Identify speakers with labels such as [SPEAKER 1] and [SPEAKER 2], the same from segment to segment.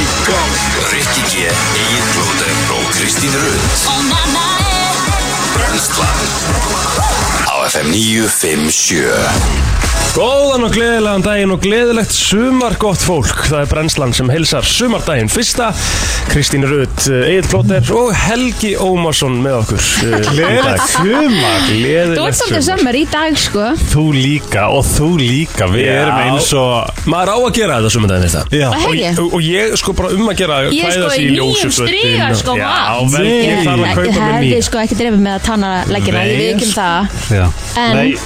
[SPEAKER 1] Rikki G, Egil Blóter og Kristín Rund Brenslan Á FM 957
[SPEAKER 2] Góðan og gleðilegan daginn og gleðilegt sumar gott fólk. Það er brennslan sem hilsar sumardaginn fyrsta. Kristín Rutt, Egil Plóter og Helgi Ómarsson með okkur. eh, í dag.
[SPEAKER 3] Gleðilegt sumar.
[SPEAKER 2] Gleðilegt
[SPEAKER 4] Þú ert svolítið sömmar í dag sko
[SPEAKER 3] Þú líka og þú líka Við
[SPEAKER 2] Já.
[SPEAKER 3] erum eins og
[SPEAKER 2] Maður á að gera þetta sumardaginn fyrsta.
[SPEAKER 3] Já,
[SPEAKER 4] Og
[SPEAKER 2] Og,
[SPEAKER 4] hegja
[SPEAKER 2] og, og ég sko bara um að gera
[SPEAKER 4] Ég er sko
[SPEAKER 2] klæða sig
[SPEAKER 4] í nýjum
[SPEAKER 2] ljósufötin
[SPEAKER 4] striga,
[SPEAKER 2] og-
[SPEAKER 4] sko,
[SPEAKER 2] Já,
[SPEAKER 4] vat.
[SPEAKER 2] vel, ég
[SPEAKER 3] Nei.
[SPEAKER 2] þarf að
[SPEAKER 4] Ég
[SPEAKER 2] kaupa mér
[SPEAKER 4] hefði
[SPEAKER 2] nýja
[SPEAKER 4] sko ekki drefið með að tanna leggina Ég
[SPEAKER 3] Nei,
[SPEAKER 4] veit ekki um
[SPEAKER 3] sko.
[SPEAKER 4] það
[SPEAKER 3] já.
[SPEAKER 4] En,
[SPEAKER 3] Nei,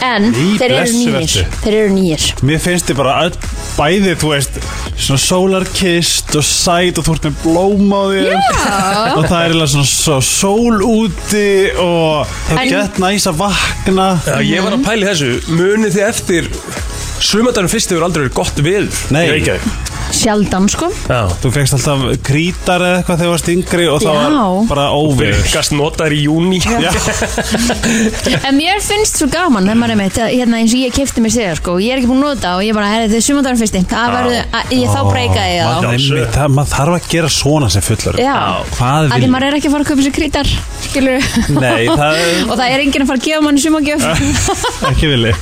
[SPEAKER 4] en
[SPEAKER 3] Í
[SPEAKER 4] þeir eru
[SPEAKER 3] blessu
[SPEAKER 4] nýjir
[SPEAKER 3] vertu.
[SPEAKER 4] Þeir eru nýjir
[SPEAKER 3] Mér finnst þið bara öll, bæði, þú veist Svona sólarkist og sæt og þú ert með blóm á þér
[SPEAKER 4] Já.
[SPEAKER 3] Og það er eiginlega svona svo sól úti og
[SPEAKER 4] En-
[SPEAKER 3] það er gett næs að vakna
[SPEAKER 2] Já, ég var að pæli þessu, munið þið eftir sumardaginn fyrst hefur aldrei verið gott við
[SPEAKER 3] Nei.
[SPEAKER 4] Sjaldan sko
[SPEAKER 2] Já,
[SPEAKER 3] Þú fegst alltaf krítar eða eitthvað þegar þú varst yngri og það
[SPEAKER 4] Já.
[SPEAKER 3] var bara óviður
[SPEAKER 2] virkast notaður í júni
[SPEAKER 3] Já,
[SPEAKER 4] En mér finnst svo gaman þegar maður er mitt að, hérna, eins og ég kefti mér sér sko og Ég er ekki búin að nota og ég bara, herri, þið er sumandarinn fyrsti Það verður, að- ég þá breykaði ég þá
[SPEAKER 3] Maður-
[SPEAKER 2] Já,
[SPEAKER 3] einmitt, það- maður þarf að gera svona sem fullar
[SPEAKER 4] Já,
[SPEAKER 3] Hvað
[SPEAKER 4] að því
[SPEAKER 3] vil
[SPEAKER 4] maður er ekki að fara að kaupa sér krítar Skilur
[SPEAKER 3] Nei, það
[SPEAKER 4] Og það er enginn að fara að gefa manni sumagjöf
[SPEAKER 3] er ekki vilji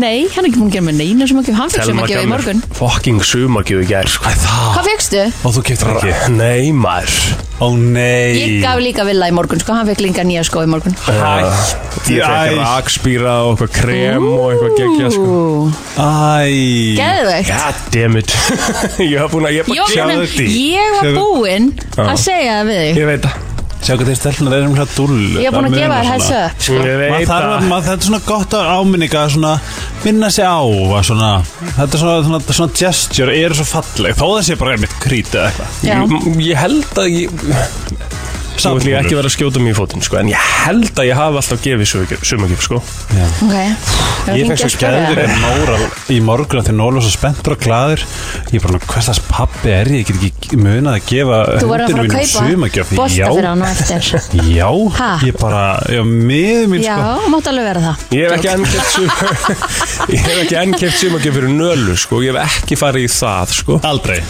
[SPEAKER 4] Nei, hann er ekki búin að gera með neina sumagjöf Hann fekk
[SPEAKER 2] Telma
[SPEAKER 4] sumagjöf í
[SPEAKER 2] gaf mér
[SPEAKER 4] morgun
[SPEAKER 2] Fucking sumagjöf í gær sko.
[SPEAKER 3] Það
[SPEAKER 4] Hvað fegstu?
[SPEAKER 3] Og þú keftir ekki
[SPEAKER 2] Nei maður
[SPEAKER 3] Ó nei
[SPEAKER 4] Ég gaf líka Villa í morgun, sko, hann fekk líka nýja skó í morgun
[SPEAKER 2] Ah. Ég
[SPEAKER 3] Æ,
[SPEAKER 2] fekk rakspýra og eitthvað krem og eitthvað geggja sko.
[SPEAKER 4] Ú,
[SPEAKER 3] æ
[SPEAKER 4] Geðveikt
[SPEAKER 2] God damn it Ég var búin að ég
[SPEAKER 4] Ég var
[SPEAKER 2] bara
[SPEAKER 4] búin
[SPEAKER 3] Sjáðu
[SPEAKER 4] að-
[SPEAKER 3] því.
[SPEAKER 4] ég var
[SPEAKER 3] Sjáðu-
[SPEAKER 4] búinn að segja það við þig
[SPEAKER 2] Ég veit það
[SPEAKER 3] Sjá hvað þeir stelpunar erum hérna dúll
[SPEAKER 4] Ég var búinn að gefa þér heads up sko.
[SPEAKER 2] Ég
[SPEAKER 3] Maður
[SPEAKER 2] veit
[SPEAKER 3] þarf að,
[SPEAKER 2] það
[SPEAKER 3] maður, þetta er svona gott að áminninga að svona minna sig á að svona, þetta er svona, svona, svona gesture er svo falleg, þó það sé bara einmitt krítið eða eitthvað
[SPEAKER 4] Já.
[SPEAKER 2] Ég- Ég held að ég Nú ætlum ég ekki að vera að skjóta mig í fótinn sko, En ég held að ég hafi alltaf gefið sumagjöf sko.
[SPEAKER 4] Ok Ég
[SPEAKER 3] Ég fekk svo gæðir móra í morgun að því Nóla var svo spenntur og gladur Ég er bara, hvers þess pappi er ég, ég get ekki munað að gefa
[SPEAKER 4] Þú voru að
[SPEAKER 3] hundinum
[SPEAKER 4] fara að
[SPEAKER 3] mínum
[SPEAKER 4] kaupa
[SPEAKER 3] sumagjöf.
[SPEAKER 4] Bosta
[SPEAKER 3] Já,
[SPEAKER 4] fyrir hann og eftir
[SPEAKER 3] Já,
[SPEAKER 4] Ha?
[SPEAKER 3] ég bara, já, miður mín
[SPEAKER 4] Já,
[SPEAKER 3] sko
[SPEAKER 4] mátt alveg vera það
[SPEAKER 2] Ég hef ekki enn keft sumagjöf Ég hef ekki enn keft sumagjöf fyrir nölu sko. Ég hef ekki farið í það sko.
[SPEAKER 3] Aldrei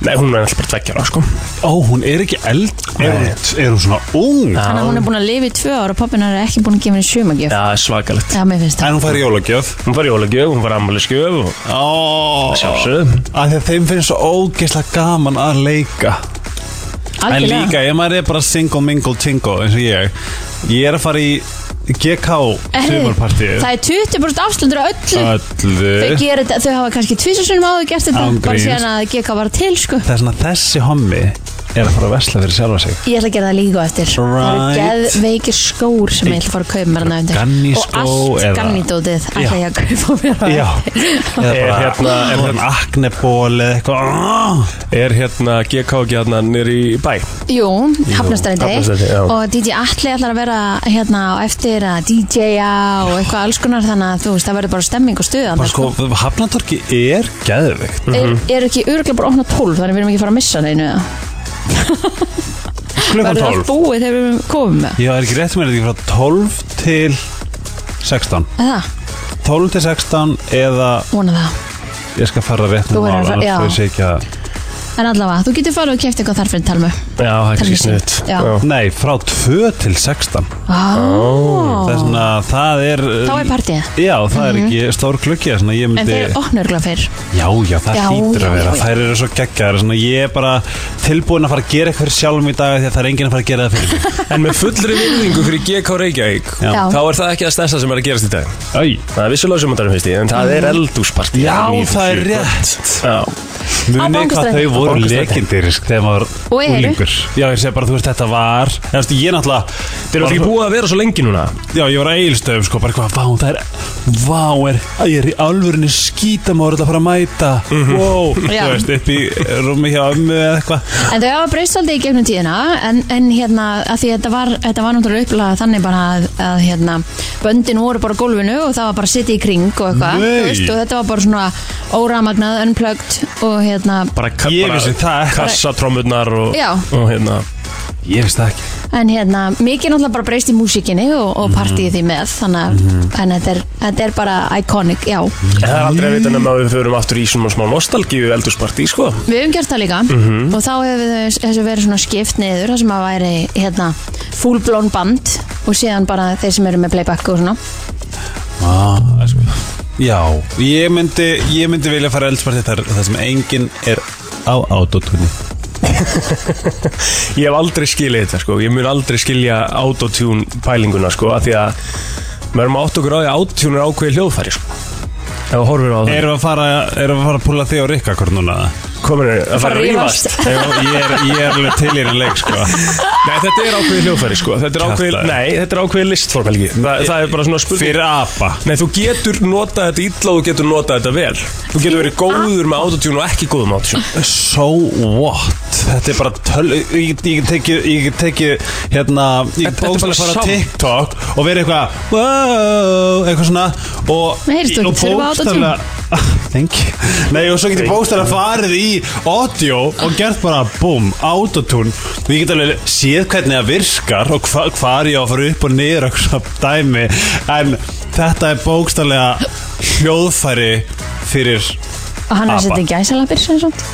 [SPEAKER 2] Nei, hún er alltaf bara tveggjara sko.
[SPEAKER 3] Ó, hún er ekki eld Er, hún, er hún svona ung?
[SPEAKER 4] Þannig að hún er búin að lifa í tvö ár og pappin er ekki búin að gefa henni sumagjöf
[SPEAKER 2] Já, svakalegt
[SPEAKER 4] Já, mér finnst það
[SPEAKER 3] En hún fær jólagjöf
[SPEAKER 2] Hún var jólagjöf, hún var ammaliðsgjöf og
[SPEAKER 3] Ó
[SPEAKER 2] sjálfsögðum
[SPEAKER 3] Af því að þeim finnst svo ógeðslega gaman að leika En
[SPEAKER 4] Algjörlega.
[SPEAKER 3] líka, ef maður er bara single mingle tingle eins og ég Ég er að fara í GK
[SPEAKER 4] Herðu,
[SPEAKER 3] sumarpartíð
[SPEAKER 4] Það er 20% afslutur á öllu Þau,
[SPEAKER 3] Öllu
[SPEAKER 4] gera, þetta- þau hafa kannski tvísasunum áður gert þetta
[SPEAKER 3] Án
[SPEAKER 4] bara
[SPEAKER 3] gríns.
[SPEAKER 4] síðan að GK var til sko.
[SPEAKER 3] Það er svona þessi hommi er að fara að vesla fyrir sjálfa sig
[SPEAKER 4] ég ætla að gera það líka á eftir það eru
[SPEAKER 3] Right.
[SPEAKER 4] geðveikir skór sem ég ætla að fara að kaupa mér hana undir og
[SPEAKER 3] Ganniskó
[SPEAKER 4] allt
[SPEAKER 3] eða-
[SPEAKER 4] gannítótið ætla ég að kaupa mér hana
[SPEAKER 3] Já Eða bara,
[SPEAKER 2] Er hérna- er
[SPEAKER 3] er hérna akneból eða eitthvað
[SPEAKER 2] Er hérna GK ekki hérna nýri í bæ?
[SPEAKER 4] jú, hafnastændi
[SPEAKER 2] Hafnarstræti, já.
[SPEAKER 4] og DJ Atli ætlar að vera hérna á eftir að DJ-a og eitthvað alls konar þannig að þú veist það verður bara stemming og stuðan
[SPEAKER 3] Bara sko, mhm. Hafnatorki er geðvikt
[SPEAKER 4] er, er ekki öruglega bara opna 12 þannig við erum ekki að fara að missa neinu eða?
[SPEAKER 3] Klukkan
[SPEAKER 4] verður
[SPEAKER 3] 12
[SPEAKER 4] allt búið þegar við komum með
[SPEAKER 3] Já, er ekki rétt mér, er þetta ekki frá 12 til 16
[SPEAKER 4] Er það,
[SPEAKER 3] 12 til 16 eða
[SPEAKER 4] vona það
[SPEAKER 3] ég skal fara rétt
[SPEAKER 4] Þú verður
[SPEAKER 3] með
[SPEAKER 4] að
[SPEAKER 3] mál,
[SPEAKER 4] fara-
[SPEAKER 3] annars
[SPEAKER 4] já.
[SPEAKER 3] þú veist ekki að
[SPEAKER 4] en allavega, þú getur farið og kæft eitthvað þar fyrir talmu
[SPEAKER 2] Já, það er kannski
[SPEAKER 4] Telmi
[SPEAKER 2] sniðt
[SPEAKER 4] Já.
[SPEAKER 3] Nei, frá 2 til 16 Það
[SPEAKER 4] oh.
[SPEAKER 3] er svona, það er um,
[SPEAKER 4] þá er partíið
[SPEAKER 3] Já, það er ekki stór klukki svona, ég
[SPEAKER 4] en
[SPEAKER 3] myndi,
[SPEAKER 4] þeir opna öruglega fyrir
[SPEAKER 3] Já, já, það
[SPEAKER 4] Já,
[SPEAKER 3] hlýtur
[SPEAKER 4] já,
[SPEAKER 3] að vera
[SPEAKER 4] já, já.
[SPEAKER 3] Þær eru svo geggjaðar svona, Ég er bara tilbúin að fara að gera eitthvað fyrir sjálfum í dag því að það er enginn að fara að gera það fyrir mig
[SPEAKER 2] En með fullri virðingu fyrir GK Reykjavík
[SPEAKER 3] Já.
[SPEAKER 4] Já.
[SPEAKER 2] Þá er það ekki það stærsta sem er að gerast í dag
[SPEAKER 3] Æ,
[SPEAKER 2] Það er vissulega sumandarum fyrst í En það er eldúspartí
[SPEAKER 3] Mm. Já, það er rétt
[SPEAKER 2] Já,
[SPEAKER 3] Muni hvað
[SPEAKER 4] Bankastræti.
[SPEAKER 3] þau voru
[SPEAKER 2] Bankastræti.
[SPEAKER 3] lekindir þegar maður
[SPEAKER 4] Og eru.
[SPEAKER 3] úlingur Já, ég segi bara, þú veist, þetta var Ég, veist, ég náttúrulega
[SPEAKER 2] Þeir eru ekki búið að vera svo lengi núna
[SPEAKER 3] Já, ég var að eilstöðum, sko, bara eitthvað Vá, það er, vá, er, að ég er í alvörinni skítamáður að fara að mæta
[SPEAKER 2] Mhm.
[SPEAKER 3] Wow,
[SPEAKER 4] Já.
[SPEAKER 3] þú veist, upp í rúmi hjá ömmu eða eitthvað
[SPEAKER 4] En þau hafa breyst aldrei í gegnum tíðina en, en hérna, að því þetta var, þetta var náttúrulega upplega þannig bara að, að hérna, böndin voru bara á gólfinu og það var bara að sitja í kring og eitthvað
[SPEAKER 3] Nei.
[SPEAKER 4] þú veist, og þetta var bara svona óramagnað, unplugged og hérna
[SPEAKER 2] Bara, ka-
[SPEAKER 3] Ég
[SPEAKER 2] bara
[SPEAKER 3] vissi það ekki.
[SPEAKER 2] Kassa, trommurnar og,
[SPEAKER 4] Já.
[SPEAKER 2] og hérna
[SPEAKER 3] Ég veist það ekki
[SPEAKER 4] En hérna, mikið er náttúrulega bara breyst í músíkinni og, og partíið því með Þannig að
[SPEAKER 3] Mhm.
[SPEAKER 4] mm. þetta, er, þetta er bara iconic, já
[SPEAKER 2] Það er aldrei að vita nema að við förum aftur í svona smá nostalgíu eldursparti, sko
[SPEAKER 4] Við höfum gert það líka
[SPEAKER 2] Mhm.
[SPEAKER 4] og þá hefur þessu verið svona skipt niður Það sem að væri hérna full blown band og síðan bara þeir sem eru með playback og svona
[SPEAKER 3] ah, sko. Já, ég myndi, ég myndi vilja fara eldsparti þar, þar sem enginn er á autotunni
[SPEAKER 2] Ég hef aldrei skilið þetta sko Ég mun aldrei skilja autotune pælinguna sko af Því að maður erum átt okkur á því að autotune er ákveði hljóðfæri sko Ef við horfum á það er,
[SPEAKER 3] Erum við að fara, erum við að fara að púla þig og Rikka hvort núna?
[SPEAKER 2] Komin er að fara að
[SPEAKER 4] rífast.
[SPEAKER 2] rífast
[SPEAKER 3] Ég ég er, ég er alveg til í hérna leik sko
[SPEAKER 2] Nei, þetta er ákveði hljóðfæri sko Þetta er ákveði,
[SPEAKER 3] Kjaftæði.
[SPEAKER 2] nei, þetta er ákveði listform helgi Þa, Það er bara svona spurning
[SPEAKER 3] Fyrir apa
[SPEAKER 2] Nei, þú getur notað þetta illa og þú getur notað þetta vel Þú getur verið góður með autotune og ekki góður með autotune
[SPEAKER 3] So what? Þetta er bara töl Ég ég get tekið Ég get tekið Hérna Ég get
[SPEAKER 2] Þetta- þetta er bara
[SPEAKER 3] bókslega fara á
[SPEAKER 2] sound.
[SPEAKER 3] TikTok Og verið eitthvað Wow Eitthvað svona Og
[SPEAKER 4] Nei, heyrðu,
[SPEAKER 3] og
[SPEAKER 4] ekki þurfa
[SPEAKER 3] bókstaflega- Thank you Nei og svo get ég bókstæðlega farið í audio Og gert bara Boom Autotune Og ég get alveg Séð hvernig það virkar Og hva, hvar ég á að fara upp og niður Og svona dæmi En þetta er bókstæðlega Hljóðfæri Fyrir
[SPEAKER 4] og
[SPEAKER 2] Ah,
[SPEAKER 4] hann er
[SPEAKER 3] Apa.
[SPEAKER 4] að setja gæsalapir sem svona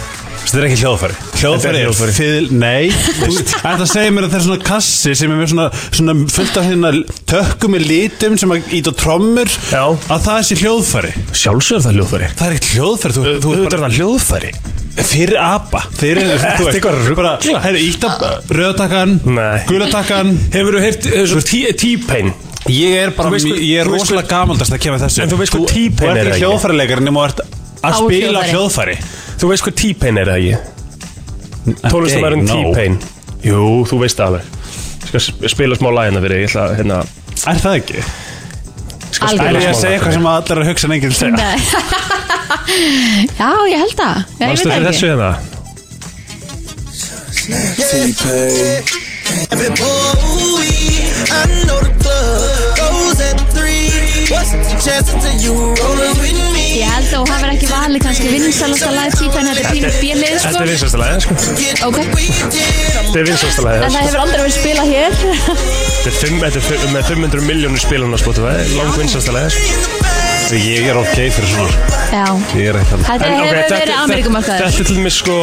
[SPEAKER 3] Þetta er ekki hljóðfæri Hljóðfæri er
[SPEAKER 2] hljóðfæri.
[SPEAKER 3] fyl, nei Þetta segir mér að það er svona kassi sem er með svona, svona fullt af hérna tökkum með litum sem að ít á trommur
[SPEAKER 2] Já.
[SPEAKER 3] að það er sér hljóðfæri
[SPEAKER 2] Sjálfsögur það hljóðfæri
[SPEAKER 3] Það er ekkert hljóðfæri, þú,
[SPEAKER 2] Þú
[SPEAKER 3] þú
[SPEAKER 2] ert það hljóðfæri
[SPEAKER 3] fyrir apa Fyrir,
[SPEAKER 2] Þetta er eitthvað rugl.
[SPEAKER 3] bara, herri, ítta röðtakkan,
[SPEAKER 2] Nei.
[SPEAKER 3] gulatakkan
[SPEAKER 2] Hefur þú heyrt, hefur þú T-Pain
[SPEAKER 3] Ég er bara,
[SPEAKER 2] Þú veist hvað-
[SPEAKER 3] ég er
[SPEAKER 2] þú veist
[SPEAKER 3] rosalega gamaldast að kemur þessu
[SPEAKER 2] En þú veist hvað T-Pain
[SPEAKER 3] er
[SPEAKER 2] er,
[SPEAKER 3] ekki
[SPEAKER 2] ekki?
[SPEAKER 3] hljóðfærileikar nema þú ert
[SPEAKER 4] Á
[SPEAKER 3] að spila
[SPEAKER 4] hljóðfæri.
[SPEAKER 3] hljóðfæri
[SPEAKER 2] Þú veist hvað T-Pain er það ekki? Tónlistamærin
[SPEAKER 3] Ok, no.
[SPEAKER 2] T-Pain Jú, þú veist það alveg Ég Skal sp- spila smá lagina fyrir þig, ég ætla að, hérna
[SPEAKER 3] Er það ekki?
[SPEAKER 2] ég skal
[SPEAKER 4] Algjörlega.
[SPEAKER 2] spila
[SPEAKER 3] Er ég að
[SPEAKER 2] smá
[SPEAKER 3] segja eitthvað
[SPEAKER 2] lag fyrir
[SPEAKER 3] sem allir er að hugsa en enginn segja?
[SPEAKER 4] Nei. Já, ég held það Já,
[SPEAKER 2] þig.
[SPEAKER 4] ég
[SPEAKER 2] Manstu
[SPEAKER 4] veit
[SPEAKER 2] fyrir
[SPEAKER 4] það
[SPEAKER 2] þessu
[SPEAKER 4] ekki
[SPEAKER 2] hérna?
[SPEAKER 5] Every boy, I know the club goes at three. What's the chance until you rollin' with me?
[SPEAKER 4] Ég held að hún hafði ekki valið kannski vinsalasta live típan Þetta er pínu bílið
[SPEAKER 2] Þetta
[SPEAKER 4] sko
[SPEAKER 2] er vinsasta lagið, sko
[SPEAKER 5] Get
[SPEAKER 4] Ok.
[SPEAKER 5] the weekend.
[SPEAKER 2] Þetta er vinsasta lagið,
[SPEAKER 4] En það
[SPEAKER 2] sko
[SPEAKER 4] hefur aldrei verið spilað hér
[SPEAKER 2] Þetta er fimm- þetta er fimm- með 500 miljónir spilun á Spotify Lang vinsasta lagið, sko
[SPEAKER 3] Ég er ok fyrir svona
[SPEAKER 4] Já,
[SPEAKER 3] Ég er ekki þannig
[SPEAKER 4] þetta
[SPEAKER 2] En, ok,
[SPEAKER 4] hefur verið
[SPEAKER 2] þetta- þetta-
[SPEAKER 4] Ameríkumarkaður
[SPEAKER 2] Þetta er til mig, sko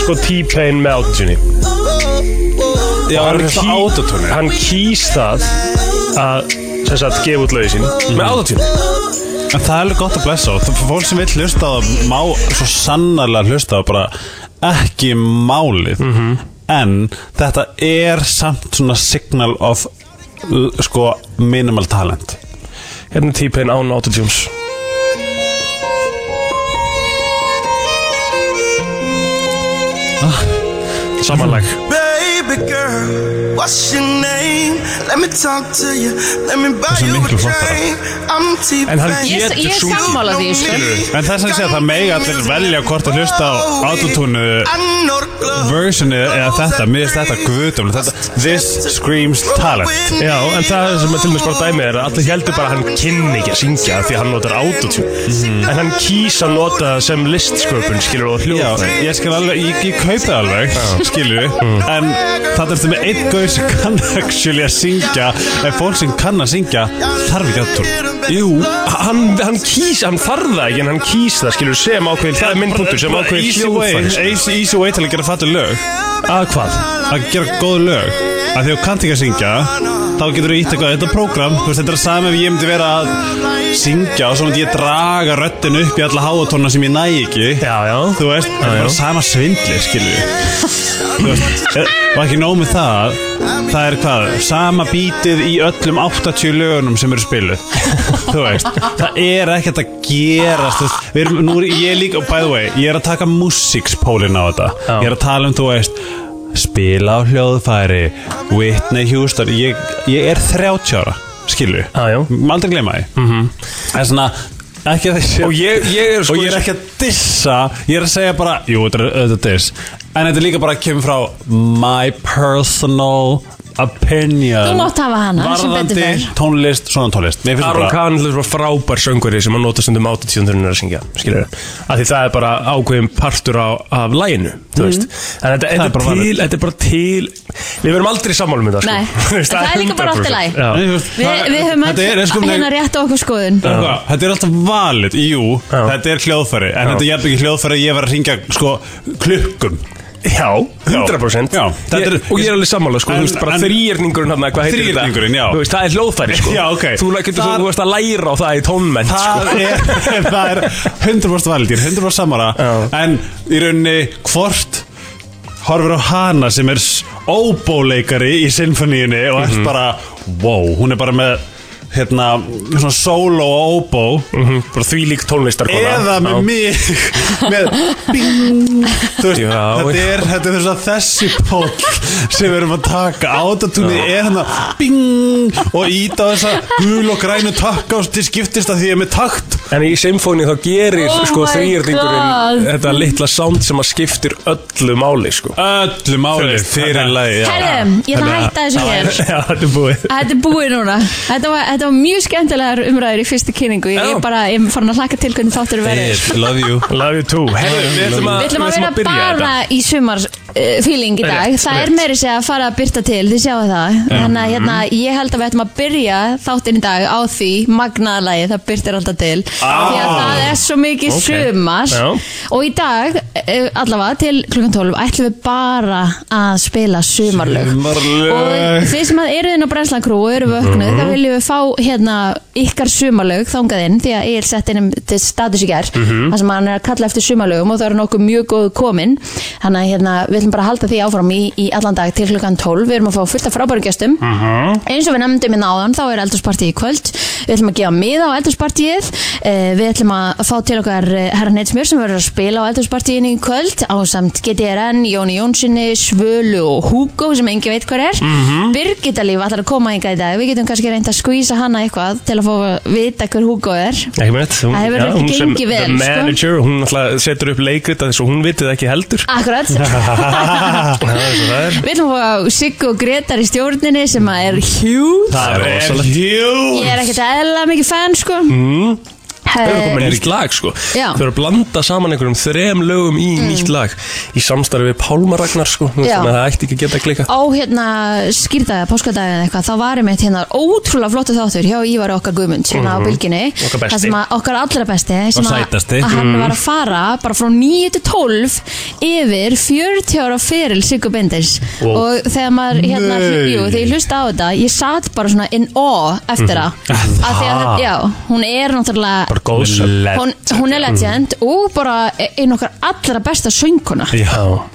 [SPEAKER 2] Sko T-Pain með autotune
[SPEAKER 3] Já,
[SPEAKER 2] Hann
[SPEAKER 3] hann er
[SPEAKER 2] ký-
[SPEAKER 3] það autotónu
[SPEAKER 2] Hann kýs það að sem sagt, gefa út lögin sín með autotune
[SPEAKER 3] En það er alveg gott að blessa á Þú- Fólk sem vil hlusta á það má svo sannarlega hlusta á bara ekki málið
[SPEAKER 2] Mhm.
[SPEAKER 3] En þetta er samt svona signal of l- sko minimal talent
[SPEAKER 2] Hérna er T-Pain án autotunes
[SPEAKER 3] Ah.
[SPEAKER 2] Samanlag
[SPEAKER 5] Baby girl, what's your name? Let me talk to you. Let me buy
[SPEAKER 3] Þessi er
[SPEAKER 5] you a
[SPEAKER 3] miklu flottara.
[SPEAKER 5] drink. I'm
[SPEAKER 2] En hann
[SPEAKER 5] T-Pain.
[SPEAKER 4] Ég,
[SPEAKER 2] Getur
[SPEAKER 4] ég er
[SPEAKER 2] sungið.
[SPEAKER 4] sammála því sko
[SPEAKER 3] En þess að segja að það megi allir velja hvort að hlusta á autotúnu versionu eða þetta, mér finnst þetta guðdum þetta, This screams talent
[SPEAKER 2] Já, en það sem er til mig spara dæmi er að allir heldur bara að hann kynni ekki að syngja því að hann notar autotune
[SPEAKER 3] Mhm.
[SPEAKER 2] En hann kýs að nota það sem listsköpun, skilur og
[SPEAKER 3] Já,
[SPEAKER 2] hljóð
[SPEAKER 3] ég skal alveg, ég, ég kaupi það alveg, skilju
[SPEAKER 2] Mm.
[SPEAKER 3] En það ertu með einn gauð sem kann actually að syngja En fólk sem kann að syngja þarf ekki að tórn
[SPEAKER 2] Jú, hann, hann kýs, hann þarf það ekki en hann kýs það, skilur, sem ákveðin, það er myndpunktur sem ákveðin
[SPEAKER 3] easy way,
[SPEAKER 2] hljóðfæri sko.
[SPEAKER 3] easy, easy way til að gera fattu lög
[SPEAKER 2] Að hvað?
[SPEAKER 3] Að gera góð lög Af því að þú kannt ekki að syngja Þá getur þú ítt eitthvað, þetta er prógram Þú veist, þetta er sama ef ég myndi vera að syngja Og svo myndi ég draga röddin upp í alla háatónna sem ég næ ekki
[SPEAKER 2] Já, já
[SPEAKER 3] Þú veist, það er
[SPEAKER 2] já.
[SPEAKER 3] bara sama svindli, skilju Þú veist, eh, Og ekki nóg með það Það er hvað, sama bítið í öllum 80 lögunum sem eru spiluð Þú veist, það er ekkert að gerast þú veist. Við erum, nú er ég líka, by the way Ég er að taka músikspólinn á þetta
[SPEAKER 2] Já.
[SPEAKER 3] Ég er að tala um, þú veist Spila á hljóðfæri Whitney Houston Ég, ég er 30 ára, skilju
[SPEAKER 2] Já, já. Mhm.
[SPEAKER 3] Aldrei gleyma því mm -hmm. Það er svona, ekki að þessi
[SPEAKER 2] Og ég, ég er sko
[SPEAKER 3] og ég er ekki að dissa ég er að segja bara, jú þetta er auðvitað diss en þetta er líka bara að kemur frá my personal opinion
[SPEAKER 4] Þú mátt hafa hana, sem betur
[SPEAKER 3] Varðandi
[SPEAKER 4] fer.
[SPEAKER 3] tónlist, svona tónlist Mér finnst
[SPEAKER 2] Aron
[SPEAKER 3] bara
[SPEAKER 2] Kahn er frábær sönguri sem að nota stundum átutíðundurinn að syngja skilur að því það er bara ákveðin partur á, af læginu
[SPEAKER 4] Mhm.
[SPEAKER 2] þú veist en þetta, þetta,
[SPEAKER 3] er
[SPEAKER 2] er
[SPEAKER 3] bara
[SPEAKER 2] til,
[SPEAKER 3] valid.
[SPEAKER 2] þetta er bara til við verum aldrei sammálum með það
[SPEAKER 4] Nei,
[SPEAKER 2] sko. Þú veist,
[SPEAKER 4] en það er líka bara allt í
[SPEAKER 2] 100%.
[SPEAKER 4] lagi.
[SPEAKER 2] Já.
[SPEAKER 3] Nei, þú veist,
[SPEAKER 4] Vi,
[SPEAKER 3] það-
[SPEAKER 4] við höfum
[SPEAKER 3] þetta er- er sko-
[SPEAKER 4] öll hérna rétt á okkur skoðun
[SPEAKER 3] Hvað? Þetta er alltaf valid, jú,
[SPEAKER 2] Já.
[SPEAKER 3] þetta er hljóðfæri En þetta er jafn ekki hljóðfæri að ég var að ringja sko klukkum
[SPEAKER 2] Já, 100%
[SPEAKER 3] Já, þetta
[SPEAKER 2] ég,
[SPEAKER 3] er-
[SPEAKER 2] Og ég er alveg sammála, sko,
[SPEAKER 3] En-
[SPEAKER 2] þú veist, bara
[SPEAKER 3] en-
[SPEAKER 2] þrýjerningurinn hann, hvað heitir þetta?
[SPEAKER 3] Þríhyrningurinn, já.
[SPEAKER 2] Þú veist, það er hljóðfæri, sko
[SPEAKER 3] Já, ok.
[SPEAKER 2] Þú getur svo,
[SPEAKER 3] Það-
[SPEAKER 2] þú veist að læra á það í tónmenn,
[SPEAKER 3] Það
[SPEAKER 2] sko
[SPEAKER 3] er, það er 100% valid, ég er 100% samara
[SPEAKER 2] Já.
[SPEAKER 3] En í rauninni hvort horfir á hana sem er s- óbóleikari í sinfoníunni og
[SPEAKER 2] Mhm.
[SPEAKER 3] ert bara, wow, hún er bara með hérna, svona solo og óbó
[SPEAKER 2] Mhm, Bara því lík tónlistarkona
[SPEAKER 3] eða með
[SPEAKER 2] Já.
[SPEAKER 3] mig með bing þú veist,
[SPEAKER 2] Já,
[SPEAKER 3] þetta
[SPEAKER 2] já.
[SPEAKER 3] er, þetta er þess að þessi pól sem við erum að taka átatúni er hann að bing og íta á þessa gul og grænu takka og til skiptist að því ég er með takt
[SPEAKER 2] En í symfóni þá gerir
[SPEAKER 4] Oh
[SPEAKER 2] sko
[SPEAKER 4] my
[SPEAKER 2] þrýjörningurinn
[SPEAKER 4] God.
[SPEAKER 2] þetta litla sound sem að skiptir öllu máli sko.
[SPEAKER 3] öllu máli fyrir lagi
[SPEAKER 4] Herðum, ég ætla að hætta þessu hér
[SPEAKER 2] Já, þetta er búið.
[SPEAKER 4] Þetta er búið núna Þetta var, þetta var mjög skemmtilegar umræður í fyrstu kynningu Ég
[SPEAKER 2] Já.
[SPEAKER 4] er bara, ég er farin að hlaka til hvernig þáttur verður
[SPEAKER 3] love you
[SPEAKER 2] Love you too. Herru, við ætlum að,
[SPEAKER 4] Við ætlum að vera bara í sumar uh, feeling í dag
[SPEAKER 2] Rétt,
[SPEAKER 4] Það er
[SPEAKER 2] rétt.
[SPEAKER 4] meiri segja að fara að byrta til, þið sjáu það Þannig að hérna, ég held að við ætlum að byrja þáttinn í dag á því Magnaðalagi, það byrtir alltaf til Því að það er svo mikið
[SPEAKER 2] Ok.
[SPEAKER 4] sumar
[SPEAKER 2] Já.
[SPEAKER 4] Og í dag, uh, allavega til klukkan 12 ætlum við bara að spila sumarlög Og þið sem að eruð inn á brennslakrú og eru vöknuð þá viljum við fá hérna ykkar sumalög þangað inn því að ég er sett inn um- til status í gær þar sem hann er að kalla eftir sumalögum og það eru nokkuð mjög góð komin þannig að hérna, við ætlum bara að halda því áfram í, í allan dag til klukkan 12 við erum að fá fullt af frábæru gestum
[SPEAKER 1] Mm.
[SPEAKER 4] eins og við nefndum hérna áðan þá er eldurspartið í kvöld við ætlum að gefa miða á eldurspartið eh, við ætlum að fá til okkar eh, herra Neidsmjör sem verður að spila á eldurspartiðinu í kvöld á samt GTRN, Jóni Jónssoni Svölu og Hugo sem engi veit hver er mm -hmm. Birgitta Líf ætlar að koma enga í dag við getum kannski reynda að skvísa hana eitthvað til að fá að vita hver Hugo er
[SPEAKER 2] Ekki með þetta, hún,
[SPEAKER 4] Það hefur
[SPEAKER 2] já,
[SPEAKER 4] ekki
[SPEAKER 2] hún sem
[SPEAKER 4] gengið vel,
[SPEAKER 2] the
[SPEAKER 4] sko.
[SPEAKER 2] manager, hún alltaf setur upp leikrit að þess að hún vitið ekki heldur.
[SPEAKER 4] Akkurat
[SPEAKER 2] Það er svo það er.
[SPEAKER 4] Við ætlum að fá Siggu og Gretar í stjórninni sem að er hjút
[SPEAKER 3] það er huge
[SPEAKER 4] Ég er ekkert eðla mikið fan sko
[SPEAKER 2] Mm.
[SPEAKER 4] He-
[SPEAKER 2] Það er komið nýtt lag sko
[SPEAKER 4] Já. Mm.
[SPEAKER 2] Þau eru að blanda saman einhverjum þrem lögum í nýtt lag Í samstarfi við Pálma Ragnar sko Þú veist,
[SPEAKER 4] Já.
[SPEAKER 2] Þannig að það ætti ekki að geta að klika
[SPEAKER 4] á hérna skýrdaga, páskadaga eða eitthvað, þá varum við hérna ótrúlega flottu þáttur hjá Ívar okkar Guðmund hérna á bylginni,
[SPEAKER 2] Okkar besti.
[SPEAKER 4] sem að okkar allra besti, sem
[SPEAKER 3] Og
[SPEAKER 4] að,
[SPEAKER 3] sætasti.
[SPEAKER 4] að hann var að fara bara frá 9 til 12 yfir 40 ára feril Sigur Bindis og þegar maður hérna,
[SPEAKER 3] Nei.
[SPEAKER 4] jú, þegar ég hlusta á þetta, ég satt bara svona in awe eftir það, af því að, já, hún er náttúrulega,
[SPEAKER 2] Bara góðsöld
[SPEAKER 4] hún, hún er legend og bara einu okkar allra besta sönguna
[SPEAKER 2] Já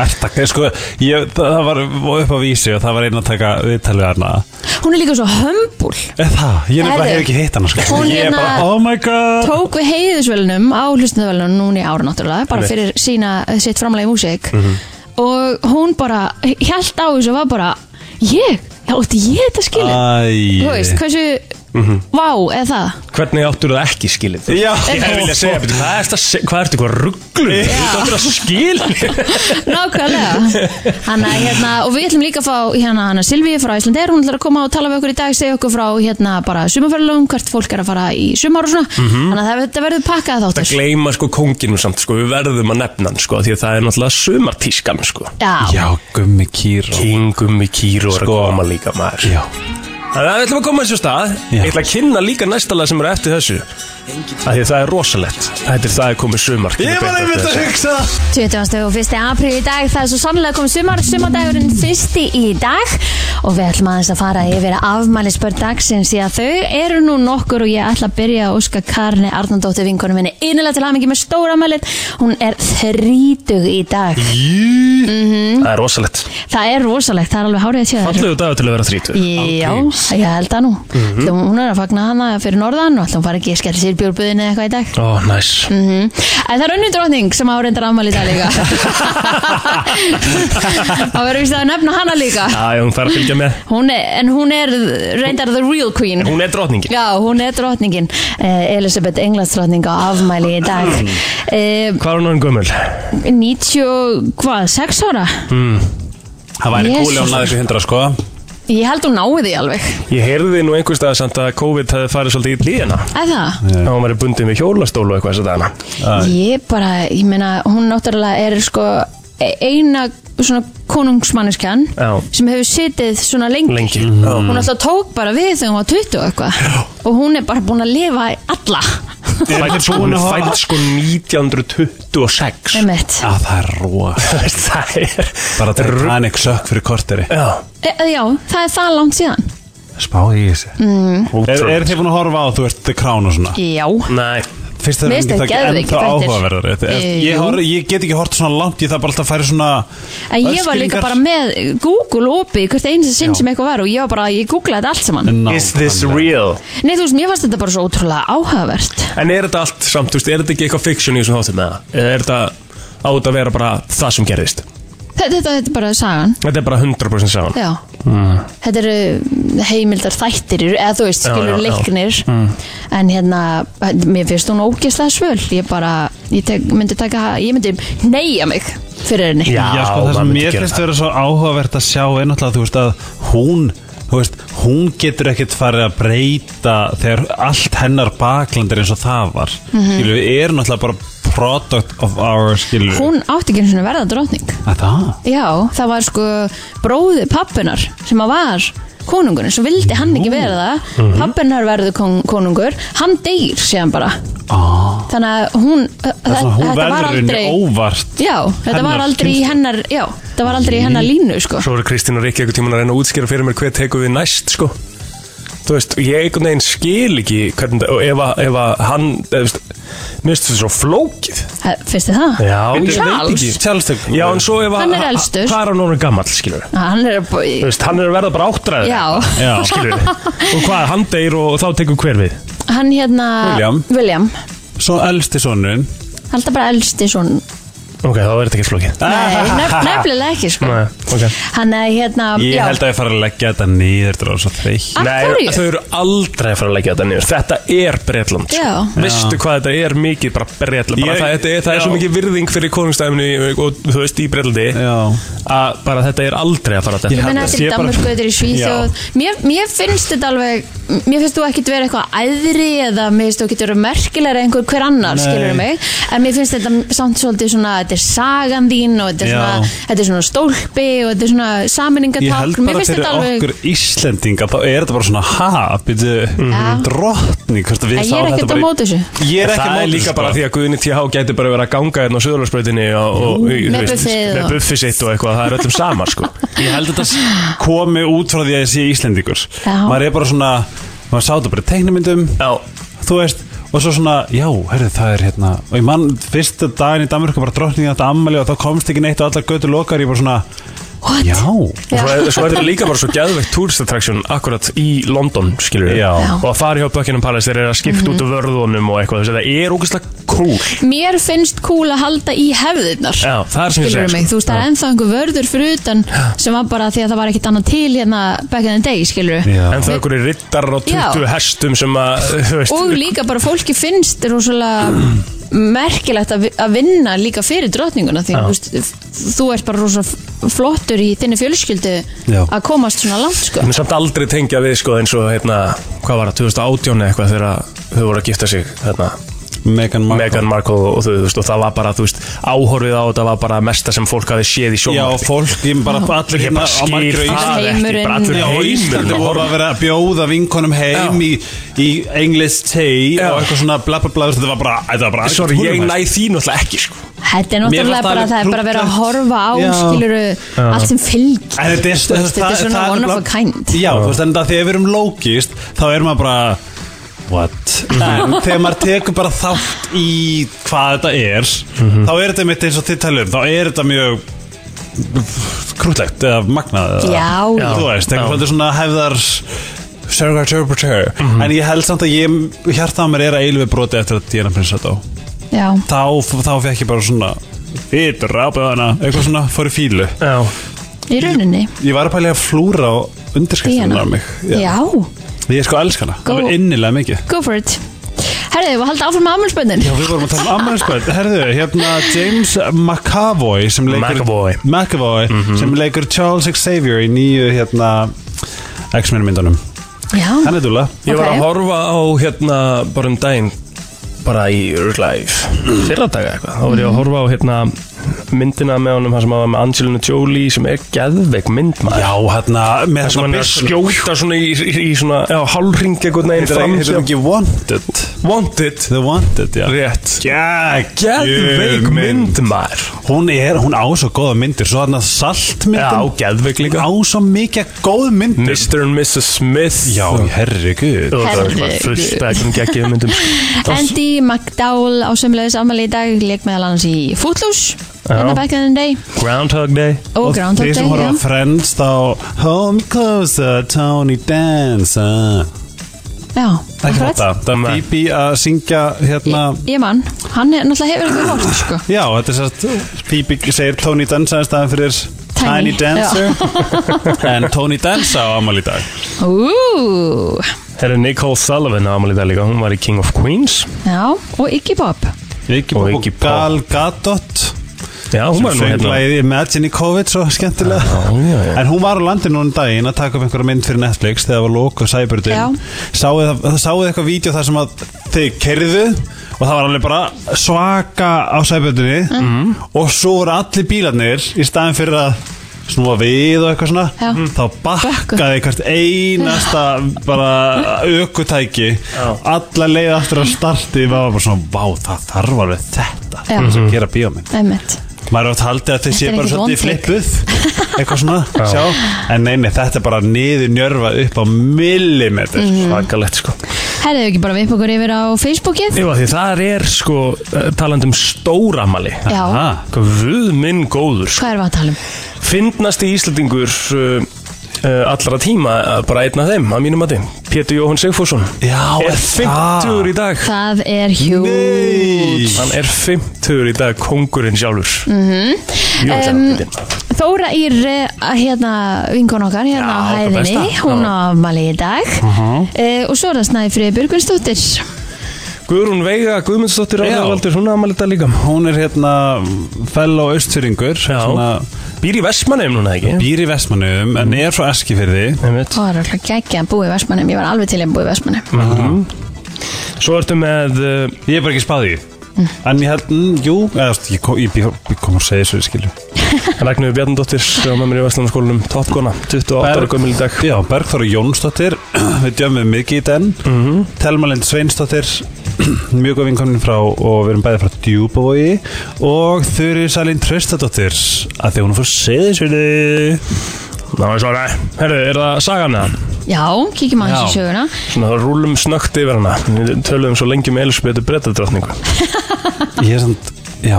[SPEAKER 3] Ertak, sko, ég, það var upp á vísi og það var einn að taka viðtalið hana
[SPEAKER 4] hún er líka svo hömbul
[SPEAKER 3] Er það? Ég nefnilega
[SPEAKER 4] Herðu.
[SPEAKER 3] hef ekki hitt hana sko.
[SPEAKER 4] Hún
[SPEAKER 3] Ég er
[SPEAKER 4] hérna-
[SPEAKER 3] bara, oh my god
[SPEAKER 4] tók við heiðusvelunum á hlustnavelunum núna í ára náttúrulega, bara fyrir sína eh, sitt framlega í músík
[SPEAKER 3] Mm. Mhm.
[SPEAKER 4] og hún bara held á þessu og var bara, ég, já, ætti ég þetta skilið? Þú veist,
[SPEAKER 3] Æ
[SPEAKER 4] hversu vá, eða það?
[SPEAKER 2] Mhm. Hvernig áttur það ekki skilið?
[SPEAKER 3] Já.
[SPEAKER 2] Ég hefði viljað segja, betur, hvað er þetta, hvað ertu eitthvað rugglu? Þú áttur að skilið
[SPEAKER 4] Nákvæmlega Hanna, hérna, og við ætlum líka að fá hérna, hana, Silvíu frá Íslandeir, hún ætlar að koma og tala við okkur í dag, segja okkur frá hérna bara sumarferðalögum, hvert fólk er að fara í sumar og svona,
[SPEAKER 3] Mm.
[SPEAKER 4] þannig að það- þetta verður pakkað
[SPEAKER 2] Að
[SPEAKER 4] þáttur.
[SPEAKER 2] gleyma sko konginum samt, sko, við verðum að nefna hann, sko, því að það er náttúrulega sumartískan, sko.
[SPEAKER 4] Já,
[SPEAKER 3] Já, gummi kýr
[SPEAKER 2] Kingum í kýru og er að koma líka maður.
[SPEAKER 3] Sko, Já
[SPEAKER 2] Þannig að við ætlum að koma þessu af stað,
[SPEAKER 3] Já.
[SPEAKER 2] ég ætla að kynna líka næsta lag sem eru eftir þessu. Af því að það er rosalegt, þetta er það er komið sumar.
[SPEAKER 3] Ég var einmitt að hugsa
[SPEAKER 4] 20. og 1. apríl í dag, það er svo sannlega komið sumar, sumardagurinn fyrsti í dag og við ætlum aðeins að fara yfir afmælisbörn dagsins því að þau eru nú nokkur og ég ætla að byrja að óska Karni Arnandóttir vinkonum minni innilega til hamingi með stóra afmælið, hún er þrítug í dag. Mhm.
[SPEAKER 2] Það er rosalegt.
[SPEAKER 4] Það er rosalegt, það er alveg hárið að sjá þér.
[SPEAKER 2] Fallegu dagur til að vera þrítur.
[SPEAKER 4] Já, ég held það nú. Mm Hún er að fagna hana fyrir norðan og ætlum fara ekki að skella sér í bjórbuðinu eða eitthvað í dag.
[SPEAKER 2] Ó, næs.
[SPEAKER 4] Mm. En það er önnur dróðning sem á reyndar afmæli í dag líka Það verður vist að nefna hana líka
[SPEAKER 2] Já, já, hún þarf að fylgja með.
[SPEAKER 4] hún er, En hún er reyndar the real queen
[SPEAKER 2] Hún er drottningin.
[SPEAKER 4] Já, hún er drótningin eh, Elisabeth Englands drótning á afmæli í dag eh,
[SPEAKER 2] Mm. Hvað er hún orðin gömul?
[SPEAKER 4] 90, og- hvað, 6 ára?
[SPEAKER 2] Mm.
[SPEAKER 3] Það væri
[SPEAKER 4] Jesus.
[SPEAKER 3] kúli á næðu 100 sko
[SPEAKER 4] Ég held hún náði því alveg
[SPEAKER 2] Ég heyrði nú einhvers dag samt að COVID hefði farið svolítið í líðina
[SPEAKER 4] Eða?
[SPEAKER 2] Þá var maður bundið með hjólastól og eitthvað þess að dana
[SPEAKER 4] Ég bara, ég meina, hún náttúrulega er sko e- eina svona konungsmanneskjan
[SPEAKER 2] Já.
[SPEAKER 4] sem hefur sitið svona lengi,
[SPEAKER 2] Lengi,
[SPEAKER 3] Mhm.
[SPEAKER 2] já.
[SPEAKER 4] hún alltaf tók bara við þegar hún var 20 og eitthvað og hún er bara búin að lifa í alla
[SPEAKER 2] Fætt sko, hún er fætt sko 1926
[SPEAKER 4] einmitt
[SPEAKER 3] Já, það er róa
[SPEAKER 2] Það er
[SPEAKER 3] Bara Titanic sökk fyrir korteri
[SPEAKER 2] Já,
[SPEAKER 4] e, Já, það er það langt síðan Mm.
[SPEAKER 3] Spáði ég þessi Er,
[SPEAKER 2] ótrúlegt.
[SPEAKER 3] er þið búin að horfa á þú ert The Crown og svona?
[SPEAKER 4] Já,
[SPEAKER 2] Nei,
[SPEAKER 3] Fyrst það
[SPEAKER 4] Mér
[SPEAKER 3] er
[SPEAKER 4] finnst þetta
[SPEAKER 3] ekki ennþá
[SPEAKER 4] geðveikir þættir.
[SPEAKER 3] áhugaverðar
[SPEAKER 4] Eh,
[SPEAKER 3] ég,
[SPEAKER 4] jú.
[SPEAKER 3] horf- ég get ekki hort svona langt Ég þarf bara alltaf að færa svona
[SPEAKER 4] en ég var líka
[SPEAKER 3] Öskringar.
[SPEAKER 4] bara með Google opið hvert einsi sinn sem eitthvað var og ég var bara, ég googlaði þetta allt saman
[SPEAKER 3] Ná,
[SPEAKER 2] is this real?
[SPEAKER 4] Nei, þú veist, mér fannst þetta bara svo ótrúlega áhugavert
[SPEAKER 2] En er þetta allt samt, þú veist, er þetta ekki eitthvað fiction í þessum þáttum með það? Eða er þetta á þetta að vera bara það sem gerðist?
[SPEAKER 4] Þetta, þetta, þetta er bara sagan
[SPEAKER 2] Þetta er bara 100% sáðan
[SPEAKER 4] Já,
[SPEAKER 2] Mm.
[SPEAKER 4] þetta eru eh, heimildar þættir, eða þú veist,
[SPEAKER 2] Já,
[SPEAKER 4] skilur
[SPEAKER 2] já, Mm. já.
[SPEAKER 4] leiknir en hérna, mér finnst hún ógeðslega svöl ég bara, ég tek, myndi taka ég myndi neyja mig fyrir henni
[SPEAKER 2] Já,
[SPEAKER 3] Já, sko, það
[SPEAKER 2] maður
[SPEAKER 3] sem
[SPEAKER 2] myndi
[SPEAKER 3] mér
[SPEAKER 2] gera
[SPEAKER 3] finnst
[SPEAKER 2] það.
[SPEAKER 3] vera svo áhugavert að sjá er náttúrulega, þú veist, að hún þú veist, hún getur ekkert farið að breyta þegar allt hennar bakland er eins og það var mm
[SPEAKER 4] Mhm.
[SPEAKER 3] skilju, við erum náttúrulega bara product of our, skilju
[SPEAKER 4] Hún átti ekki einu sinni að verða drottning
[SPEAKER 3] að það,
[SPEAKER 4] Já, það var sko bróði pappunar sem að var konungurinn, svo vildi hann ekki vera það mm pappunar verður kon konungur hann deyr síðan bara
[SPEAKER 3] ah,
[SPEAKER 4] þannig að hún,
[SPEAKER 3] það er svona, hún verður henni óvart
[SPEAKER 4] Já, þetta var
[SPEAKER 3] hennar
[SPEAKER 4] aldrei í
[SPEAKER 3] kynslóð.
[SPEAKER 4] hennar Já, þetta var aldrei í hennar línu sko.
[SPEAKER 2] Svo eru Kristín og Rikki eitthvað tíma að reyna að útskýra fyrir mér hver tekur við næst sko Þú veist, ég einhvern veginn skil ekki hvernig það, og ef að, ef að hann, eða þú veist, mér finnst þetta svo flókið
[SPEAKER 4] Ha, Finnst þið það?
[SPEAKER 2] Já,
[SPEAKER 4] Bíddu,
[SPEAKER 2] ég veit
[SPEAKER 4] Ah. Charles?
[SPEAKER 2] ekki
[SPEAKER 3] sjálfstök
[SPEAKER 2] Já, en svo ef að,
[SPEAKER 4] Hann er elstur.
[SPEAKER 2] hvað er hann orðin gammal, skilur
[SPEAKER 4] Ah, Hann er
[SPEAKER 2] Þú
[SPEAKER 4] bara
[SPEAKER 2] veist, hann er að verða bara áttræður
[SPEAKER 4] Já,
[SPEAKER 3] Já.
[SPEAKER 2] Skilur Og hvað, hann deyr og, og þá tekur hver við
[SPEAKER 4] hann hérna
[SPEAKER 3] William.
[SPEAKER 4] William.
[SPEAKER 3] svo elsti sonun
[SPEAKER 4] Hann er bara elsti svona
[SPEAKER 2] Ok, þá verður þetta ekki flókið
[SPEAKER 3] Ah,
[SPEAKER 4] Nei, nef nefnilega ekki sko
[SPEAKER 2] Nei, ok
[SPEAKER 4] Hann er hérna
[SPEAKER 3] ég
[SPEAKER 4] já,
[SPEAKER 3] held að ég fara að leggja þetta niður þetta er svo þreytt
[SPEAKER 4] Af
[SPEAKER 2] Nei,
[SPEAKER 4] hverju?
[SPEAKER 2] þau eru aldrei að fara að leggja þetta niður Þetta er Bretland sko.
[SPEAKER 4] Já.
[SPEAKER 2] Veistu hvað þetta er mikið bara Bretland bara
[SPEAKER 3] Ég-
[SPEAKER 2] það, þetta er, það er svo
[SPEAKER 3] já.
[SPEAKER 2] mikið virðing fyrir konungstæminu og þú veist í Bretlandi
[SPEAKER 3] Já.
[SPEAKER 2] að bara þetta er aldrei að fara að
[SPEAKER 3] Ég
[SPEAKER 4] Ég
[SPEAKER 2] þetta
[SPEAKER 4] meina þetta
[SPEAKER 3] held að
[SPEAKER 4] er
[SPEAKER 3] sé bara-
[SPEAKER 4] Danmörku, þetta er í Svíþjóð mér, mér finnst þetta alveg Mér finnst þú ekkit vera eitthvað æðri eða mér finnst þú ekkit vera merkilega einhver hver annar,
[SPEAKER 3] Nei.
[SPEAKER 4] skilur mig En mér finnst þetta samt svolítið svona Þetta er sagan þín og þetta er,
[SPEAKER 3] Já.
[SPEAKER 4] svona, þetta er svona stólpi og þetta er svona
[SPEAKER 3] Ég held
[SPEAKER 4] saminningatákn Mér
[SPEAKER 3] bara
[SPEAKER 4] finnst
[SPEAKER 3] fyrir
[SPEAKER 4] þetta alveg
[SPEAKER 3] okkur Íslendinga þá er þetta bara svona ha, byrju, Mhm.
[SPEAKER 4] Já.
[SPEAKER 3] drottning hvort að við
[SPEAKER 4] En ég
[SPEAKER 3] sáum
[SPEAKER 4] er ekkert
[SPEAKER 3] þetta
[SPEAKER 4] á
[SPEAKER 3] bara í-
[SPEAKER 4] móti þessu.
[SPEAKER 3] Ég er ekki á
[SPEAKER 2] Það er
[SPEAKER 3] móti
[SPEAKER 2] líka bara því að Guðni TH gæti bara verið að ganga hérna á Suðurlandsbrautinni og, og, og,
[SPEAKER 4] Með buffið og-
[SPEAKER 2] með buffi sitt og eitthvað, það er öllum sama sko.
[SPEAKER 3] Ég held að þetta komi út frá því að ég sé Íslendingur
[SPEAKER 4] Já.
[SPEAKER 3] maður er bara svona maður sá þetta bara í teiknumyndum
[SPEAKER 2] Já,
[SPEAKER 3] þú veist og svo svona, já, herri, það er hérna og ég mann, fyrsta daginn í Danmörku bara drottningin þetta ammali og þá komst ekki neitt og allar götu lokar ég bara svona,
[SPEAKER 4] What?
[SPEAKER 3] já
[SPEAKER 2] og svo
[SPEAKER 4] Já.
[SPEAKER 2] er, svo er þetta líka bara svo geðveikt touristattraction akkurat í London skilur
[SPEAKER 3] Já. Já.
[SPEAKER 2] og að fara hjá Buckingham Palace þeir eru að skipta
[SPEAKER 4] Mhm.
[SPEAKER 2] út af vörðunum og eitthvað þess að það er ógeðslega cool
[SPEAKER 4] Mér finnst cool að halda í hefðirnar
[SPEAKER 2] Já, það er sem ég
[SPEAKER 4] Skilurðu
[SPEAKER 2] segi,
[SPEAKER 4] mig,
[SPEAKER 2] sko.
[SPEAKER 4] Þú veist, það er ennþá einhver vörður fyrir utan sem var bara því að það var ekkit annað til hérna back in the day, skilur
[SPEAKER 3] Já.
[SPEAKER 2] en það eru riddar á 20
[SPEAKER 4] Já.
[SPEAKER 2] hestum sem að þú veist,
[SPEAKER 4] Og líka bara fólki finnst rosalega merkilegt að vi- að vinna líka fyrir drottninguna því þú veist, f- þú ert bara rosa f- flottur í þinni fjölskyldu
[SPEAKER 3] Já.
[SPEAKER 4] að komast svona langt sko.
[SPEAKER 2] en samt aldrei tengja við sko eins og hérna, hvað var það, 2018 eða eitthvað þegar þau voru að gifta sig hérna,
[SPEAKER 3] Megan Markle
[SPEAKER 2] Meghan Markle og þau, þú veist, og það var bara, þú veist, áhorfið á þetta var bara mesta sem fólk hafi séð í
[SPEAKER 3] Já,
[SPEAKER 2] sjónvarpi.
[SPEAKER 3] fólk, ég bara allir
[SPEAKER 2] ég bara
[SPEAKER 3] hérna á
[SPEAKER 2] skil
[SPEAKER 3] margir á Íslandi.
[SPEAKER 2] það ekki,
[SPEAKER 4] Heimurinn.
[SPEAKER 2] bara allur
[SPEAKER 3] Já, og Íslandi
[SPEAKER 2] heimurinn
[SPEAKER 3] voru að vera að bjóða vinkonum heim í, í English Tea
[SPEAKER 2] Já.
[SPEAKER 3] og eitthvað svona bla bla bla þetta var bara, þetta var bara
[SPEAKER 2] Sorry,
[SPEAKER 3] algjört
[SPEAKER 2] ég
[SPEAKER 3] húllumhæ.
[SPEAKER 2] næ því náttúrulega ekki sko.
[SPEAKER 4] Þetta er
[SPEAKER 3] Mér
[SPEAKER 4] náttúrulega
[SPEAKER 3] fannst
[SPEAKER 4] bara
[SPEAKER 3] það
[SPEAKER 4] það er bara að vera að
[SPEAKER 3] alveg
[SPEAKER 4] horfa á
[SPEAKER 3] Já.
[SPEAKER 4] skiluru allt sem fylgir
[SPEAKER 3] En þetta er,
[SPEAKER 4] Þú veist, þetta er svona
[SPEAKER 3] það
[SPEAKER 4] one of a
[SPEAKER 3] nefnilega-
[SPEAKER 4] kind.
[SPEAKER 3] Já, þú veist, en það þegar við erum lókist þá erum maður bara What?
[SPEAKER 4] Mhm.
[SPEAKER 3] En þegar maður tekur bara þátt í hvað þetta er þá er þetta mitt eins og þið talum þá er þetta mjög krútlegt eða magnað eða-
[SPEAKER 4] Já, já.
[SPEAKER 3] Þú veist,
[SPEAKER 2] Já.
[SPEAKER 3] eitthvað svolítið svona hefðar Sörgar Turbertur En ég held samt að ég, hjartað á mér er að eilvi broti eftir að Diana Prinsa dó
[SPEAKER 4] Já,
[SPEAKER 3] Þá, þá fekk ég bara svona Þið rápaðu hana Eitthvað svona, fór í fílu
[SPEAKER 2] Já,
[SPEAKER 4] í rauninni
[SPEAKER 3] Ég var að pæla í að flúra á undirskriftinu
[SPEAKER 4] Díana.
[SPEAKER 3] af mig
[SPEAKER 4] Já,
[SPEAKER 3] Ég sko elska hana,
[SPEAKER 4] Go.
[SPEAKER 3] alveg innilega mikið
[SPEAKER 4] go for it Herðu, við haldum áfram með afmjölspennin
[SPEAKER 3] Já, við vorum að tala um ammarskvæð Herðu, hérna James McAvoy sem leikur,
[SPEAKER 2] McAvoy. Mhm.
[SPEAKER 3] McAvoy, sem leikur Charles Xavier í nýju hérna X-Men myndunum
[SPEAKER 4] Já,
[SPEAKER 3] Hann er dúla
[SPEAKER 2] Ég var
[SPEAKER 4] Ok.
[SPEAKER 2] að horfa á hérna bara um daginn bara í Urglife fyrra daga eitthvað, þá var ég að horfa á hérna myndina með honum, hann sem var með Angelina Jolie sem er geðveik myndmaður
[SPEAKER 3] Já, hérna, með
[SPEAKER 2] sem hann
[SPEAKER 3] hérna
[SPEAKER 2] er að skjóta svona í, í, í svona já, hálring eitthvað neginn
[SPEAKER 3] Heitir
[SPEAKER 2] fram
[SPEAKER 3] það
[SPEAKER 2] sem
[SPEAKER 3] ekki Wanted?
[SPEAKER 2] Wanted
[SPEAKER 3] The Wanted, já
[SPEAKER 2] rétt
[SPEAKER 3] Já,
[SPEAKER 2] geðveik myndmaður
[SPEAKER 3] Hún er, hún á svo góða myndir Svo hann að saltmyndin
[SPEAKER 2] Já, geðveik líka.
[SPEAKER 3] Á svo mikið góð myndir
[SPEAKER 2] Mr. and Mrs. Smith
[SPEAKER 3] Já, herri guð
[SPEAKER 2] og það er svona
[SPEAKER 4] Herregud.
[SPEAKER 2] fullt af einhverjum geggjum myndum
[SPEAKER 4] Andy McDowell á sömulegis afmæli í dag leik meðal annars í Footloose
[SPEAKER 2] Já.
[SPEAKER 4] hérna back in the day
[SPEAKER 2] Groundhog Day
[SPEAKER 4] og Groundhog Day
[SPEAKER 3] Þeir sem horfa
[SPEAKER 4] já.
[SPEAKER 3] á Friends þá Hold me closer, Tony dancer
[SPEAKER 4] Já,
[SPEAKER 3] Það er ekki
[SPEAKER 4] akkurat.
[SPEAKER 3] þetta, það
[SPEAKER 2] Nei.
[SPEAKER 3] er Bibi að syngja hérna
[SPEAKER 4] Ég- Ég mann, hann er náttúrulega hefur ekki hort sko.
[SPEAKER 3] Já, þetta er sérst Bibi segir Tony Dancer í staðan fyrir
[SPEAKER 4] Tiny,
[SPEAKER 3] Tiny Dancer En Tony Dancer á amal í dag
[SPEAKER 4] Ú,
[SPEAKER 2] Herri Nicole Sullivan ámalið það líka, hún var í King of Queens
[SPEAKER 4] Já, og Iggy Pop
[SPEAKER 3] Iggy
[SPEAKER 2] Og
[SPEAKER 3] Pop og
[SPEAKER 2] Iggy Pop.
[SPEAKER 3] Gal Gadot
[SPEAKER 2] Sko. Já, hún var nú hérna
[SPEAKER 3] Sönglæði Imagine í COVID svo skemmtilega
[SPEAKER 2] já, já.
[SPEAKER 3] En hún var á landinu núna um daginn að taka upp einhverja mynd fyrir Netflix þegar það var lóku og sæbjörðin Sáuð það- sáuð eitthvað vídeo þar sem að þið kerðu og það var alveg bara svaka á sæbjörðinni og svo voru allir bílarnir í staðin fyrir að snúa við og eitthvað svona
[SPEAKER 4] Já.
[SPEAKER 3] þá bakkaði hvert einasta bara aukutæki alla leið aftur að starti var bara svona, vá, það þarf alveg þetta
[SPEAKER 4] Já.
[SPEAKER 3] til
[SPEAKER 2] Mhm.
[SPEAKER 3] þess að gera bíómynd
[SPEAKER 4] Einmitt.
[SPEAKER 3] maður átt haldið að þið sé
[SPEAKER 4] Þetta er
[SPEAKER 3] bara
[SPEAKER 4] ekkert
[SPEAKER 3] svolítið
[SPEAKER 4] vond
[SPEAKER 3] flippuð eitthvað svona sjá. en neini, þetta er bara niður njörfa upp á millimetr
[SPEAKER 4] Mhm.
[SPEAKER 2] Svakalegt sko
[SPEAKER 4] Herðu ekki bara við upp okkur yfir á Facebookið
[SPEAKER 2] Jú, af því það er sko eh, talandi um stóramali
[SPEAKER 4] Já.
[SPEAKER 2] Aha. Guð minn góður sko.
[SPEAKER 4] Hvað erum við að tala um?
[SPEAKER 2] Fyndnasti Íslandingur uh, uh, allra tíma eh, bara einn af þeim, að mínum mati Pétur Jóhann Sigfússon
[SPEAKER 3] Já,
[SPEAKER 2] er
[SPEAKER 3] er það?
[SPEAKER 2] 50 í dag
[SPEAKER 4] Það er hjúl
[SPEAKER 3] Nei.
[SPEAKER 2] Hann er 50 í dag kongurinn sjálfur mm
[SPEAKER 4] Mhm. Em,
[SPEAKER 2] -hmm.
[SPEAKER 4] Þóra Ír, eh, að hérna, vinkon okkar hérna
[SPEAKER 2] Já,
[SPEAKER 4] á
[SPEAKER 2] það
[SPEAKER 4] hæðinni,
[SPEAKER 2] besta.
[SPEAKER 4] hún
[SPEAKER 2] Já.
[SPEAKER 4] á afmæli í dag
[SPEAKER 3] Mhm.
[SPEAKER 4] eh, og svo er það Snæfrið Björgvinsdóttir
[SPEAKER 2] Guðrún Veiga Guðmundsdóttir
[SPEAKER 3] Já.
[SPEAKER 2] Ráðarvaldur, hún er aðmælið það líka
[SPEAKER 3] hún er hérna fellow austfyringur svona,
[SPEAKER 2] Býr í Vestmanneum núna ekki Mhm.
[SPEAKER 3] býr í Vestmanum en er frá Eskifirði
[SPEAKER 2] Einmitt.
[SPEAKER 4] Það er alltaf geggja að búa í Vestmannum, ég var alveg til að búa í Vestmannum
[SPEAKER 2] Mhm. Svo ertu með uh,
[SPEAKER 3] ég er bara ekki spáð í en ég held, mm, jú, eða, þú veist, ég, kom, ég, ég, ég kom að segja svo ég skilju
[SPEAKER 2] Ragnar Bjarnadóttir sem er með mér í Vestlandarskólanum Topkona, 28 ára
[SPEAKER 3] Berg-
[SPEAKER 2] gömul í dag
[SPEAKER 3] Já, Bergþóra Jónsdóttir við djöfum mikið í den mm
[SPEAKER 2] Mhm.
[SPEAKER 3] -hmm. Telma Lind Sveinsdóttir mjög góð vinkomin frá og við erum bæði frá Djúbavogi og Þurri Salín Tröstadóttir að því að hún er frá Seyðisvili
[SPEAKER 2] Ná, ég svara Herru, er það sagan eða?
[SPEAKER 4] Já, kíkjum aðeins í
[SPEAKER 3] Já.
[SPEAKER 4] söguna
[SPEAKER 2] Svona það rúlum snögt yfir hana Við töluðum svo lengi um með Elisabethu breytadrottningu
[SPEAKER 3] Ég er samt, já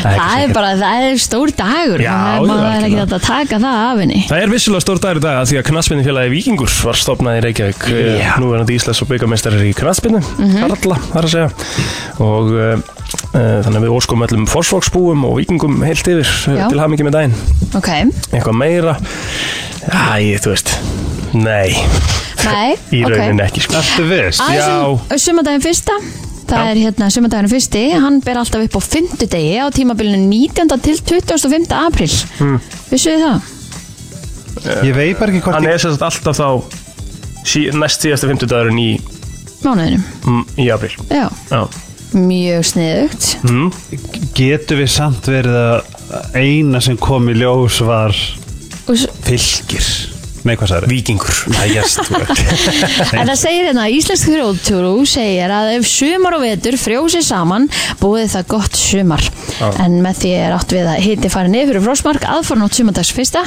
[SPEAKER 4] Það er bara, það er stór dagur
[SPEAKER 2] Já,
[SPEAKER 4] það
[SPEAKER 2] já,
[SPEAKER 4] er- maður er ekki
[SPEAKER 2] algjörlega.
[SPEAKER 4] hægt að taka það af henni
[SPEAKER 2] Það er vissilega stór dagur í dag að því að knaspinni félagi Víkingur var stopnað í Reykjavík yeah. Nú er hann Íslands og byggamestari í knaspinni
[SPEAKER 4] Mhm.
[SPEAKER 2] Karla, þar að segja Og uh, uh, þannig að við óskum öllum fórsfóksbúum og Víkingum heilt yfir Já.
[SPEAKER 4] Já.
[SPEAKER 2] til hamingi með daginn
[SPEAKER 4] Ok,
[SPEAKER 2] Eitthvað meira Æ, þú veist Nei,
[SPEAKER 4] nei,
[SPEAKER 2] í
[SPEAKER 4] ok
[SPEAKER 2] rauninni ekki sko.
[SPEAKER 3] Ertu viss?
[SPEAKER 4] Aðeins um sumadaginn fyrsta Það er hérna sumadaginn fyrsti Hann ber alltaf upp á fimmtudegi á tímabilinu 19. til 25. april mm.
[SPEAKER 2] Hmm.
[SPEAKER 4] Vissu þið það?
[SPEAKER 3] Ég veit bara ekki hvort
[SPEAKER 2] Hann
[SPEAKER 3] ég
[SPEAKER 2] er sérst alltaf þá sí, næst síðasta fimmtudagurinn í,
[SPEAKER 4] Mánuðinu,
[SPEAKER 2] mm, í april
[SPEAKER 4] já
[SPEAKER 2] Já,
[SPEAKER 4] Mjög sniðugt
[SPEAKER 3] Mhm. Getur við samt verið að eina sem kom í ljós var
[SPEAKER 4] Og s-
[SPEAKER 3] fylgir Nei, hvað sagði?
[SPEAKER 2] vikingur
[SPEAKER 3] Það gerst
[SPEAKER 4] En það segir hérna að Íslensk Gróðtúrú segir að ef sumar og vetur frjósi saman búið það gott sumar en með því er átt við að hiti farin yfir frósmark aðfarnótt sumandags fyrsta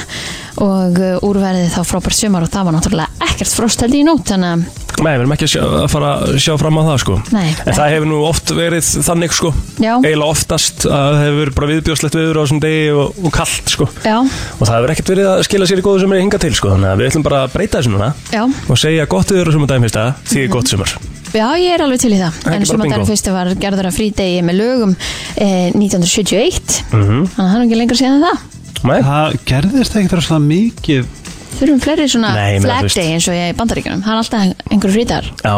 [SPEAKER 4] og uh, úrverði þá frábært sumar og það var náttúrulega ekkert frost held í nótt þannig
[SPEAKER 2] Nei, við erum ekki að, sjá, að fara að sjá fram á það sko
[SPEAKER 4] Nei.
[SPEAKER 2] En það hefur nú oft verið þannig sko
[SPEAKER 4] Já.
[SPEAKER 2] Eiginlega oftast að það hefur verið bara viðbjóðslegt viður á þessum degi og, og kallt sko
[SPEAKER 4] að já,
[SPEAKER 2] Og það hefur ekkert verið að skila sér í góðu sem er hinga til sko Þannig að við ætlum bara að breyta þessu núna
[SPEAKER 4] já,
[SPEAKER 2] Og segja gott viður á sumardaginn fyrsta Því mm gott sumar
[SPEAKER 4] já ég er alveg til í það
[SPEAKER 2] er
[SPEAKER 4] en
[SPEAKER 2] ekki bara
[SPEAKER 4] sumandagur
[SPEAKER 2] bingo.
[SPEAKER 4] fyrsta var gerður að frídegi með lögum eh, 1971
[SPEAKER 2] Mhm.
[SPEAKER 4] þannig að það er nú ekki lengur síðan en það
[SPEAKER 2] Nei,
[SPEAKER 3] Það gerðist ekkert rosalega mikið
[SPEAKER 4] þurfum fleiri svona
[SPEAKER 2] Nei, ég meina, þú
[SPEAKER 4] flag
[SPEAKER 2] veist.
[SPEAKER 4] day eins og ég er í bandaríkjunum það er alltaf einhverju frídagar
[SPEAKER 2] já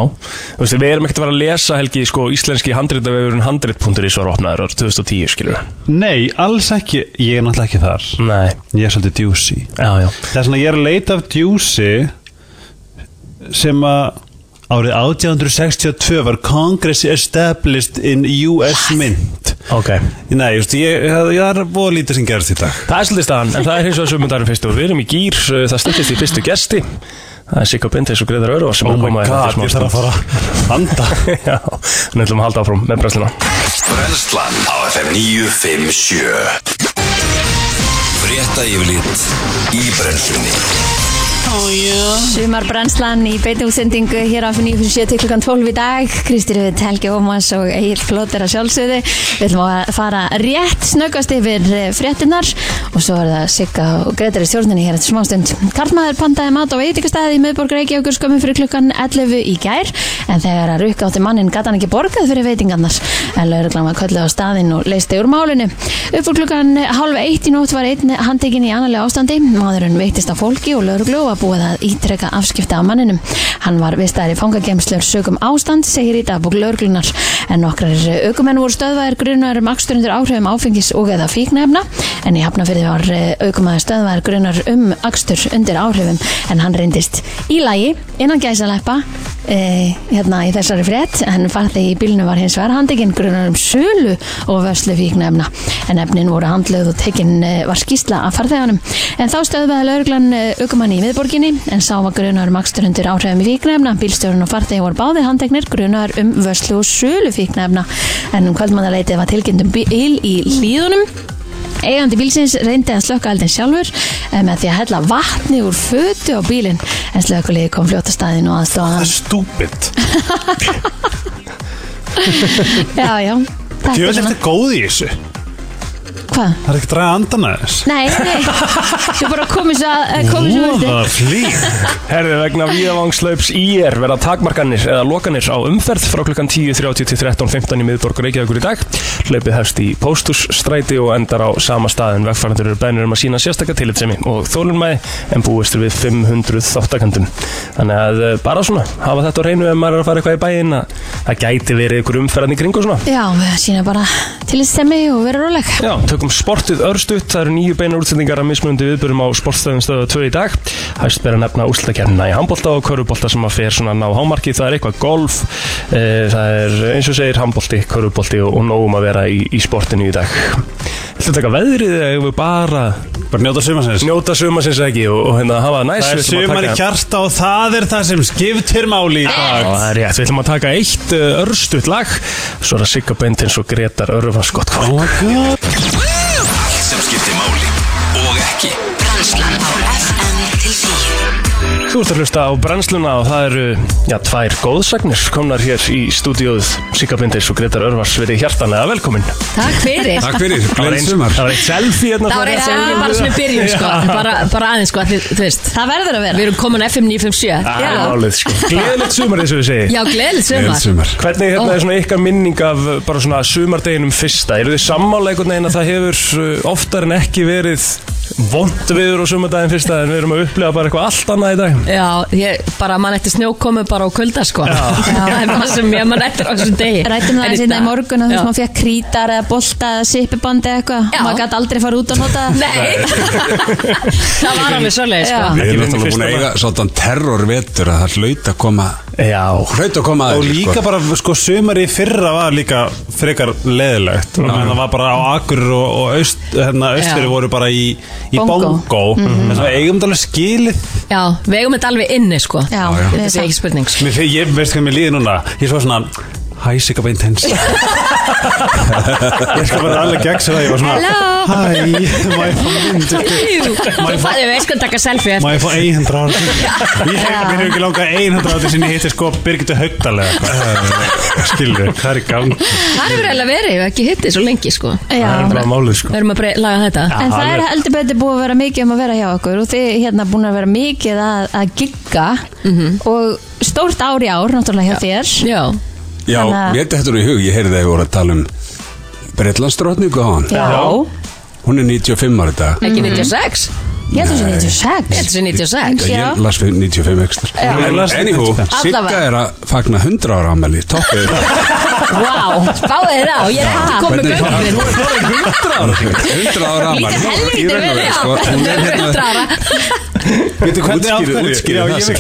[SPEAKER 2] Þú veist, við erum ekkert að fara að lesa helgi sko Íslenski handritavefurinn handrit.is var opnaður árið 2010 skilur
[SPEAKER 3] Nei, alls ekki, ég er náttúrulega ekki þar
[SPEAKER 2] Nei,
[SPEAKER 3] Ég er svolítið djúsi
[SPEAKER 2] já, já
[SPEAKER 3] Það er svona, ég er að leita af djúsi sem að árið 1862 var Congress established in US Mint
[SPEAKER 2] Ok
[SPEAKER 3] Nei, just, ég, ég, ég er búið að lítið sem gerst í dag
[SPEAKER 2] Það er svolítið staðan, en það er hins vegar sömundarinn fyrst og við erum í gýr, uh, það styttist í fyrstu gesti Það er Sikko Bindis og Greðar Örvar sem
[SPEAKER 3] Oh
[SPEAKER 2] er
[SPEAKER 3] my
[SPEAKER 2] komaði
[SPEAKER 3] god, ég þarf að fara að anda
[SPEAKER 2] Já, en ætlum að halda áfram með brennsluna
[SPEAKER 1] Brennslan á FM 957 Frétta yfirlit í brennslunni
[SPEAKER 4] Sumarbrennslan í beitumsendingu hér á 9.7 til klukkan 12 í dag Kristir við Helgi Ómas og Egil Flóter að sjálfsögðu Við ætlum að fara rétt snöggast yfir eh, fréttinnar og svo er það Sigga og Gretar í stjórninni hér eftir smástund Karlmaður pantaði mat á veitingastæði í miðborg Reykjavíkur skömmu fyrir klukkan 11 í gær en þegar að rukka átti mannin gat hann ekki borgað fyrir veitingarnar en lauruglan var kölluð á staðinn og leisti úr málinu Upp úr klukkan halv eitt í nótt var einn handtekinn í annarlega ástandi maðurinn veittist á fólki og lauruglu var búið að ítreka afskipta af manninum Hann var vistaðar í fangagemslur sögum ástand segir í dagbúk lauruglunar en nokkrar aukumenn voru stöðvæðir grunar um akstur undir áhrifum áfengis og eða fíknefna en í hafnafyrði var eh, aukumæður stöðvæðir grunar um akstur undir áhrifum en hann reyndist í lagi innan gæsaleppa e, hérna í þessari frétt en farþegi í bílnu var hins vegar handekinn grunar um sölu og vörslu fíknefna en efnin voru handluð og tekinn eh, var skýsla af farþeganum en þá stöðvaði lauruglan aukumann í miðborginni en sá var grunar um akstur undir áhrifum í fíknefna bílstjórun og farþegi voru báðir handeknir grunar um vörslu og sölu fíknefna en um kvöldmannaleitið var tilkynnt um bíl í hlýðunum Eigandi bílsins reyndi að slökka eldin sjálfur eh, með því að hella vatni úr fötu á bílinn en slökulegi kom fljóta staðin og aðstofan hann.
[SPEAKER 3] Stúpid
[SPEAKER 4] Já, já. Þetta er
[SPEAKER 3] Ég veit
[SPEAKER 4] svona.
[SPEAKER 3] eftir góð í þessu
[SPEAKER 4] Hvað?
[SPEAKER 3] Það er ekki að draga andan að þess
[SPEAKER 4] Nei, nei. Þú bara komið svo að, komið svo
[SPEAKER 3] Voða
[SPEAKER 4] að.
[SPEAKER 3] flýg
[SPEAKER 2] Herði vegna Víðavangslaups IR verða takmarkanir eða lokanir á umferð frá klukkan 10.30 til 13.15 í miðborg Reykjavíkur í dag. Hlaupið hefst í póstusstræti og endar á sama stað en vegfærandur eru bænir um að sína sérstakka tillitsemi og þólunmæði en búist er við 500 þáttakandum. Þannig að eh, bara svona, hafa þetta á reynu ef maður er að fara eitthvað í bæinn að það gæti verið ykkur umferðan í kringu svona.
[SPEAKER 4] Já, við sína bara til þess semmi og vera róleg.
[SPEAKER 2] Já, tökum sportið örstuðt, það eru nýju beina útsendingar að mismunandi viðbörum á sportstöðum stöðu 2 í dag. Hæst ber að nefna úrslakernina í handbolta og körfubolta sem að fer svona að ná hámarki, það er eitthvað golf, e, það er eins og segir handbolti, körfubolti og, og nógum að vera í, í sportinu í dag. Þetta taka veðrið eða eigum við bara
[SPEAKER 3] Bara njóta sumarsins
[SPEAKER 2] njóta sumarsins eða ekki og, og hérna hafa það næs.
[SPEAKER 3] Það er
[SPEAKER 2] Við ætlum að
[SPEAKER 3] sumar í
[SPEAKER 2] taka-
[SPEAKER 3] hjarta og það er það sem skiptir máli í
[SPEAKER 2] Já,
[SPEAKER 3] dag
[SPEAKER 2] það er rétt, við ætlum að taka eitt uh, örstuðt lag, svo er það Sigga Bentins og Gretar Örvans gott kvöld.
[SPEAKER 3] Oh my god
[SPEAKER 1] Allt sem skiptir máli og ekki
[SPEAKER 6] Brennslan á FM til 10
[SPEAKER 2] Þú ert að hlusta á brennsluna og það eru, já, tvær góðsagnir komnar hér í stúdíóð Sigga Bindis og Gretar Örvars verið hjartanlega velkomin.
[SPEAKER 7] Takk fyrir
[SPEAKER 8] Takk fyrir,
[SPEAKER 2] Það var
[SPEAKER 8] glenn
[SPEAKER 2] eins-
[SPEAKER 8] sumar
[SPEAKER 2] Það var eitt selfie hérna.
[SPEAKER 7] Það var eitt sem við bara svona í byrjun sko bara, bara aðeins sko, allir, þú veist
[SPEAKER 4] Það verður að
[SPEAKER 7] Við
[SPEAKER 4] vera.
[SPEAKER 7] erum komin á FM 957
[SPEAKER 2] Það er álið, sko. Gleðilegt sumar eins og við segi.
[SPEAKER 7] Já, gleðilegt
[SPEAKER 8] Glenn
[SPEAKER 7] sumar
[SPEAKER 8] sumar
[SPEAKER 2] Hvernig hérna er svona ykkar minning af uh, bara svona sumardeginum fyrsta? Eru þið sammála einhvern veginn að það hefur uh, oftar en ekki verið vond viður á sumardaginn fyrsta en við erum að upplega bara eitthvað allt annað í dag?
[SPEAKER 7] Já, ég bara mann eftir snjókomu bara á kulda sko Það er bara sem ég mann eftir á þessum degi
[SPEAKER 4] Rættum það
[SPEAKER 7] En
[SPEAKER 4] aðeins hérna
[SPEAKER 7] dag-
[SPEAKER 4] í morgun og þú
[SPEAKER 7] Já.
[SPEAKER 4] veist maður fekk krítar eða bolta eða sippibandi eða eitthvað.
[SPEAKER 7] Já.
[SPEAKER 4] Maður gæti aldrei fara út og nota það.
[SPEAKER 7] Nei Það var alveg svolítið sko
[SPEAKER 8] Við erum
[SPEAKER 2] Ekki vinna
[SPEAKER 8] náttúrulega búin að
[SPEAKER 2] fyrsta
[SPEAKER 8] eiga svolítan terrorvetur að það hlaut að koma
[SPEAKER 2] Já,
[SPEAKER 8] hlaut að koma að
[SPEAKER 3] Og líka bara, sko, sumar í fyrra var líka frekar leðilegt Það var bara á Akur og, og aust, hérna, austri
[SPEAKER 7] Já. Mhm.
[SPEAKER 3] voru bara í, í
[SPEAKER 4] Bongó.
[SPEAKER 3] bongo Þess að eigum þetta alveg skilið
[SPEAKER 7] Já, við eigum þetta alveg inni sko
[SPEAKER 4] Já,
[SPEAKER 8] já.
[SPEAKER 4] við
[SPEAKER 7] Það sé ekki spurning sko
[SPEAKER 3] Mér, fe- ég veist hvað mér líði núna Ég er svo svona Hæ, Sigga Beintens Ég skal bara alveg gegn sér það Ég var svona
[SPEAKER 4] Hello.
[SPEAKER 3] Hæ, má ég fá myndu
[SPEAKER 7] Jú, Þú fæ- við veist hvað taka selfie
[SPEAKER 3] Má
[SPEAKER 7] eftir
[SPEAKER 3] ég fá 100 ára Ég hef mér hefur ekki langað 100 ára Sinni hittir sko Birgitu Haugdalega Skilur, hvað er í gang
[SPEAKER 7] Það hefur eiginlega verið, við hefum ekki hitti svo lengi sko
[SPEAKER 2] það er
[SPEAKER 4] Já.
[SPEAKER 2] bara málið, sko.
[SPEAKER 7] Við erum að brey- laga þetta
[SPEAKER 4] En það er heldur betur búið að vera mikið um að vera hjá okkur og þið hérna búin að vera mikið að, að gigga og stórt ár í ár náttúrulega hjá þér
[SPEAKER 7] Mhm. Já,
[SPEAKER 8] Já,
[SPEAKER 4] Þannig
[SPEAKER 8] mér
[SPEAKER 4] að-
[SPEAKER 8] þetta þetta nú í hug, ég heyrði að ég voru að tala um Breitlandsdrottningu á hann
[SPEAKER 4] Já, Mhm.
[SPEAKER 8] Hún er 95 ára í dag
[SPEAKER 7] ekki 96
[SPEAKER 4] Mm. ég heldur sem
[SPEAKER 8] Nei.
[SPEAKER 4] 96
[SPEAKER 7] Þetta er 96
[SPEAKER 4] Já.
[SPEAKER 8] Ég las fyrir 95 ekstra En
[SPEAKER 3] Las-
[SPEAKER 8] anywho, Sigga
[SPEAKER 4] Allavega.
[SPEAKER 8] er að fagna 100 ára ámæli Toppið
[SPEAKER 7] Vá, spáði það og ég er ekki komið
[SPEAKER 8] Hvernig-
[SPEAKER 7] göngin
[SPEAKER 8] 100 ára 100 ára ámæli
[SPEAKER 7] Lítið helvítið verið, já.
[SPEAKER 8] Hún er hérna
[SPEAKER 7] Hundra ára
[SPEAKER 3] Veitu hvernig af
[SPEAKER 8] Útskýrið-
[SPEAKER 3] hverju?
[SPEAKER 8] útskýrið
[SPEAKER 3] Já,
[SPEAKER 8] það
[SPEAKER 3] ég
[SPEAKER 8] sem-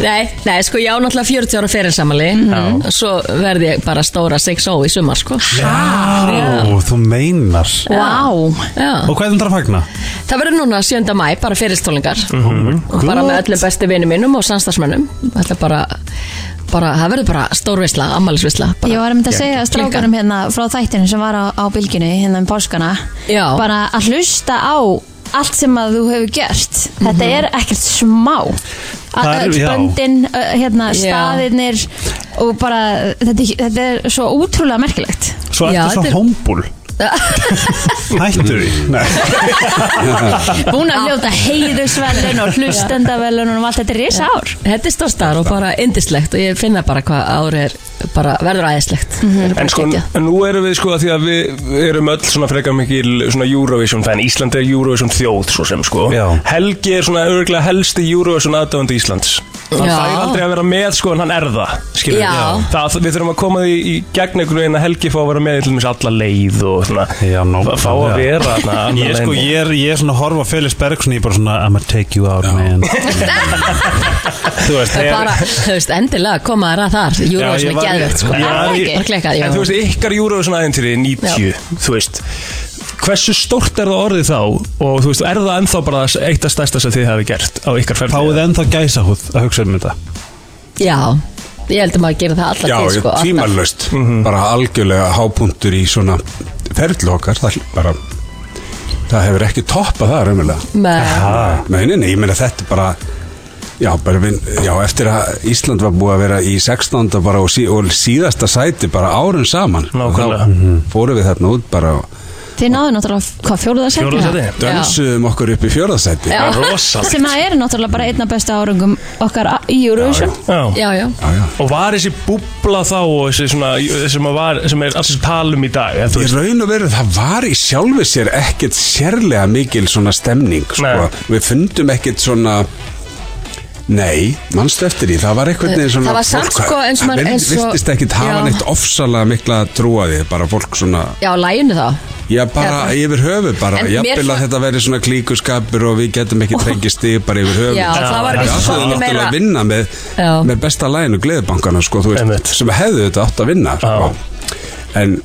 [SPEAKER 3] veit
[SPEAKER 7] Nei, nei, sko ég á náttúrulega 40 ára fyrirsamali
[SPEAKER 2] Mhm.
[SPEAKER 7] Svo verði ég bara stóra 6-0 í sumar, sko
[SPEAKER 3] Ó, þú meinar
[SPEAKER 4] Vá
[SPEAKER 7] Já.
[SPEAKER 3] Og hvað er það að fagna?
[SPEAKER 7] Það verður núna 7. mæ, bara fyrirstólingar
[SPEAKER 2] Mm. Mhm.
[SPEAKER 7] og bara með öllum bestu vinum mínum og samstagsmönnum Þetta bara, bara, það verður bara stórvisla, ammælisvisla bara.
[SPEAKER 4] Ég var að mynda að segja strákarum hérna frá þættinu sem var á, á bylginu hérna um páskana
[SPEAKER 7] Já.
[SPEAKER 4] bara að hlusta á allt sem að þú hefur gert þetta
[SPEAKER 7] Mhm.
[SPEAKER 4] er ekkert smá
[SPEAKER 3] Það er-
[SPEAKER 4] Öll
[SPEAKER 3] já.
[SPEAKER 4] böndin, ö, hérna,
[SPEAKER 7] Já.
[SPEAKER 4] staðirnir og bara þetta, þetta er svo ótrúlega merkilegt
[SPEAKER 3] Svo
[SPEAKER 7] Já,
[SPEAKER 3] ertu
[SPEAKER 7] þetta er-
[SPEAKER 3] svo hómbúl Hættu því Nei.
[SPEAKER 4] búin að hljóta heiðusvelun og hlustendavelun og allt þetta er risa ár
[SPEAKER 7] Þetta er stórstar og bara indislegt og ég finna bara hvað árið er bara verður aðeinslegt mm -hmm.
[SPEAKER 2] En sko, nú erum við sko að því að við erum öll svona frekar mikil svona Eurovision fan Ísland er Eurovision þjóð svo sem sko
[SPEAKER 3] Já.
[SPEAKER 2] Helgi er svona örgulega helsti Eurovision aðdöfandi Íslands Hann
[SPEAKER 7] Já.
[SPEAKER 2] fær aldrei að vera með sko en hann er það skilur við.
[SPEAKER 7] Já. Já.
[SPEAKER 2] Það, Við þurfum að koma því í gegn einhvern veginn að Helgi fá að vera með í til dæmis alla leið og svona
[SPEAKER 3] Já, nákvæmlega.
[SPEAKER 2] fá að vera þarna alla
[SPEAKER 3] Ég, sko,
[SPEAKER 2] leiðina.
[SPEAKER 3] ég, er, ég er svona að horfa á Felix Bergson Ég er bara svona I'm gonna take you out man Þú veist
[SPEAKER 7] Það er bara, þú veist, endilega koma þér að þar Júra
[SPEAKER 3] Já,
[SPEAKER 7] sem
[SPEAKER 3] ég
[SPEAKER 7] er
[SPEAKER 3] var-
[SPEAKER 7] geðvegt sko.
[SPEAKER 3] ég var-
[SPEAKER 7] Bara klikkað, já.
[SPEAKER 2] En þú veist, ykkar Eurovision aðeintyri 90, þú veist Hversu stórt er það orðið þá og þú veist, er það ennþá bara eitt af stærsta sem þið hafi gert á ykkar ferð
[SPEAKER 3] Fáið ennþá gæsa húð að hugsa um þetta
[SPEAKER 7] Já, ég held að maður gerir það
[SPEAKER 8] Já,
[SPEAKER 7] alltaf
[SPEAKER 8] ég-
[SPEAKER 7] sko, alltaf.
[SPEAKER 8] tvímælalaust Bara algjörlega hápunktur í svona ferli okkar Það er bara Það hefur ekki toppað það raunverulega
[SPEAKER 7] Með,
[SPEAKER 8] Nei, nei, nei, ég meina þetta er bara Já, bara vin, já, eftir að Ísland var búið að vera í 16. Bara og, sí, og síðasta sæti bara árun saman
[SPEAKER 2] Nákvæmlega.
[SPEAKER 8] Þá Mhm. fórum við þarna út bara og
[SPEAKER 4] Þið náðu náttúrulega, hvað, fjóruðarsætti?
[SPEAKER 2] Fjóruðarsæti?
[SPEAKER 8] dönsuðum okkur upp í fjörðasæti
[SPEAKER 7] Já.
[SPEAKER 2] Rosalegt
[SPEAKER 4] Sem að er náttúrulega bara einna bestu árangum okkar a- í Eurovision
[SPEAKER 2] Já.
[SPEAKER 7] já, já
[SPEAKER 8] Já, já.
[SPEAKER 2] Og var þessi búbla þá og þessi svona, sem, að var, sem er alls talum í dag eða, þú
[SPEAKER 8] Í
[SPEAKER 2] veist,
[SPEAKER 8] raun og veru það var í sjálfi sér ekkert sérlega mikil svona stemning sko.
[SPEAKER 2] Nei.
[SPEAKER 8] Við fundum ekkert svona Nei, mannstu eftir því, það var eitthvað neginn svona
[SPEAKER 7] Það var samt sko eins og maður- eins og-
[SPEAKER 8] Virtist ekkert hafa
[SPEAKER 7] Já.
[SPEAKER 8] neitt ofsalega mikla trúaði Bara fólk svona
[SPEAKER 7] Já, læginu þá
[SPEAKER 8] Já, bara yfir höfu bara,
[SPEAKER 7] En mér
[SPEAKER 8] jafnvel
[SPEAKER 7] fa-
[SPEAKER 8] að þetta verði svona klíkuskapur og við getum ekki trengið stig bara yfir höfu
[SPEAKER 7] Já, það var
[SPEAKER 8] Já,
[SPEAKER 7] ekki
[SPEAKER 8] það er
[SPEAKER 7] svolítið
[SPEAKER 8] náttúrulega
[SPEAKER 7] meira
[SPEAKER 8] að vinna með,
[SPEAKER 7] Já.
[SPEAKER 8] með besta læginu gleðibankana sko, þú
[SPEAKER 2] Einmitt.
[SPEAKER 8] veist, sem hefðu þetta átt að vinna sko. en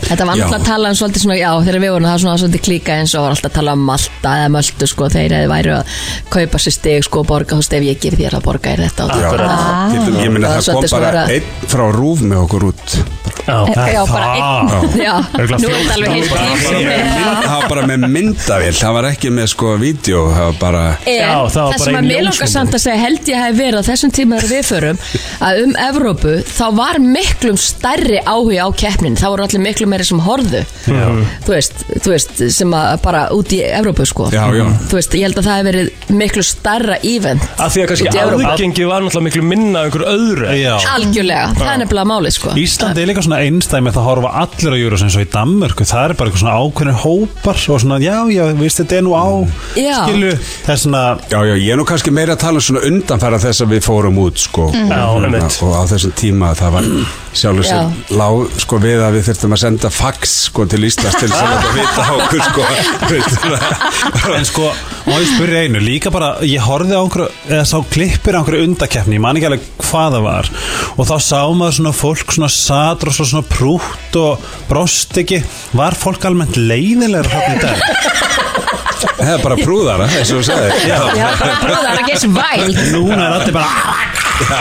[SPEAKER 7] Þetta var
[SPEAKER 8] Já.
[SPEAKER 7] alltaf að tala um svolítið svona, já, þegar við vorum það var svona svolítið klíka eins og var alltaf að tala um Malta eða Möltu, sko, þeir hefði væri að kaupa sér stig, sko, og borga, þú veist, ef ég gef þér að borga er þetta og
[SPEAKER 8] já,
[SPEAKER 7] þetta.
[SPEAKER 2] Ah.
[SPEAKER 8] til dæmis, ég minna
[SPEAKER 7] Það
[SPEAKER 8] það
[SPEAKER 7] var
[SPEAKER 8] kom
[SPEAKER 7] svolítið
[SPEAKER 8] bara
[SPEAKER 7] svona að-
[SPEAKER 8] einn frá rúf með okkur út
[SPEAKER 2] já.
[SPEAKER 7] Já, bara einn, já,
[SPEAKER 2] Örugglega
[SPEAKER 7] nú er þetta alveg heilt
[SPEAKER 8] bara
[SPEAKER 7] klíka.
[SPEAKER 8] með mynd, það var bara með myndavél það var ekki með sko vídeo það var bara
[SPEAKER 7] En
[SPEAKER 2] Já,
[SPEAKER 7] það
[SPEAKER 2] það var bara
[SPEAKER 7] sem
[SPEAKER 2] ein
[SPEAKER 7] að mér langar
[SPEAKER 2] ljósmynd.
[SPEAKER 7] samt að segja held ég hef verið á þessum tíma þegar við förum að um Evrópu þá var miklum stærri áhuga á keppnin þá voru allir miklu meiri sem horðu
[SPEAKER 8] Mhm.
[SPEAKER 7] þú veist, þú veist, sem að bara út í Evrópu sko
[SPEAKER 8] Já, já.
[SPEAKER 7] þú veist, ég held að það hef verið miklu starra ívent
[SPEAKER 2] Af því
[SPEAKER 7] Út í
[SPEAKER 2] að kannski
[SPEAKER 7] Evrópu.
[SPEAKER 2] aðgengi var náttúrulega miklu minna af einhverju öðru
[SPEAKER 3] Já
[SPEAKER 7] algjörlega, það er nefnilega málið sko
[SPEAKER 3] Ísland er líka svona einstæmi það horfa allir á júrus eins og í Danmörku það er bara eitthvað svona ákveðin hópar og svona já, já, veist þetta er nú á
[SPEAKER 7] Já.
[SPEAKER 3] skilu, það er svona
[SPEAKER 8] já, já, ég er nú kannski meira að tala um svona undanfæra þess að við fórum út sko
[SPEAKER 2] Mhm. Já, einmitt.
[SPEAKER 8] og á þessum tíma það var sjálfur sem lág sko við að við þurftum að senda fax sko til Íslands til þess að láta vita á okkur sko
[SPEAKER 3] en sko, má ég spyrja einu líka bara, ég horfið á einhverju eða sá klippir á einhverju undakeppni, ég man ekki alveg hvað það var og þá sá maður svona fólk svona satt og svona prútt og brost ekki, var fólk almennt leiðilegur hann í dag
[SPEAKER 8] það er bara prúðara eins og þú sagði já,
[SPEAKER 7] Já, bara brúðar að gesa vælt
[SPEAKER 3] núna er allir bara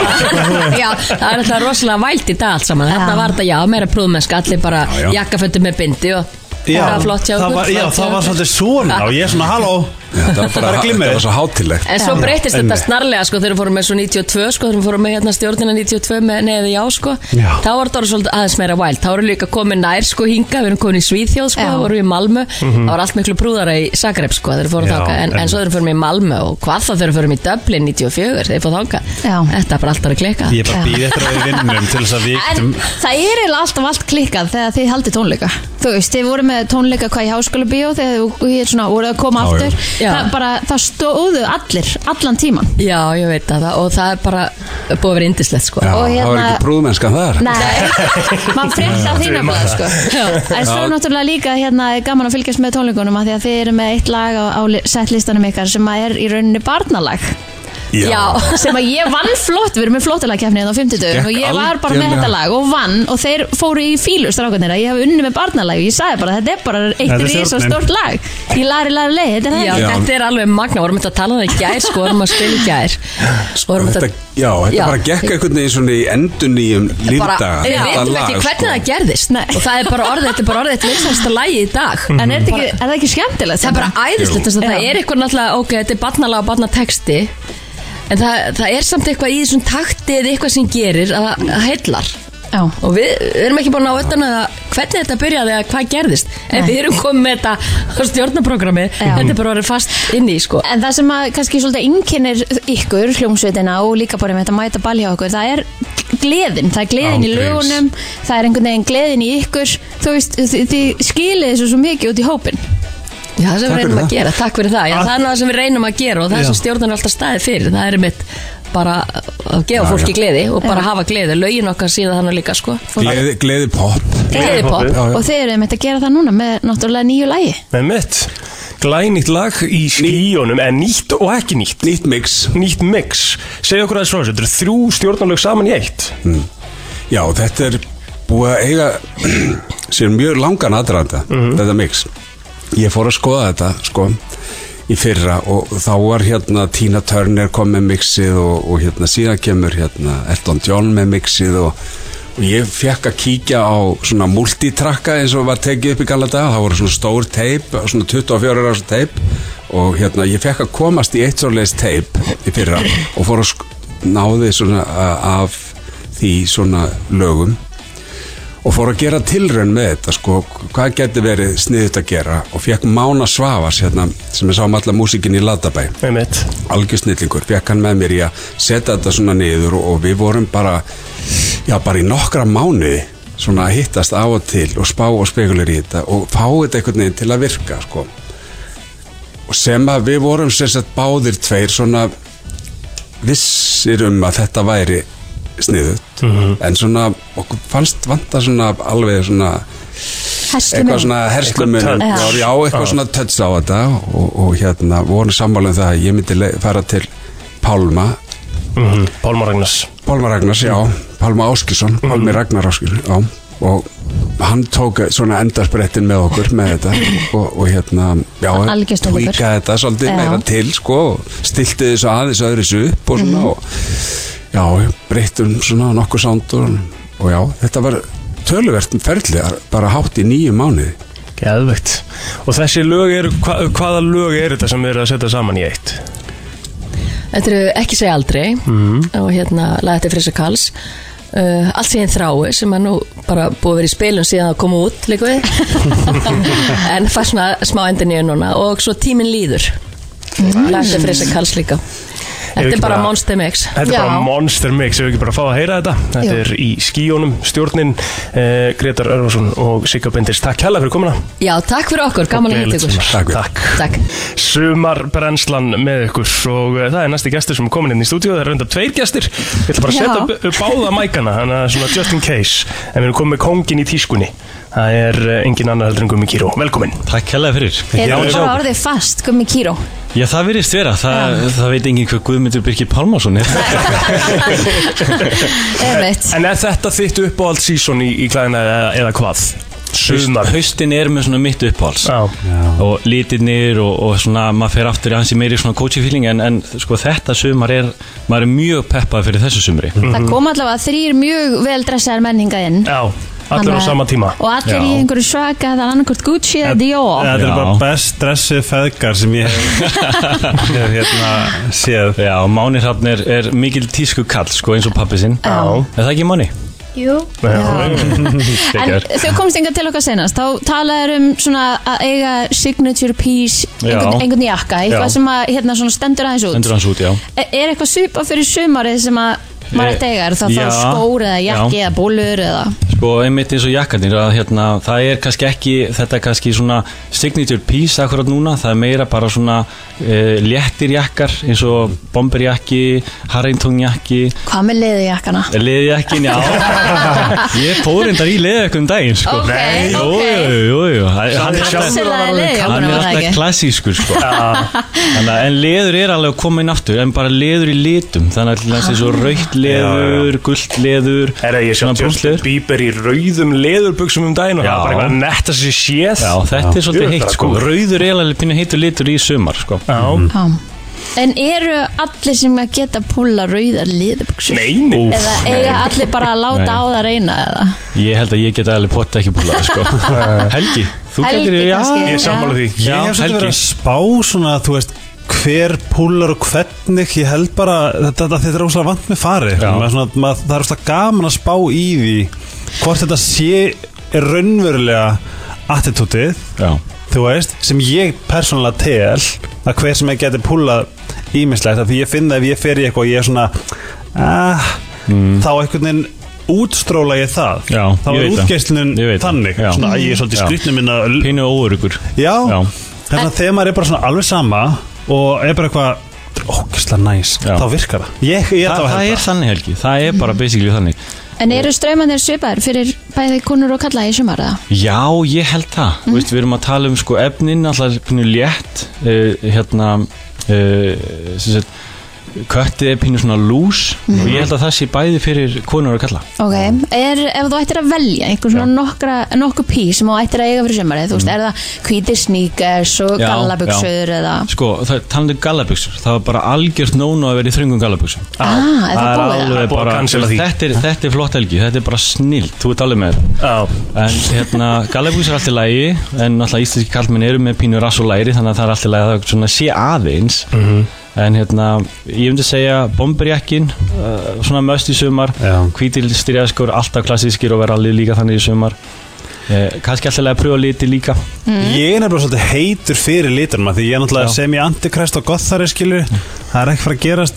[SPEAKER 7] Já, það er alltaf rosalega vælt í dag allt saman Þetta var þetta, já, meira prúðmennsk Allir bara
[SPEAKER 8] já.
[SPEAKER 7] jakkaföttu með bindi og það var flott hjá
[SPEAKER 3] það
[SPEAKER 7] okkur,
[SPEAKER 3] var,
[SPEAKER 7] flott
[SPEAKER 3] já,
[SPEAKER 7] hjá
[SPEAKER 3] það var
[SPEAKER 7] okkur.
[SPEAKER 3] svolítið svona og ég er svona, halló
[SPEAKER 8] þetta var bara,
[SPEAKER 3] Bara glimmið.
[SPEAKER 8] þetta var svo hátilegt
[SPEAKER 7] En svo breytist
[SPEAKER 8] En-
[SPEAKER 7] þetta snarlega sko þegar við fórum með svo 92 sko þegar við fórum með hérna stjórnina 92 með neði já sko
[SPEAKER 3] Já.
[SPEAKER 7] þá var þetta orðið svolítið aðeins meira vælt þá voru líka komið nær sko hinga við erum komin í Svíþjóð sko,
[SPEAKER 4] Já.
[SPEAKER 7] þá vorum við í Malmö þá var allt miklu brúðara í Zagreb sko þegar við fórum
[SPEAKER 3] Mhm. Já,
[SPEAKER 7] þáka en, en svo þegar við fórum í Malmö og hvað þá þegar við fórum í Dublin 94 þegar við fórum þáka
[SPEAKER 4] Já.
[SPEAKER 7] þetta er bara alltaf að klika
[SPEAKER 3] Ég er bara býð eftir að við vinnum til þess að við
[SPEAKER 4] En
[SPEAKER 3] getum
[SPEAKER 4] það er eiginlega alltaf allt klikkað þegar þið haldið tónleika Þú veist, þið voru með tónleika hvað í háskóla bíó þegar þú ég er svona voruð að koma
[SPEAKER 8] Já, já.
[SPEAKER 4] aftur
[SPEAKER 7] Já.
[SPEAKER 4] það, bara, það stóðu allir, allan tíman
[SPEAKER 7] Já, ég veit að það og það er bara búið að vera indislegt sko
[SPEAKER 8] Já,
[SPEAKER 4] Og
[SPEAKER 8] það var
[SPEAKER 4] hérna-
[SPEAKER 8] ekki prúðmennskan þar
[SPEAKER 4] Nei, maður frétt á þína blað sko. En svo er náttúrulega líka hérna, er gaman að fylgjast með tónleikunum af því að þið eru með eitt lag á, á setlistanum ykkar sem að er í rauninni barnalag
[SPEAKER 7] Já.
[SPEAKER 4] sem að ég vann flott, við erum með flottalagkefni hérna á 50
[SPEAKER 8] Gekk
[SPEAKER 4] og ég var bara með
[SPEAKER 8] algjörlega.
[SPEAKER 4] þetta lag og vann og þeir fóru í fílu strákanir að ég hef unni með barnalag og ég sagði bara þetta er bara
[SPEAKER 3] Þetta
[SPEAKER 4] eitt
[SPEAKER 3] er
[SPEAKER 4] risa
[SPEAKER 3] stjórnin.
[SPEAKER 4] stort lag í lari lari leið, þetta er það
[SPEAKER 7] Já,
[SPEAKER 4] ekki?
[SPEAKER 8] Já.
[SPEAKER 7] þetta er alveg magna, vorum þetta að tala um það í gær sko, vorum að spila í gær vorum
[SPEAKER 8] Þetta,
[SPEAKER 7] Sko, þetta
[SPEAKER 8] já, þetta
[SPEAKER 7] Já.
[SPEAKER 8] bara gekk einhvern veginn svona í endun í um lýrdaga
[SPEAKER 7] bara, við veitum ekki
[SPEAKER 8] sko.
[SPEAKER 7] hvernig það gerðist
[SPEAKER 4] Nei.
[SPEAKER 7] og það er bara orðið, þetta er bara orðið eitt vinsælsta lagi í dag
[SPEAKER 4] En er þetta ekki, er það ekki skemmtilegt?
[SPEAKER 7] Mhm. það er bara æðislegt þess að það
[SPEAKER 4] Já.
[SPEAKER 7] er eitthvað náttúrulega ok, þetta er barnalega og barnatexti en það, það er samt eitthvað í þessum takti eða eitthvað sem gerir að það heillar
[SPEAKER 4] Já.
[SPEAKER 7] og við, við erum ekki búin að utan að hvernig þetta byrjaði eða hvað gerðist en
[SPEAKER 4] Nei.
[SPEAKER 7] við erum komið með þetta á stjórnaprogrammi
[SPEAKER 4] Já.
[SPEAKER 7] þetta er bara orðið fast inn í sko
[SPEAKER 4] En það sem að kannski svolítið innkennir ykkur hljómsveitina og líka bara með þetta mæta balja okkur, það er gleðin, það er gleðin í
[SPEAKER 8] Ángriðs.
[SPEAKER 4] lögunum, það er einhvern veginn gleðin í ykkur, þú veist, þi- þið skilið þessu svo mikið út í hópin.
[SPEAKER 7] Já, það
[SPEAKER 8] Takk
[SPEAKER 7] sem við reynum
[SPEAKER 8] fyrir það.
[SPEAKER 7] að gera, takk fyrir það Já,
[SPEAKER 3] Að-
[SPEAKER 7] það er náttúrulega sem við reynum að gera og það er sem
[SPEAKER 3] Já.
[SPEAKER 7] stjórnan er alltaf staðið fyrir það er mitt bara að gefa fólki gleði og bara hafa gleði, lögin okkar síðan þannig líka sko
[SPEAKER 8] Gleði, gleði pop
[SPEAKER 7] Gleði pop
[SPEAKER 8] Já, já.
[SPEAKER 4] Og þið eru með að gera það núna með náttúrulega nýju lægi.
[SPEAKER 2] Með mitt Glænýtt lag í skíunum En nýtt og ekki nýtt
[SPEAKER 8] Nýtt mix
[SPEAKER 2] Nýtt mix Segðu okkur aðeins frá þessu Þetta eru þrjú stjórnarlög saman í eitt
[SPEAKER 8] Hmm. Já, þetta er búið að eiga sér mjög langan aðranda þetta mix Ég fór að skoða þetta sko í fyrra og þá var hérna Tina Turner kom með mixið og, og hérna síðan kemur hérna Elton John með mixið og, og ég fekk að kíkja á svona multitrakka eins og var tekið upp í galla dag það voru svona stór teip, svona 24 ára teip og hérna ég fekk að komast í eitt svoleiðis teip í fyrra og fór að sk- náði svona uh, af því svona lögum og fór að gera tilraun með þetta sko, hvað geti verið sniðut að gera og fekk Mána Svavas hérna, sem er sáum alla músikin í Latabæ
[SPEAKER 2] Með mitt
[SPEAKER 8] algjör snillingur, fekk hann með mér í að setja þetta svona niður og, og við vorum bara já, bara í nokkra mánuði svona að hittast á og til og spá og spekulir í þetta og fá þetta einhvern veginn til að virka sko. og sem að við vorum sem sagt báðir tveir svona vissir um að þetta væri sniðut en svona, okkur fannst vanta svona alveg svona
[SPEAKER 4] Hestum
[SPEAKER 8] eitthvað svona herslumun
[SPEAKER 2] Eitthvað
[SPEAKER 8] já,
[SPEAKER 4] touch.
[SPEAKER 8] já, eitthvað svona tötts á þetta og, og hérna vorum sammála um það að ég myndi le- fara til Pálma
[SPEAKER 2] Pálmar Ragnars
[SPEAKER 8] Pálma Ragnars, já, Pálma Áskilsson Pálmi Ragnar Áskilsson, já og hann tók svona endarsprettin með okkur með þetta og, og hérna, já,
[SPEAKER 4] Algjör snillingur.
[SPEAKER 8] tweaka þetta svolítið
[SPEAKER 4] Já.
[SPEAKER 8] meira til, sko og stilti þessu aðeins öðris upp og svona og, já, breyttum svona nokkuð sándur og já, þetta var töluvert ferli, bara hátt í nýju mánuði
[SPEAKER 2] Geðvegt Og þessi lög eru hva, Hvaða lög eru þetta sem við erum að setja saman í eitt?
[SPEAKER 7] Þetta eru ekki segja aldrei
[SPEAKER 2] Mhm.
[SPEAKER 7] og hérna laði þetta frisa kals uh, allt sem ég þrái sem er nú bara búið að vera í spilum síðan að koma út líka við en fær svona smá endin í önuna og svo tíminn líður mm. laði þetta frisa kals líka Þetta
[SPEAKER 2] ekki
[SPEAKER 7] er bara
[SPEAKER 2] bara-
[SPEAKER 7] Monster Mix
[SPEAKER 2] Þetta er
[SPEAKER 4] Já.
[SPEAKER 2] bara monster mix, ef við ekki bara fá að heyra þetta Þetta
[SPEAKER 4] Jú.
[SPEAKER 2] er í skíunum, stjórnin eh, Gretar Örvarsson og Sigga Bendis Takk hella fyrir komuna
[SPEAKER 7] Já, takk fyrir okkur, gaman að hitta ykkur
[SPEAKER 2] Takk,
[SPEAKER 8] Takk.
[SPEAKER 2] Takk.
[SPEAKER 7] Takk
[SPEAKER 2] Sumarbrennslan með ykkur og eh, það er næsti gestur sem er komin inn í stúdíu það er reyndar tveir gestir við ætlum bara að
[SPEAKER 4] Já.
[SPEAKER 2] setja upp, upp báða mækana þannig að svona just in case en við erum komið með kongin í tískunni það er eh, engin annar heldur en Gumi Kíró velkomin
[SPEAKER 9] Takk hella fyrir
[SPEAKER 4] Er það bara
[SPEAKER 9] Já,
[SPEAKER 4] orðið fast, gummi kíró?
[SPEAKER 9] Já, það virðist vera, það, það veit enginn hvað Guðmundur Birgir Pálmarsson er
[SPEAKER 4] Einmitt.
[SPEAKER 2] en er þetta þitt uppáhald season í, í klæðina eða, eða hvað? Sumar
[SPEAKER 9] Haustin er með svona mitt uppáls
[SPEAKER 2] Já,
[SPEAKER 9] og litirnir og, og svona maður fer aftur í hansi meiri svona coaching-feeling en, en sko þetta sumar er maður er mjög peppað fyrir þessu sumri
[SPEAKER 3] Mhm.
[SPEAKER 4] Það kom allavega þrýr mjög vel dressaðar menninga inn
[SPEAKER 2] já, allir á
[SPEAKER 4] Þannig að-
[SPEAKER 2] sama tíma
[SPEAKER 4] og allir í
[SPEAKER 9] Já.
[SPEAKER 4] einhverju svaka, það er annarkvort Gucci eða Dior.
[SPEAKER 3] Þetta er
[SPEAKER 9] Já.
[SPEAKER 3] bara best dressið feðgar sem ég hef hef hérna séð
[SPEAKER 9] Já, Máni Hrafn er, er mikil tísku kall sko eins og pappi sinn
[SPEAKER 4] Já.
[SPEAKER 9] Er það ekki Máni?
[SPEAKER 4] Jú. En
[SPEAKER 9] Gekkjaður.
[SPEAKER 4] þau komst yngar til okkar senast þá talaður um svona að eiga signature piece,
[SPEAKER 9] Já.
[SPEAKER 4] einhvern, einhvern jakka eitthvað
[SPEAKER 9] Já.
[SPEAKER 4] sem að hérna svona stendur aðeins út
[SPEAKER 9] Endur hans út, já
[SPEAKER 4] E- Er eitthvað svipa fyrir sumarið sem að maður
[SPEAKER 9] Eh,
[SPEAKER 4] ætti að eiga, er það
[SPEAKER 9] já.
[SPEAKER 4] þá skór eða jakki
[SPEAKER 9] Já.
[SPEAKER 4] eða bólur eða
[SPEAKER 9] sko einmitt eins og jakkarnir að hérna, það er kannski ekki, þetta er kannski svona signature piece akkurat núna það er meira bara svona uh, léttir jakkar eins og bomberjakki harringtonjakki
[SPEAKER 4] Hvað með leðijakkana?
[SPEAKER 9] Leðjakkin, já Ég fór endar í leðjakkum daginn sko.
[SPEAKER 4] Ok, Nei.
[SPEAKER 9] jú,
[SPEAKER 4] ok.
[SPEAKER 9] jú, jú, jú. Hann, hann er
[SPEAKER 4] Hann
[SPEAKER 9] sjálfur
[SPEAKER 4] kallaði
[SPEAKER 9] Hann
[SPEAKER 4] leðijakkana
[SPEAKER 9] er
[SPEAKER 4] var það
[SPEAKER 9] alltaf
[SPEAKER 4] ekki
[SPEAKER 9] klassískur sko. Þannig, að- En leður er alveg að koma inn aftur En bara leður í litum Þannig að það er svo raukt leður, gult leður
[SPEAKER 2] Er það ég sjá
[SPEAKER 9] svona brúnt
[SPEAKER 2] Justin
[SPEAKER 9] leður.
[SPEAKER 2] Bieber í rauðum leðurbuxum um daginn og
[SPEAKER 9] Já.
[SPEAKER 2] það er bara eitthvað netta sér séð
[SPEAKER 9] Já, þetta er
[SPEAKER 2] Jú,
[SPEAKER 9] svolítið
[SPEAKER 2] það
[SPEAKER 9] heitt
[SPEAKER 2] er
[SPEAKER 9] sko
[SPEAKER 2] cool.
[SPEAKER 9] Rauður er alveg pínu heitur litur í sumar sko
[SPEAKER 2] Já.
[SPEAKER 4] Já. En eru allir sem að geta púla rauðar liðbuxur?
[SPEAKER 2] Nei, nei.
[SPEAKER 4] Eða eiga allir bara að láta
[SPEAKER 9] Nei.
[SPEAKER 4] á það reyna eða?
[SPEAKER 9] Ég held að ég geta alveg potta ekki búlað sko Helgi, þú
[SPEAKER 4] Helgi
[SPEAKER 9] getur já,
[SPEAKER 4] kannski,
[SPEAKER 2] Ég er
[SPEAKER 4] já.
[SPEAKER 2] sammála því
[SPEAKER 3] Ég
[SPEAKER 9] Já,
[SPEAKER 3] hef svolítið
[SPEAKER 9] Helgi.
[SPEAKER 3] verið að spá svona þú veist hver púlar og hvernig ég held bara, þetta, þetta, þetta er óslega vant með fari maður, svona, maður, það er óslega gaman að spá í því hvort þetta sé er raunverulega attitútið,
[SPEAKER 9] já.
[SPEAKER 3] þú veist sem ég persónulega tel að hver sem ég geti púlað ímislegt af því ég finn það ef ég fer í eitthvað og ég er svona ah,
[SPEAKER 2] Mm.
[SPEAKER 3] þá einhvern veginn útstróla ég það
[SPEAKER 9] Já,
[SPEAKER 3] þá
[SPEAKER 9] ég
[SPEAKER 3] er
[SPEAKER 9] veit það.
[SPEAKER 3] útgeislunin
[SPEAKER 9] Ég veit það.
[SPEAKER 3] þannig
[SPEAKER 9] Já.
[SPEAKER 3] svona, æ, ég er svolítið
[SPEAKER 9] Já.
[SPEAKER 3] skrýtnum minna
[SPEAKER 9] Pínu óurugur
[SPEAKER 3] Já,
[SPEAKER 9] Já.
[SPEAKER 3] þannig að þegar maður er bara svona alveg sama og er bara eitthvað "Þetta er ógeðslega næs,
[SPEAKER 9] Já.
[SPEAKER 3] þá virkar það Ég, ég
[SPEAKER 9] Þa,
[SPEAKER 3] ætla að
[SPEAKER 9] Það
[SPEAKER 3] held
[SPEAKER 9] er þannig Helgi, það er bara basically þannig
[SPEAKER 4] En eru strömmanir svipaðir fyrir bæði konur og kalla í sumar eða?
[SPEAKER 9] Já, ég held það mm. Veist, Við erum að tala um sko efnin alltaf er pínu létt uh, hérna uh, sem sagt, köttið er pínu svona lús
[SPEAKER 4] Mhm.
[SPEAKER 9] og ég held að það sé bæði fyrir konur að kalla
[SPEAKER 4] Ok, er, ef þú ættir að velja einhver svona nokkra, nokkur pí sem þú ættir að eiga fyrir sumarið, þú veist, er það hvíti sneakers og
[SPEAKER 9] Mm. Já,
[SPEAKER 4] gallabuxur eða
[SPEAKER 9] Sko, það talandi um gallabuxur það var bara algjört nóna að vera í þröngum gallabuxum
[SPEAKER 4] Ah, er það búið það?
[SPEAKER 9] alveg
[SPEAKER 2] Búið að
[SPEAKER 9] bara
[SPEAKER 2] cancela því.
[SPEAKER 9] þetta er, þetta er flott helgi, þetta er bara snill þú ert alveg með þetta
[SPEAKER 2] Já.
[SPEAKER 9] en hérna, gallabuxur er allt í lægi en náttúrulega íslenski kallmenn eru með pínu rass og læri þannig að það er allt í lægi að það svona sé aðeins
[SPEAKER 3] Mhm.
[SPEAKER 9] en hérna, ég myndi segja bomberjakkin, uh, svona möst í sumar
[SPEAKER 3] Já.
[SPEAKER 9] hvítil styrjaðskur alltaf klassískir og vera alveg líka þannig í sumar Eh, kannski alltaf að pröfa liti líka
[SPEAKER 4] Mm.
[SPEAKER 3] það Ég er nefnilega svolítið heitur fyrir litunum af Því ég er náttúrulega
[SPEAKER 9] Já.
[SPEAKER 3] sem ég antikrest og gothari skilur Það er ekki fara að gerast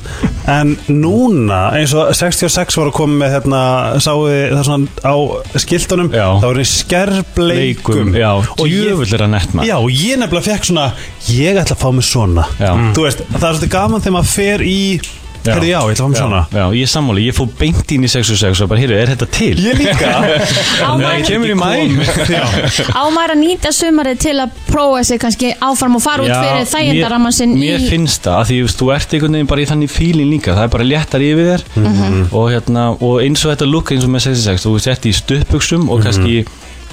[SPEAKER 3] En núna, eins og 66 var að koma með hérna Sáu þið það svona á skiltunum
[SPEAKER 9] Já.
[SPEAKER 3] Það voru skerfleikum
[SPEAKER 9] já,
[SPEAKER 3] Og ég,
[SPEAKER 9] djöfull er að nett maður
[SPEAKER 3] Já, og ég nefnilega fekk svona Ég ætla að fá mig svona
[SPEAKER 9] Já.
[SPEAKER 3] Þú veist, það er svolítið gaman þegar maður fer í
[SPEAKER 9] Já.
[SPEAKER 3] Herði já, ég ætla að fá mig svona
[SPEAKER 9] Já, ég er sammáli, ég fór beint inn í 606 og bara, heyrðu, er þetta til?
[SPEAKER 3] Ég líka
[SPEAKER 4] Á maður-
[SPEAKER 9] kemur í mæ
[SPEAKER 4] Á maður að nýta sumarið til að prófa sig kannski áfram og fara út fyrir þægindaramman sinn í...
[SPEAKER 9] mér finnst það, af því þú veist, þú ert einhvern veginn bara í þannig fílin líka, það er bara léttar yfir þér
[SPEAKER 4] Mhm.
[SPEAKER 9] og, hérna, og eins og þetta lukk eins og með 66, þú sett í stuttbuxum
[SPEAKER 3] Mhm.
[SPEAKER 9] og kannski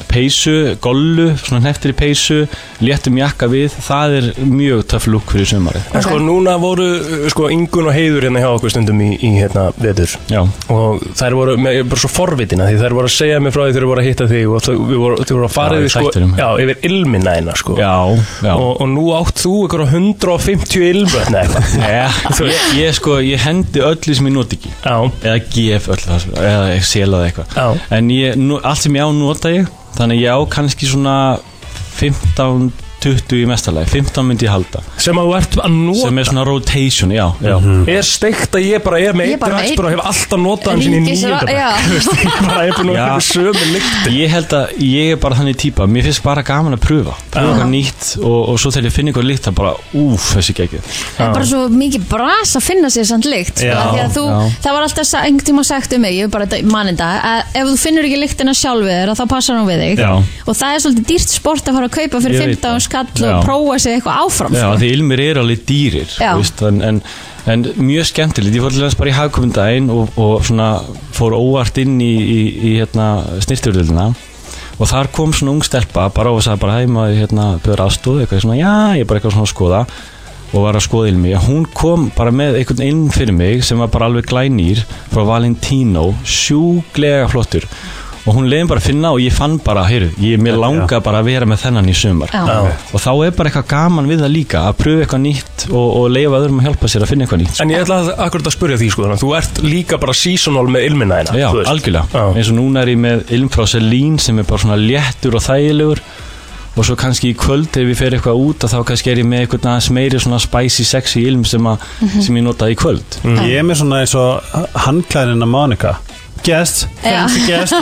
[SPEAKER 9] peysu, gollu svona heftir í peysu, léttum jakka við, það er mjög töff lukk fyrir sumarið,
[SPEAKER 2] En sko núna voru uh, sko Ingun og Heiður hérna hjá okkur stundum í, í hérna veður
[SPEAKER 9] já
[SPEAKER 2] og þær voru með, ég er bara svo forvitina því þær voru að segja mér frá því þegar voru að hitta þig og þau við voru, þau voru að fara
[SPEAKER 9] Já, í
[SPEAKER 2] yfir sko,
[SPEAKER 9] þættinum.
[SPEAKER 2] já, yfir ilmina hérna sko
[SPEAKER 9] Já, já
[SPEAKER 2] Og, og nú átt þú ykkur 150 ilmvötn eða eitthvað
[SPEAKER 9] Já, ég, ég sko, ég hendi öllu sem ég noti ekki
[SPEAKER 2] Já,
[SPEAKER 9] eða gef öll það sem- eða selaði eitthvað
[SPEAKER 2] Já.
[SPEAKER 9] en ég, nú, allt sem ég á nota ég þannig að ég á kannski svona 15, 20 í mestalagi 15 myndi ég halda
[SPEAKER 2] sem að þú ert að nota Mhm.
[SPEAKER 9] sem er svona rotation, já, já.
[SPEAKER 4] Mhm.
[SPEAKER 2] er steikt að ég bara er með
[SPEAKER 4] Ég
[SPEAKER 2] einn
[SPEAKER 4] bara með
[SPEAKER 2] dragsbúr og hef alltaf notað hann sinni í
[SPEAKER 4] Ríkis-
[SPEAKER 2] nýjönda
[SPEAKER 4] Já.
[SPEAKER 2] ég bara er búin að
[SPEAKER 9] Já.
[SPEAKER 2] vera sömu líkt
[SPEAKER 9] ég held að ég er bara þannig típa mér finnst bara gaman að pröfa pröfa eitthvað nýtt og, og svo þegar ég finn eitthvað líkt það bara, úf, þessi geggið
[SPEAKER 4] Það er bara svo mikið bras að finna sér samt lykt sko,
[SPEAKER 2] Já,
[SPEAKER 4] af því að þú,
[SPEAKER 9] já.
[SPEAKER 4] Það var alltaf sa- einhvern tíma sagt um mig Ég er bara manninda að ef þú finnur ekki lyktina sjálf við þér að þá passar hún við þig
[SPEAKER 9] Já.
[SPEAKER 4] og það er svolítið dýrt sport að fara að kaupa fyrir
[SPEAKER 9] Ég
[SPEAKER 4] 15
[SPEAKER 9] veit það.
[SPEAKER 4] skall
[SPEAKER 9] Já.
[SPEAKER 4] og prófa sig eitthvað áfram
[SPEAKER 9] Já,
[SPEAKER 4] sko.
[SPEAKER 9] því ilmir eru alveg dýrir
[SPEAKER 4] Já.
[SPEAKER 9] veist, en, en, en mjög skemmtilegt Ég fór til hans bara í hagkominn daginn og, og svona fór óvart inn í, í, í hérna, snirturðulina og þar kom svona ung stelpa bara og sagði bara hæ maður hérna byrður aðstóð eitthvað svona já ég er bara eitthvað svona að skoða og var að skoða ilmi og hún kom bara með einhvern inn fyrir mig sem var bara alveg glænýr frá Valentino sjúglega flottur og hún leiði bara að finna og ég fann bara heyru, ég, mér langa bara að vera með þennan í sumar
[SPEAKER 4] Já.
[SPEAKER 9] og þá er bara eitthvað gaman við það líka að pröfa eitthvað nýtt og, og leifa öðrum að hjálpa sér að finna eitthvað nýtt
[SPEAKER 2] En ég ætla að akkurat að spyrja því sko þannig að Þú ert líka bara seasonal með ilmina hérna
[SPEAKER 9] Já,
[SPEAKER 2] þú veist.
[SPEAKER 9] algjörlega,
[SPEAKER 2] Já.
[SPEAKER 9] eins og núna er ég með ilm frá Selín sem er bara svona léttur og þægilegur og svo kannski í kvöld ef ég fer eitthvað út að þá kannski er ég með einhvern aðeins meiri svona spicy sexy ilm sem, a, sem ég notaði í kvöld
[SPEAKER 3] Ég er með svona eins og handklæðin að Monika guest
[SPEAKER 4] Já.
[SPEAKER 3] Fancy guest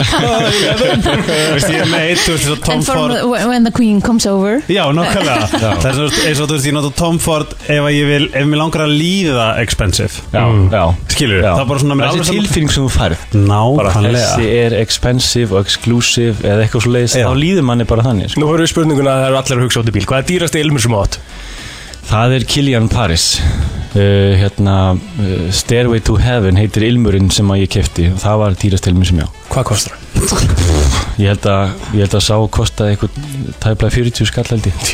[SPEAKER 3] Vist, Ég er með eitt, þú veist, eins og Tom
[SPEAKER 4] And from
[SPEAKER 3] Ford
[SPEAKER 4] when when the queen comes over
[SPEAKER 3] Já, nákvæmlega Það er svona, eins og þú veist, ég nota Tom Ford ef að ég vil, ef mér langar að líða expensive
[SPEAKER 9] Já, já
[SPEAKER 3] Skilur,
[SPEAKER 9] Já.
[SPEAKER 3] það er bara svona mér
[SPEAKER 9] Þessi
[SPEAKER 3] alveg saman-
[SPEAKER 9] tilfinning sem þú færð bara þessi
[SPEAKER 3] Nákvæmlega
[SPEAKER 9] er expensive og exclusive eða eitthvað svo leiðis
[SPEAKER 3] Já.
[SPEAKER 9] þá líður manni bara þannig sko.
[SPEAKER 2] Nú höfum við spurninguna að það eru allir að hugsa út í bíl Hvað er dýrasti ilmur sem þú átt?
[SPEAKER 9] það er Kilian Paris uh, hérna uh, Stairway to Heaven heitir ilmurinn sem að ég kefti og það var dýrast ilmur sem ég á
[SPEAKER 2] Hvað kostar það?
[SPEAKER 9] ég held að, ég held að sá kostaði eitthvað tæplega 40 skall held ég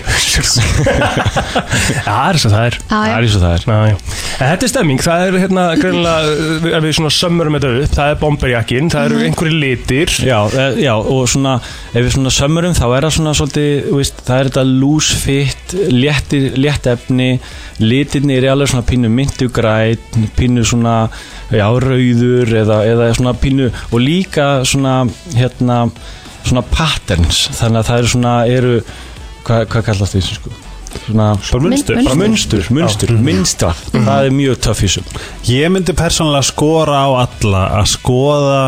[SPEAKER 2] Það er svo það er
[SPEAKER 4] Já,
[SPEAKER 9] það
[SPEAKER 4] já.
[SPEAKER 9] er eins og það er
[SPEAKER 2] Já, já. En þetta er stemming, það er hérna greinlega, ef við svona sömmurum þetta upp, það er bomberjakkin, það
[SPEAKER 4] Mhm.
[SPEAKER 2] eru einhverju litir
[SPEAKER 9] já, eh, já, og svona ef við svona sömurum þá er það svona svolítið, þú veist, það er þetta loose fit léttir, létt efni litirni er alveg svona pínu myndugræt pínu svona já, rauður eða, eða svona pínu og líka svona hérna, svona patterns þannig að það eru svona, eru hvað, hvað kallast því sko? svona
[SPEAKER 3] Bara munstur Mhm.
[SPEAKER 4] Mun-
[SPEAKER 9] bara munstur, munstur, minstra það er mjög töff í þessu
[SPEAKER 3] Ég myndi persónulega skora á alla að skoða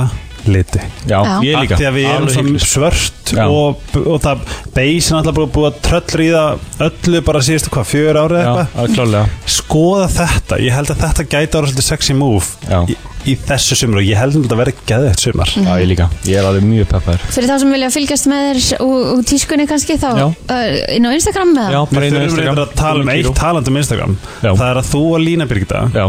[SPEAKER 3] liti
[SPEAKER 9] já,
[SPEAKER 4] Já.
[SPEAKER 9] ég líka
[SPEAKER 3] Af Því að við erum
[SPEAKER 9] Alveg
[SPEAKER 3] svo
[SPEAKER 9] hiklaust.
[SPEAKER 3] svört
[SPEAKER 9] Já.
[SPEAKER 3] og, og það beisin alltaf búið búið að tröllríða öllu bara síðustu hvað, fjör árið
[SPEAKER 9] já,
[SPEAKER 3] eitthvað
[SPEAKER 9] að klálega
[SPEAKER 3] Skoða þetta, ég held að þetta gæti ára svolítið sexy move
[SPEAKER 9] Já.
[SPEAKER 3] í, í þessu sumar og ég held að þetta verði geðið sumar
[SPEAKER 9] já, ég líka, ég er alveg mjög peppar
[SPEAKER 4] Fyrir þá sem vilja fylgjast með þér og, og tískunni kannski þá
[SPEAKER 9] Já.
[SPEAKER 4] uh, inn á Instagram með
[SPEAKER 9] Já, bara inn
[SPEAKER 3] Við
[SPEAKER 9] á
[SPEAKER 3] þurfum
[SPEAKER 9] Instagram
[SPEAKER 3] reyndar að tala um eitt talandi um Instagram
[SPEAKER 9] Já.
[SPEAKER 3] Það er að þú og Lína Birgitta,
[SPEAKER 9] Já,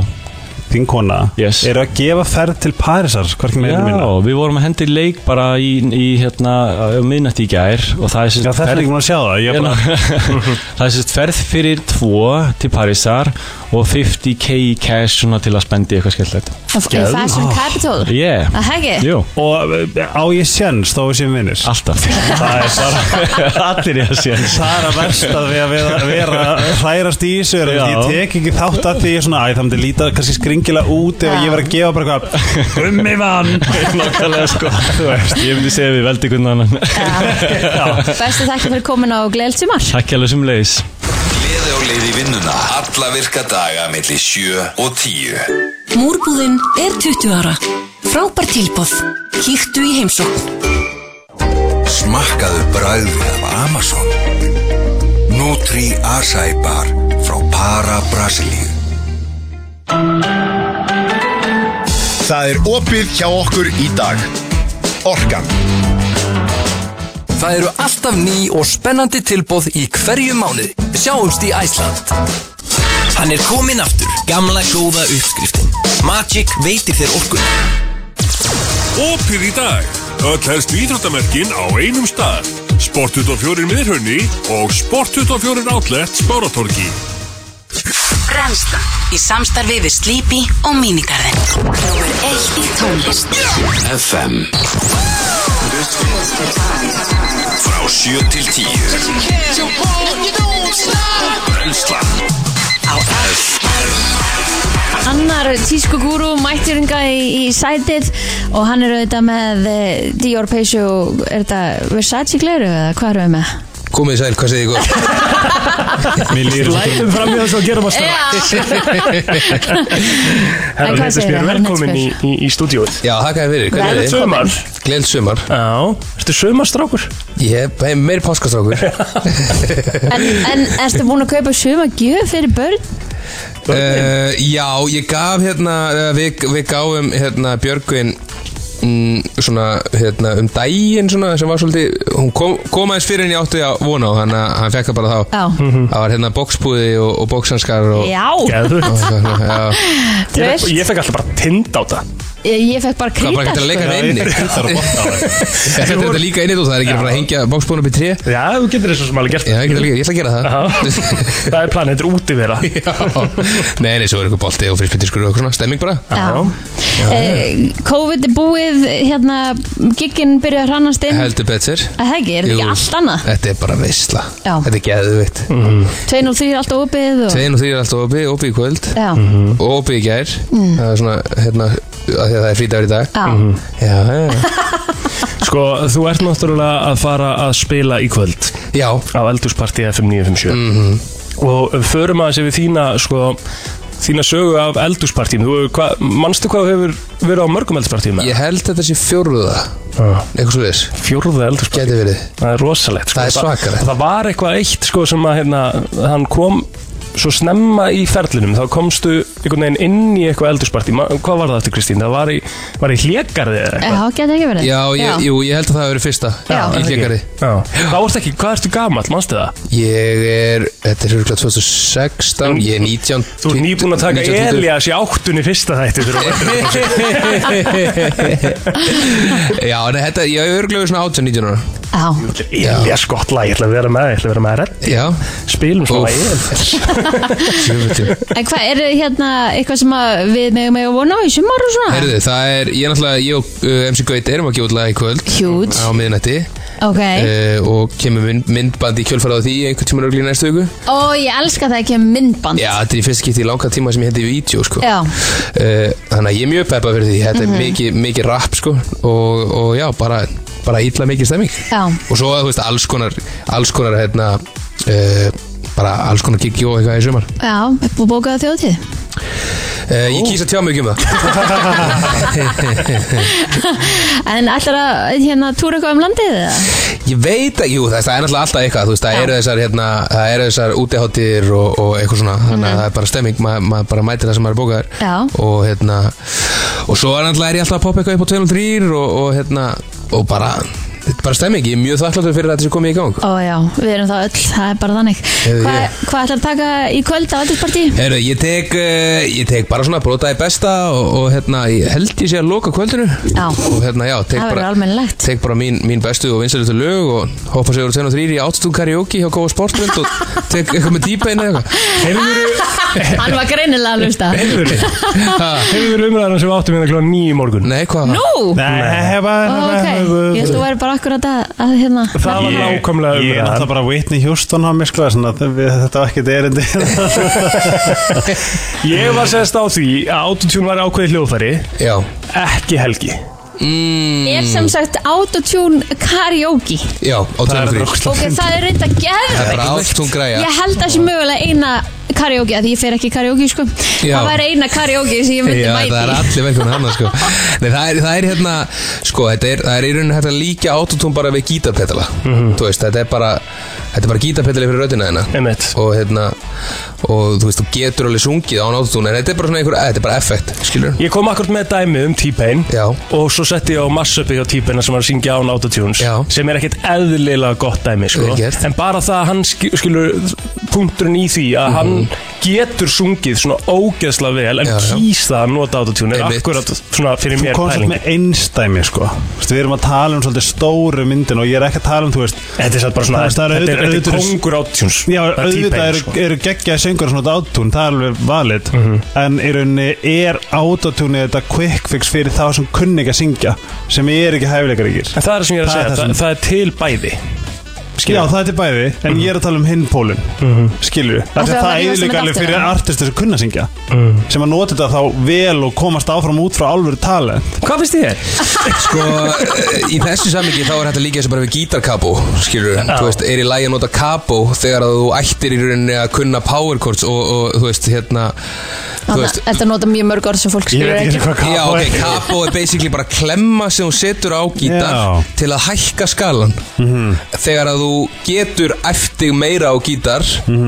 [SPEAKER 3] þín kona
[SPEAKER 9] Yes.
[SPEAKER 3] eru að gefa ferð til Parísar hvorki meira
[SPEAKER 9] já
[SPEAKER 3] minna
[SPEAKER 9] við vorum að hendi leik bara í, í hérna, á miðnætti í gær og það er
[SPEAKER 3] Já,
[SPEAKER 9] sérst
[SPEAKER 3] þetta er ekki maður að sjá það, ég er bara
[SPEAKER 9] það er sérst ferð fyrir tvo til Parísar og 50k í cash svona til að spendi eitthvað skelltilegt
[SPEAKER 4] Of- í Fashion Capital
[SPEAKER 9] Yeah,
[SPEAKER 4] Það hegi
[SPEAKER 9] jú,
[SPEAKER 3] Ah. Og eh, á ég sjens þó við séum vinnir
[SPEAKER 9] alltaf
[SPEAKER 3] Það er bara
[SPEAKER 9] Allir ég að sé
[SPEAKER 3] Það er að versta við að vera, vera að hrærast í þessu er,
[SPEAKER 9] Já.
[SPEAKER 3] Ég tek ekki þátt að því ég er svona Æ, það myndi líta kannski skringilega út Ef
[SPEAKER 4] Já.
[SPEAKER 3] ég verið að gefa bara eitthvað Gummi vann
[SPEAKER 9] Nákvæmlega sko, þú veist, ég myndi segja við veldi hvernig annan
[SPEAKER 4] Bestu þakki fyrir komin á Gleilt sumar
[SPEAKER 9] Takk hjá þessum leiðis
[SPEAKER 1] Gleði á leið í vinnuna Alla virka daga millir 7 og 10
[SPEAKER 6] Múrbúðin er 20 ára. Frábær tilbúð. Kíktu í heimsókn.
[SPEAKER 1] Smakkaðu bragðið af Amazon Nutri Acai Bar frá Para Brasilíu
[SPEAKER 10] Það er opið hjá okkur í dag. Orkan.
[SPEAKER 5] Það eru alltaf ný og spennandi tilbóð í hverju mánuði. Sjáumst í Æsland. Hann er kominn aftur, gamla góða uppskriftin. Magic veitir þér orkun.
[SPEAKER 11] Opið í dag Öll helst íþróttamerkin á einum stað Sport24 miðhönni og Sport24 Outlet Spáratorgi
[SPEAKER 6] Brenslan. Í samstarfi við Sleepy og Minigarðin. Númer 1 í tónlist.
[SPEAKER 1] FM Frá 7 til 10 Brenslan
[SPEAKER 6] Á FM.
[SPEAKER 4] Annar tískugúru mætturinga í, í sætið og hann er auðvitað með eh, Dior Peixu og er þetta Versace gleru eða hvað erum við með?
[SPEAKER 10] Komið sæl, hvað segir ykkur?
[SPEAKER 2] Lætum fram í þessu og gerum að strax
[SPEAKER 4] Já,
[SPEAKER 2] Herra,
[SPEAKER 4] En hvað
[SPEAKER 2] þetta
[SPEAKER 4] segir
[SPEAKER 2] spyr
[SPEAKER 4] það?
[SPEAKER 2] velkomin í, í, í stúdíóið
[SPEAKER 10] Já, þakkaði fyrir. Hvernig
[SPEAKER 2] Gleðilegt
[SPEAKER 10] er þið?
[SPEAKER 2] sumar.
[SPEAKER 10] Gleðilegt sumar.
[SPEAKER 2] Já, ertu sömarstrákur?
[SPEAKER 10] Ég er meir páskastrákur. Eh,
[SPEAKER 4] en, en erstu búin að kaupa suma gjöf fyrir börn?
[SPEAKER 10] uh, já, ég gaf hérna, uh, við, við gáum hérna Björgvin mm, svona hérna um daginn svona sem var svolítið, hún kom, kom aðeins fyrir en ég átti að vona og hann, hann fekk það bara þá.
[SPEAKER 4] Já.
[SPEAKER 10] Það var hérna bóksbúði og, og bóksanskar og...
[SPEAKER 4] Já,
[SPEAKER 2] Geðu
[SPEAKER 10] og svona, já.
[SPEAKER 2] Ég,
[SPEAKER 4] tröst
[SPEAKER 2] ég fekk alltaf bara tind á það
[SPEAKER 4] Ég, ég fekk bara
[SPEAKER 10] Hvað, bara
[SPEAKER 4] krýta
[SPEAKER 10] getur að leika
[SPEAKER 3] Já,
[SPEAKER 10] hérna
[SPEAKER 3] ég
[SPEAKER 10] inni?
[SPEAKER 3] fekk hittar og botna á þér.
[SPEAKER 10] Þetta er þetta líka inni þú, það er ekki að fara að hengja bóksbúðin upp í tré.
[SPEAKER 2] Já, þú getur þessu sem alveg gert
[SPEAKER 10] Já, ég, geta líka, ég ætla að gera
[SPEAKER 2] Já.
[SPEAKER 10] það.
[SPEAKER 2] Það er planið, þetta er útivera
[SPEAKER 10] Já, nei, nei, svo er eitthvað bolti og frisbyttiskur og eitthvað svona, stemming bara
[SPEAKER 4] Já. Eh, COVID er búið, hérna, gigginn byrja að hrannast inn
[SPEAKER 10] Heldur betur
[SPEAKER 4] Að Það ekki, er þetta
[SPEAKER 10] Eh,
[SPEAKER 4] ekki
[SPEAKER 10] Jú. Eh,
[SPEAKER 4] allt annað?
[SPEAKER 10] Þetta er bara veisla,
[SPEAKER 4] Já.
[SPEAKER 10] þetta er geðvitt mm.
[SPEAKER 2] Mhm.
[SPEAKER 4] 203 er alltaf opið og...
[SPEAKER 10] Tvein og þrýr er alltaf opi, opi í kvöld
[SPEAKER 4] Já, Mhm.
[SPEAKER 10] og opi í gær Það er svona, hérna, að því að það er frítagur í dag
[SPEAKER 4] já,
[SPEAKER 2] Mhm.
[SPEAKER 10] Já, já, já,
[SPEAKER 2] Sko, þú ert náttúrulega að fara að spila í kvöld
[SPEAKER 10] já Mhm.
[SPEAKER 2] á Eldúsparti FM 957 og förum aðeins yfir þína sko, þína sögu af eldúspartíum Þú, hva, Manstu hvað þú hefur verið á mörgum eldúspartíum?
[SPEAKER 10] Ég held þetta sé fjórða Eitthvað svo þess
[SPEAKER 2] Fjórða eldúspartíum?
[SPEAKER 10] Geti verið
[SPEAKER 2] Það er rosalegt sko.
[SPEAKER 10] Það er svakalegt.
[SPEAKER 2] Það var eitthvað eitt sko, sem að hérna, hann kom svo snemma í ferlinum Þá komstu einhvern veginn inn í eitthvað eldúspartí Hvað var það eftir Kristín? Það var í, var í hlégarði eða
[SPEAKER 4] Eh, Já,
[SPEAKER 2] eitthvað?
[SPEAKER 4] getur ekki verið
[SPEAKER 10] Já, ég, jú, ég held að það hafi verið fyrsta
[SPEAKER 4] Já.
[SPEAKER 10] Í hlégarði
[SPEAKER 2] Já. Þá ertu ekki, hvað ertu gamall, manstu það?
[SPEAKER 10] Ég er, þetta er hörgulega 2016 Ég er 19
[SPEAKER 2] Þú ert nýbúin að taka
[SPEAKER 10] 19, 20.
[SPEAKER 2] Elias í áttunni fyrsta þætti fyrir að vera
[SPEAKER 10] Já, nei, þetta, ég er hörgulega svona 18-19 ára
[SPEAKER 4] Já,
[SPEAKER 2] Elias gott lag, ég ætla að vera með, ég ætla að vera með að reddi
[SPEAKER 10] Já,
[SPEAKER 2] Spilum svona
[SPEAKER 10] Úff.
[SPEAKER 2] lagið
[SPEAKER 10] sjöfutum
[SPEAKER 4] en hvað er hérna eitthvað sem að við megum að vona á í sumar og svona?
[SPEAKER 10] Herðu, það er, ég er náttúrulega, ég og uh, MC Gauti erum að gefa út lag í kvöld
[SPEAKER 4] Huge.
[SPEAKER 10] Á miðnætti
[SPEAKER 4] Ok,
[SPEAKER 10] uh, Og kemur mynd, myndbandi í kjölfarað á því einhvern tíma röglega næstu viku
[SPEAKER 4] og ég elska það ekki um myndband
[SPEAKER 10] Já, þetta er í fyrst skipti í langa tíma sem ég hendi í vídeo sko.
[SPEAKER 4] Já. Mhm.
[SPEAKER 10] Eh, Þannig að ég er mjög peppa fyrir því Þetta er mikið, mikið rap sko. og, og já, bara, bara ítla mikið stemming
[SPEAKER 4] Já.
[SPEAKER 10] Og svo, þú veist, alls konar Alls konar, hérna uh, Bara alls konar gigi og eitthvað í sumar
[SPEAKER 4] Já, er búið bókað á þjóðtíð
[SPEAKER 10] uh, Ég kýsa tjá mig ekki um það
[SPEAKER 4] En ætlar að hérna túra eitthvað um landið eða?
[SPEAKER 10] Ég veit að, jú, það það er náttúrulega alltaf eitthvað Þú veist, það eru þessar, hérna Það eru þessar útiháttir og, og eitthvað svona
[SPEAKER 4] Mhm.
[SPEAKER 10] Þannig að það er bara stemming, ma- maður bara mætir það sem maður er bókaður
[SPEAKER 4] Já.
[SPEAKER 10] og hérna og svo er náttúrulega er ég alltaf að poppa eitthvað upp á 203 og, og hérna og bara, þetta er bara stemming, ég er mjög þakkláttur fyrir að þetta sem komið í gang
[SPEAKER 4] Ó já, við erum það öll, það er bara þannig
[SPEAKER 10] Heyrðu,
[SPEAKER 4] Hva,
[SPEAKER 10] ég-
[SPEAKER 4] Hvað ætlar að taka í kvöld á aldurspartí?
[SPEAKER 10] Heru, ég, tek, eh, ég tek bara svona brotaði besta og, og hérna, ég held ég sé að loka kvöldinu
[SPEAKER 4] Já.
[SPEAKER 10] og hérna, já, tek
[SPEAKER 4] Það verður
[SPEAKER 10] bara,
[SPEAKER 4] almennilegt.
[SPEAKER 10] tek bara mín, mín bestu og vinstælutu lög og hoppa sig úr 203 í áttstúð karaoke hjá Góa Sportbrönd og tek eitthvað með dýpa inn eða
[SPEAKER 4] Hann var greinilega að lusta
[SPEAKER 10] eitthvað
[SPEAKER 2] Hefur verið umræðan sem við áttum hérna klóðan nýjum morgun
[SPEAKER 10] Nei, hvað?
[SPEAKER 4] Nú,
[SPEAKER 3] Nei,
[SPEAKER 4] Ó, ok, ég held að þú væri bara akkurat að, að hérna
[SPEAKER 2] Það var nákvæmlega
[SPEAKER 3] Ég er
[SPEAKER 2] umræðan
[SPEAKER 3] náttúrulega bara Whitney Houston á mér sko svona, að við- Þetta var ekkert erindi
[SPEAKER 2] Ég var sérst á því að autotune var ákveði hljóðfæri
[SPEAKER 10] Já
[SPEAKER 2] Ekki helgi
[SPEAKER 10] Mm.
[SPEAKER 4] Er sem sagt autotune karaoke
[SPEAKER 10] Já, á 203
[SPEAKER 4] Ok, það er reynda
[SPEAKER 10] Það er bara
[SPEAKER 4] geðveikt
[SPEAKER 10] áttstúð græja
[SPEAKER 4] Ég held að það sé mögulega eina karaoke að því ég fer ekki í karaoke sko
[SPEAKER 10] Já.
[SPEAKER 4] Það væri eina karaoke sem ég myndi
[SPEAKER 10] Já, það er
[SPEAKER 4] mæti í.
[SPEAKER 10] allir velkomin hann sko. Nei, það, er, það er hérna sko, þetta er, það er í rauninni hægt að líka autotune bara við gítarpetala
[SPEAKER 2] Mhm.
[SPEAKER 10] þú veist, þetta er bara þetta er bara gítarpetali fyrir röddina hérna
[SPEAKER 2] Einmitt.
[SPEAKER 10] og hérna og þú veist, þú getur alveg sungið án autotune en þetta er bara svona einhver, þetta er bara effekt skilur
[SPEAKER 2] Ég kom akkurat með dæmi um T-Pain
[SPEAKER 10] Já.
[SPEAKER 2] og svo setti ég á massupi hjá T-Paina sem var að syngja án autotunes
[SPEAKER 10] Já.
[SPEAKER 2] sem er ekkert eðlilega gott dæmi sko.
[SPEAKER 10] Vel gert.
[SPEAKER 2] en bara það að hann sk- skilur punkturinn í því að hann getur sungið svona ógeðsla vel en
[SPEAKER 10] Mhm. Já, já.
[SPEAKER 2] kýs það að nota autotune er
[SPEAKER 10] Einmitt.
[SPEAKER 2] akkurat svona fyrir
[SPEAKER 3] Þú
[SPEAKER 2] mér
[SPEAKER 3] komst
[SPEAKER 2] pæling
[SPEAKER 3] svolítið með einstæmi sko Þú veist, Við erum að tala um svolítið stóru myndin og ég er ekki að tala um, þú veist
[SPEAKER 2] Þetta er satt bara svona,
[SPEAKER 3] Það- það er
[SPEAKER 2] þetta er,
[SPEAKER 3] auðvitað-
[SPEAKER 2] þetta er
[SPEAKER 3] auðvitað-
[SPEAKER 2] kongur autotunes
[SPEAKER 3] Já,
[SPEAKER 2] Það er
[SPEAKER 3] auðvitað
[SPEAKER 2] T-Pain,
[SPEAKER 3] eru,
[SPEAKER 2] sko. Mhm.
[SPEAKER 3] eru geggjaði söngur svona autotune, það er alveg valid en í rauninni er autotune þetta quick fix fyrir þá sem kunni ekki að syngja sem er ekki hæfileikar ykkur
[SPEAKER 2] En það er það sem ég er að
[SPEAKER 3] Það er það
[SPEAKER 2] segja, það,
[SPEAKER 3] sem-
[SPEAKER 2] það Mhm. er til bæði
[SPEAKER 3] Já, það er til bæði, en ég er að tala um hinn pólun mm -hmm.
[SPEAKER 2] Mhm.
[SPEAKER 3] skilju, það,
[SPEAKER 4] þegar
[SPEAKER 3] það
[SPEAKER 4] það rífast
[SPEAKER 3] eðilega
[SPEAKER 4] með
[SPEAKER 3] alveg
[SPEAKER 4] dálítið,
[SPEAKER 3] fyrir
[SPEAKER 4] já.
[SPEAKER 3] artisti sem kunna að syngja
[SPEAKER 2] Mhm.
[SPEAKER 3] sem að nota þetta þá vel og komast áfram út frá alvöru talent
[SPEAKER 2] Hvað finnst þér?
[SPEAKER 10] sko, eh, í þessu samingi þá er hægt að líka þessu bara við gítarkabó skilur, þú veist, er í lagi að nota kabó þegar að þú ættir í rauninni að kunna power chords og, og þú veist, hérna þú
[SPEAKER 4] Þannig
[SPEAKER 10] veist,
[SPEAKER 4] að Þetta nota mjög mörg orð sem fólk
[SPEAKER 3] Ég
[SPEAKER 4] skilur
[SPEAKER 3] veit ekki
[SPEAKER 4] ekki
[SPEAKER 3] hvað
[SPEAKER 10] Já,
[SPEAKER 3] kappa
[SPEAKER 10] ok, kapó er basically bara klemma sem hún setur á gítar
[SPEAKER 3] Já.
[SPEAKER 10] til að hækka skalan þegar að þú getur eftir meira á gítar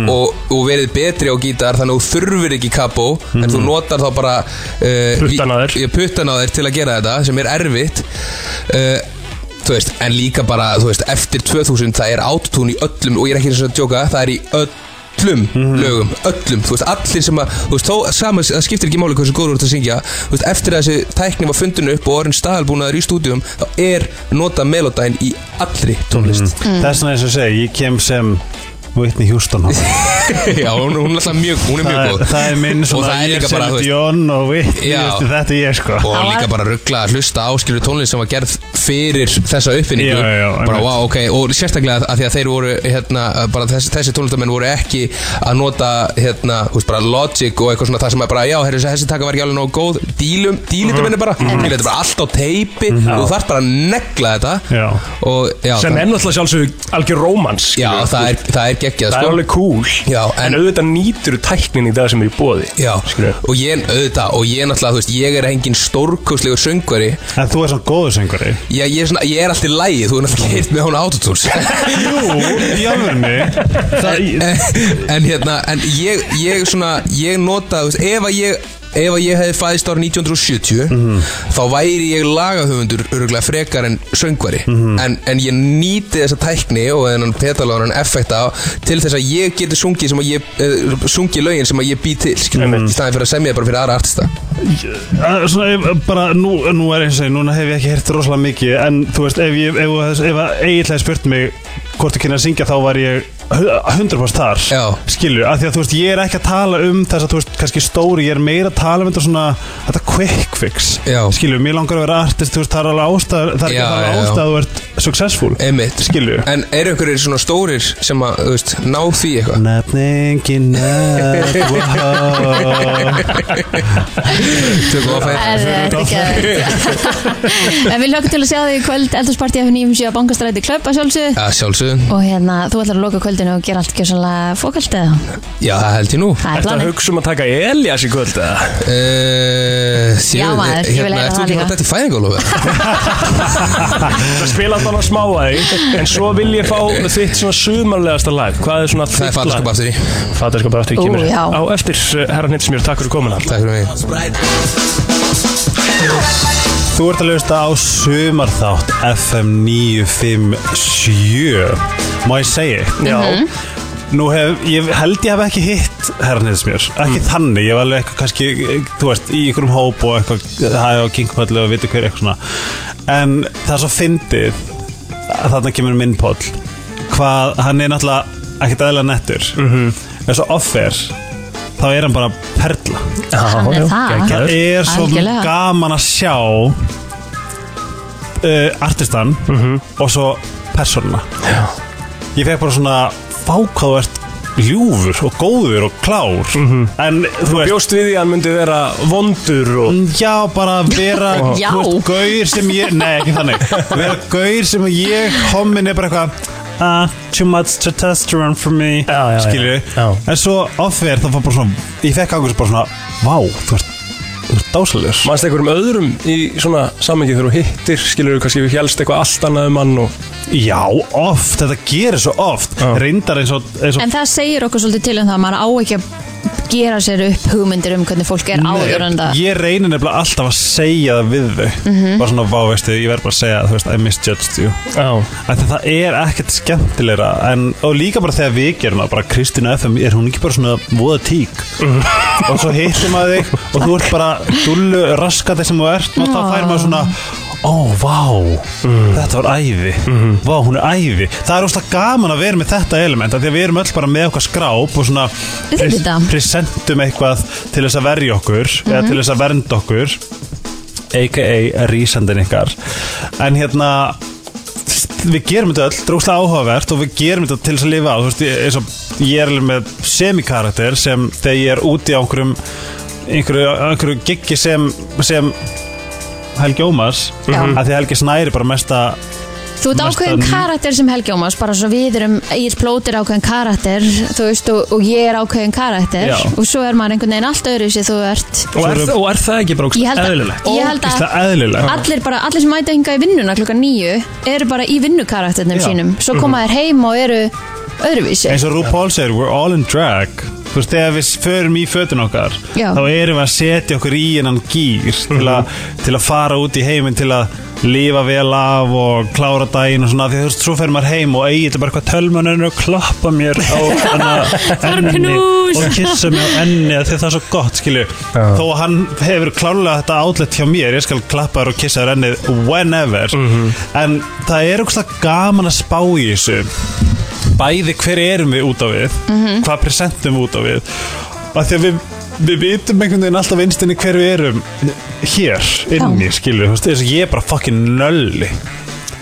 [SPEAKER 10] og, og verið betri á gítar þannig að þú þurfir ekki kapó en þú notar þá bara uh,
[SPEAKER 2] Puttan Mhm. á þér.
[SPEAKER 10] ég, puttan á þér til að gera þetta sem er erfitt uh, þú veist, en líka bara þú veist, eftir 2000 það er autotune í öllum og ég er ekki eins og að djóka, það er í öllum
[SPEAKER 2] Mhm.
[SPEAKER 10] lögum, öllum, þú veist, allir sem að þú veist, þó, sama, það skiptir ekki máli hversu góður þú ert að syngja, þú veist, eftir að þessi tækni var fundin upp og orðin staðalbúnaður í stúdíum þá er nota melodæn í allri tónlist
[SPEAKER 3] Mhm.
[SPEAKER 10] Mm.
[SPEAKER 3] Þess vegna eins og ég segi, ég kem sem Whitney Houston á það
[SPEAKER 10] Já, hún, hún er alltaf mjög, hún er mjög
[SPEAKER 3] er,
[SPEAKER 10] góð
[SPEAKER 3] það er minn
[SPEAKER 10] og
[SPEAKER 3] svona,
[SPEAKER 10] það er
[SPEAKER 3] ég
[SPEAKER 10] líka
[SPEAKER 3] sem
[SPEAKER 10] bara, þú veist
[SPEAKER 3] Dion og Whitney,
[SPEAKER 10] Já.
[SPEAKER 3] veistu, þetta er ég sko
[SPEAKER 10] og líka bara ruggla að hlusta áskilur tónlist sem var gerð fyrir þessa uppfinningu
[SPEAKER 3] Já, já, já,
[SPEAKER 10] bara
[SPEAKER 3] einmitt.
[SPEAKER 10] wow, ok, og sérstaklega að því að þeir voru hérna, bara þessi, þessi tónlistamenn voru ekki að nota hérna, þú veist, bara logic og eitthvað svona það sem er bara, já, herri, þessi taka var ekki alveg nógu góð dílum, dílitum henni bara
[SPEAKER 3] Mhm.
[SPEAKER 10] mm þetta er bara allt á teipi og þú þarf bara að negla þetta
[SPEAKER 3] Já.
[SPEAKER 10] og já,
[SPEAKER 2] Sem
[SPEAKER 10] það-
[SPEAKER 2] er náttúrulega sjálfsög algjör rómans
[SPEAKER 10] Já, það er, það er alveg geggjað
[SPEAKER 2] Það er
[SPEAKER 10] sko.
[SPEAKER 2] alveg cool
[SPEAKER 10] Já,
[SPEAKER 2] En auðvitað nýtur tæknin í dag sem er í bóði
[SPEAKER 10] Já, og ég, auðvitað, og ég náttúrulega, þú veist, ég er engin stórkostlegur söngvari
[SPEAKER 3] En þú er svona góður söngvari
[SPEAKER 10] Já, ég er, svona, ég er alltaf lægi, þú er náttúrulega hitt með hún autotúls
[SPEAKER 3] Jú, í alvörni
[SPEAKER 10] en, en hérna, en ég, ég svona, ég nota, þú veist, ef að ég Ef að ég hefði fæðist ára 1970 þá væri ég lagahöfundur örgulega frekar en söngvari en, en ég nýti þessa tækni og þennan petaláran effekta til þess að ég geti sungið sem að ég uh, sungið lögin sem að ég bý til skilur, í staðin fyrir að semja bara fyrir aðra artista
[SPEAKER 3] Eh, Svona, ef- bara, nú, nú er eins og ég, núna hef ég ekki hert rosalega mikið En þú veist, ef ég, ef, ef, ef eiginlega spurt mig hvort þú kynna að syngja þá var ég hu- 100% þar
[SPEAKER 10] Já.
[SPEAKER 3] Skilur, af því að þú veist, ég er ekki að tala um þess að þú veist, kannski stóri Ég er meira að tala um þetta svona, þetta quick fix
[SPEAKER 10] Já.
[SPEAKER 3] Skilur, mér langar að vera artist, þú veist, það er alveg ástæð Það er ekki
[SPEAKER 10] Já,
[SPEAKER 3] að það
[SPEAKER 10] já, já.
[SPEAKER 3] ástæð að þú ert successful
[SPEAKER 10] Einmitt.
[SPEAKER 3] Skilur
[SPEAKER 10] En eru einhverjir svona stórir sem að, þú veist, ná því eitthvað?
[SPEAKER 3] Nefningin nefn, wow
[SPEAKER 10] Tökum á færi
[SPEAKER 4] Er þetta ekki að En við lögum til að sjá þig í kvöld Eldursparti F957 bankastræti klöp að sjálfsög
[SPEAKER 10] Já, sjálfsögum.
[SPEAKER 4] Og hérna, þú ætlar að loka kvöldinu og gera allt gjössalega fókalt eða
[SPEAKER 10] Já, það held ég nú.
[SPEAKER 4] Það er
[SPEAKER 2] Ertu að
[SPEAKER 4] planið
[SPEAKER 2] hugsa um að taka Elias í kvöld eða?
[SPEAKER 10] Uh,
[SPEAKER 4] Já, maður, ég vil heyra það
[SPEAKER 10] Ertu ekki
[SPEAKER 4] líka.
[SPEAKER 10] að þetta í fæðingálofu?
[SPEAKER 2] Það spila alltaf hann á smáæði En svo vil ég fá þitt svona sumarlegasta lag Hvað er svona
[SPEAKER 10] Það er fattaskap aftur í.
[SPEAKER 2] Fatarskap aftur
[SPEAKER 4] Ú,
[SPEAKER 2] kemur
[SPEAKER 4] já.
[SPEAKER 2] á eftir eh, Herra Nitsmjör, takk fyrir komuna
[SPEAKER 10] Takk fyrir mig.
[SPEAKER 3] Þú ert að hlusta á sumarþátt FM 957 Má ég segja?
[SPEAKER 2] Já,
[SPEAKER 4] Mhm.
[SPEAKER 3] Nú hef, ég held ég hef ekki hitt herrniðsmjör Ekki þannig, ég var alveg eitthvað kannski Þú veist, í einhverjum hóp og eitthvað Það er á kinkpallu og viti hver eitthvað svona En það er svo fyndið að Þarna kemur minn poll Hvað, hann er náttúrulega ekkert eðla nettur mm -hmm. En svo offer Þá er hann bara perla
[SPEAKER 4] Hann er það
[SPEAKER 3] Það er svo
[SPEAKER 4] Algjörlega.
[SPEAKER 3] gaman að sjá uh, artistan
[SPEAKER 2] Mhm.
[SPEAKER 3] og svo persónuna Ég fekk bara svona fákað þú ert ljúfur og góður og klár en þú veist
[SPEAKER 2] Mhm. bjóst við því að hann myndi vera vondur og
[SPEAKER 3] Já, bara vera
[SPEAKER 4] Já.
[SPEAKER 3] þú veist, Gaur sem ég, nei ekki þannig Vera gaur sem ég Hommin er bara eitthvað Uh, too much testosterone for me
[SPEAKER 2] Já, já, já.
[SPEAKER 3] skilju,
[SPEAKER 2] Já.
[SPEAKER 3] en svo offer þá var bara svona, ég fekk ákveðs bara svona vá, þú ert, þú ert dásalegur
[SPEAKER 2] Manst einhverjum öðrum í svona samengi þegar þú hittir, skilur þú kannski við hélst eitthvað allt annað um hann og
[SPEAKER 3] Já, oft, þetta gerir svo oft
[SPEAKER 2] Já.
[SPEAKER 3] Reyndar eins og, eins og
[SPEAKER 4] En það segir okkur svolítið til um það að maður á ekki að gera sér upp hugmyndir um hvernig fólk er áður en það Mhm.
[SPEAKER 3] Ég reynir nefnilega alltaf að segja það við þau Bara svona, vá, veistu, ég verð bara að segja Þú veist, I misjudged you
[SPEAKER 2] Já,
[SPEAKER 3] Af því að Það er ekkert skemmtilegra en, Og líka bara þegar við gerum það Bara Kristina FM, er hún ekki bara svona voða tík Og svo hittir maður þig Og þú ert bara dullu raskati sem þú ert Og þá fær maður svona Ó, vá, þetta var æði Vá, hún er æði Það er óslega gaman að vera með þetta element af Því að við erum öll bara með okkar skráp Og svona
[SPEAKER 4] Við þurfum þetta. Mhm.
[SPEAKER 3] presentum eitthvað Til þess að verja okkur Eða til þess að vernda okkur A.k.a. rísandin ykkar En hérna við gerum þetta öll drókslega áhugavert og við gerum þetta til þess að lifa á þú veist, ég, eins og, ég er alveg með semikarakter sem þegar ég er úti á einhverjum einhverju, einhverju giggi sem, sem Helgi Ómars Mhm.
[SPEAKER 4] Já.
[SPEAKER 3] að því Helgi Snæri bara mesta
[SPEAKER 4] Þú ert
[SPEAKER 3] Mesta-
[SPEAKER 4] ákveðin karakter sem Helgi Ómars bara svo við erum, ég plótir ákveðin karakter þú veist og, og ég er ákveðin karakter
[SPEAKER 3] Já.
[SPEAKER 4] og svo er maður einhvern veginn allt öðru sem þú ert
[SPEAKER 2] og er, og er það ekki bara
[SPEAKER 4] Ég held að-
[SPEAKER 2] eðlilegt?
[SPEAKER 4] Ég held að-
[SPEAKER 3] ógislega eðlilega
[SPEAKER 4] Allir, bara, allir sem mæta hinga í vinnuna klukka nýju eru bara í vinnukarakterunum
[SPEAKER 3] Já.
[SPEAKER 4] sínum svo koma þær heim og eru öðruvísi
[SPEAKER 3] eins og RuPaul segir, we're all in drag þú veist, þegar við förum í fötun okkar
[SPEAKER 4] Já.
[SPEAKER 3] þá erum við að setja okkur í hennan gýr til, að, til að fara út í heiminn til að lifa vel af og klára daginn og svona því að þú veist, svo fer maður heim og eigi þetta bara eitthvað tölmaninu og klappa mér á
[SPEAKER 4] var
[SPEAKER 3] enni
[SPEAKER 4] knús.
[SPEAKER 3] og kissa mér á enni af því að það er svo gott, skilju þó að hann hefur klárlega þetta átlegt hjá mér ég skal klappa þér og kissa þér ennið whenever, en það er okkur gaman að spá í þessu bæði hver erum við út á við
[SPEAKER 4] Mhm.
[SPEAKER 3] hvað presentum við út á við og því að við við vitum einhvern veginn alltaf einstinni hver við erum hér inni, skilju, þú veist, þess að ég er bara fucking nölli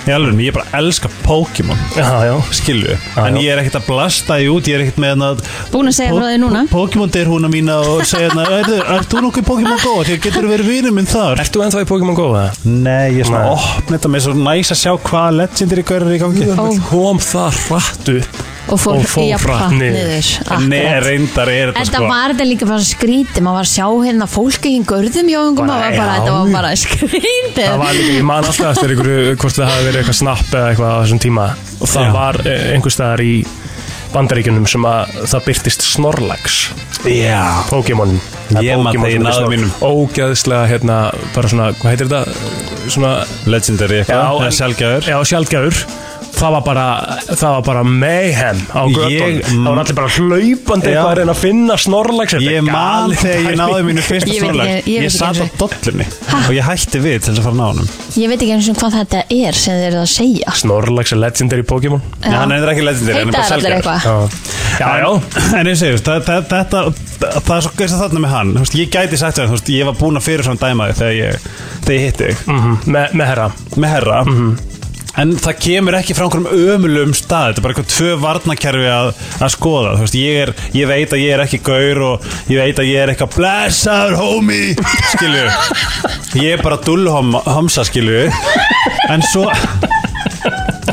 [SPEAKER 3] í alveg, ég bara elska Pokémon
[SPEAKER 2] Já, já
[SPEAKER 3] skilju, en ég er ekkert að blasta því út ég er ekkert með hérna að
[SPEAKER 4] Búin að segja frá því núna
[SPEAKER 3] Pokémon deyr húna mína og segja hérna, "Heyrðu, ert þú nokkuð Pokémon góð? Þegar getur verið vinur minn þar
[SPEAKER 2] Ert þú ennþá í Pokémon GO það?
[SPEAKER 3] Nei, ég er svona
[SPEAKER 2] Nei.
[SPEAKER 3] opnett að mér er svo næs að sjá hvaða legendir í hverju er í gangi
[SPEAKER 4] Ó.
[SPEAKER 2] Kom það hratt upp
[SPEAKER 4] og fór,
[SPEAKER 2] Og fór hratt
[SPEAKER 4] jafnfratt
[SPEAKER 2] niður.
[SPEAKER 4] niður.
[SPEAKER 3] Nei,
[SPEAKER 4] Akkurat.
[SPEAKER 3] reyndar er þetta
[SPEAKER 4] Þetta
[SPEAKER 3] sko
[SPEAKER 4] var þetta líka bara skrítið, maður var að sjá hérna fólki hinn görðum hjóðungum,
[SPEAKER 2] Bara,
[SPEAKER 4] maður var bara,
[SPEAKER 2] já.
[SPEAKER 4] þetta var bara skrítið.
[SPEAKER 2] Það var líka, ég man alltaf eftir einhverju, hvort það hafi verið eitthvað snapp eða eitthvað á þessum tíma og það
[SPEAKER 3] Já.
[SPEAKER 2] var eh, einhvers staðar í bandaríkjunum sem að það byrtist Snorlax
[SPEAKER 3] Já
[SPEAKER 2] Pokémon
[SPEAKER 3] Ég man það í náðum mínum.
[SPEAKER 2] Ógæðislega, hérna, bara svona, hvað heitir þetta? Svona
[SPEAKER 3] Legendary eitthvað, eða
[SPEAKER 2] en-
[SPEAKER 3] sjálfgjafur
[SPEAKER 2] Já, sjálfgjafur Það var bara, það var bara mayhem á göttunum
[SPEAKER 3] Ég-
[SPEAKER 2] Það var allir bara hlaupandi
[SPEAKER 3] Já.
[SPEAKER 2] eitthvað að reyna að finna Snorlax Þetta er
[SPEAKER 3] Ég man
[SPEAKER 2] galin
[SPEAKER 3] þegar ég
[SPEAKER 2] pæling.
[SPEAKER 3] náði mínu fyrsta
[SPEAKER 4] Ég veit
[SPEAKER 3] snorlag
[SPEAKER 4] ekki- ég
[SPEAKER 3] Ég
[SPEAKER 4] veit ekki
[SPEAKER 3] satt
[SPEAKER 4] eins
[SPEAKER 3] á
[SPEAKER 4] og-
[SPEAKER 3] dollunni Og ég hætti við til þess að fara að ná honum
[SPEAKER 4] Ég veit ekki eins og hvað þetta er sem þið eru að segja.
[SPEAKER 2] Snorlax er legendary Pokémon
[SPEAKER 3] Nei, hann er ekki legendary, hann
[SPEAKER 4] Heita
[SPEAKER 3] er bara
[SPEAKER 4] er allir
[SPEAKER 3] sjálfgjafur
[SPEAKER 4] eitthvað.
[SPEAKER 2] Já, já, já.
[SPEAKER 3] En ég segjum, það, það, þetta, það, það er svo gæst að þarna með hann Þú veist, Ég gæti sagt það, þú veist, ég var búinn að fyrir svona dæma þig þegar ég, þegar ég hitti þig
[SPEAKER 2] Mm með, með herra Mhm.
[SPEAKER 3] Með herra En það kemur ekki frá einhverjum ömulum stað Þetta er bara eitthvað tvö varnakerfi að, að skoða Þú veist, ég, er, ég veit að ég er ekki gaur Og ég veit að ég er eitthvað Blessaður homie Skilju Ég er bara dullhomsa skilju En svo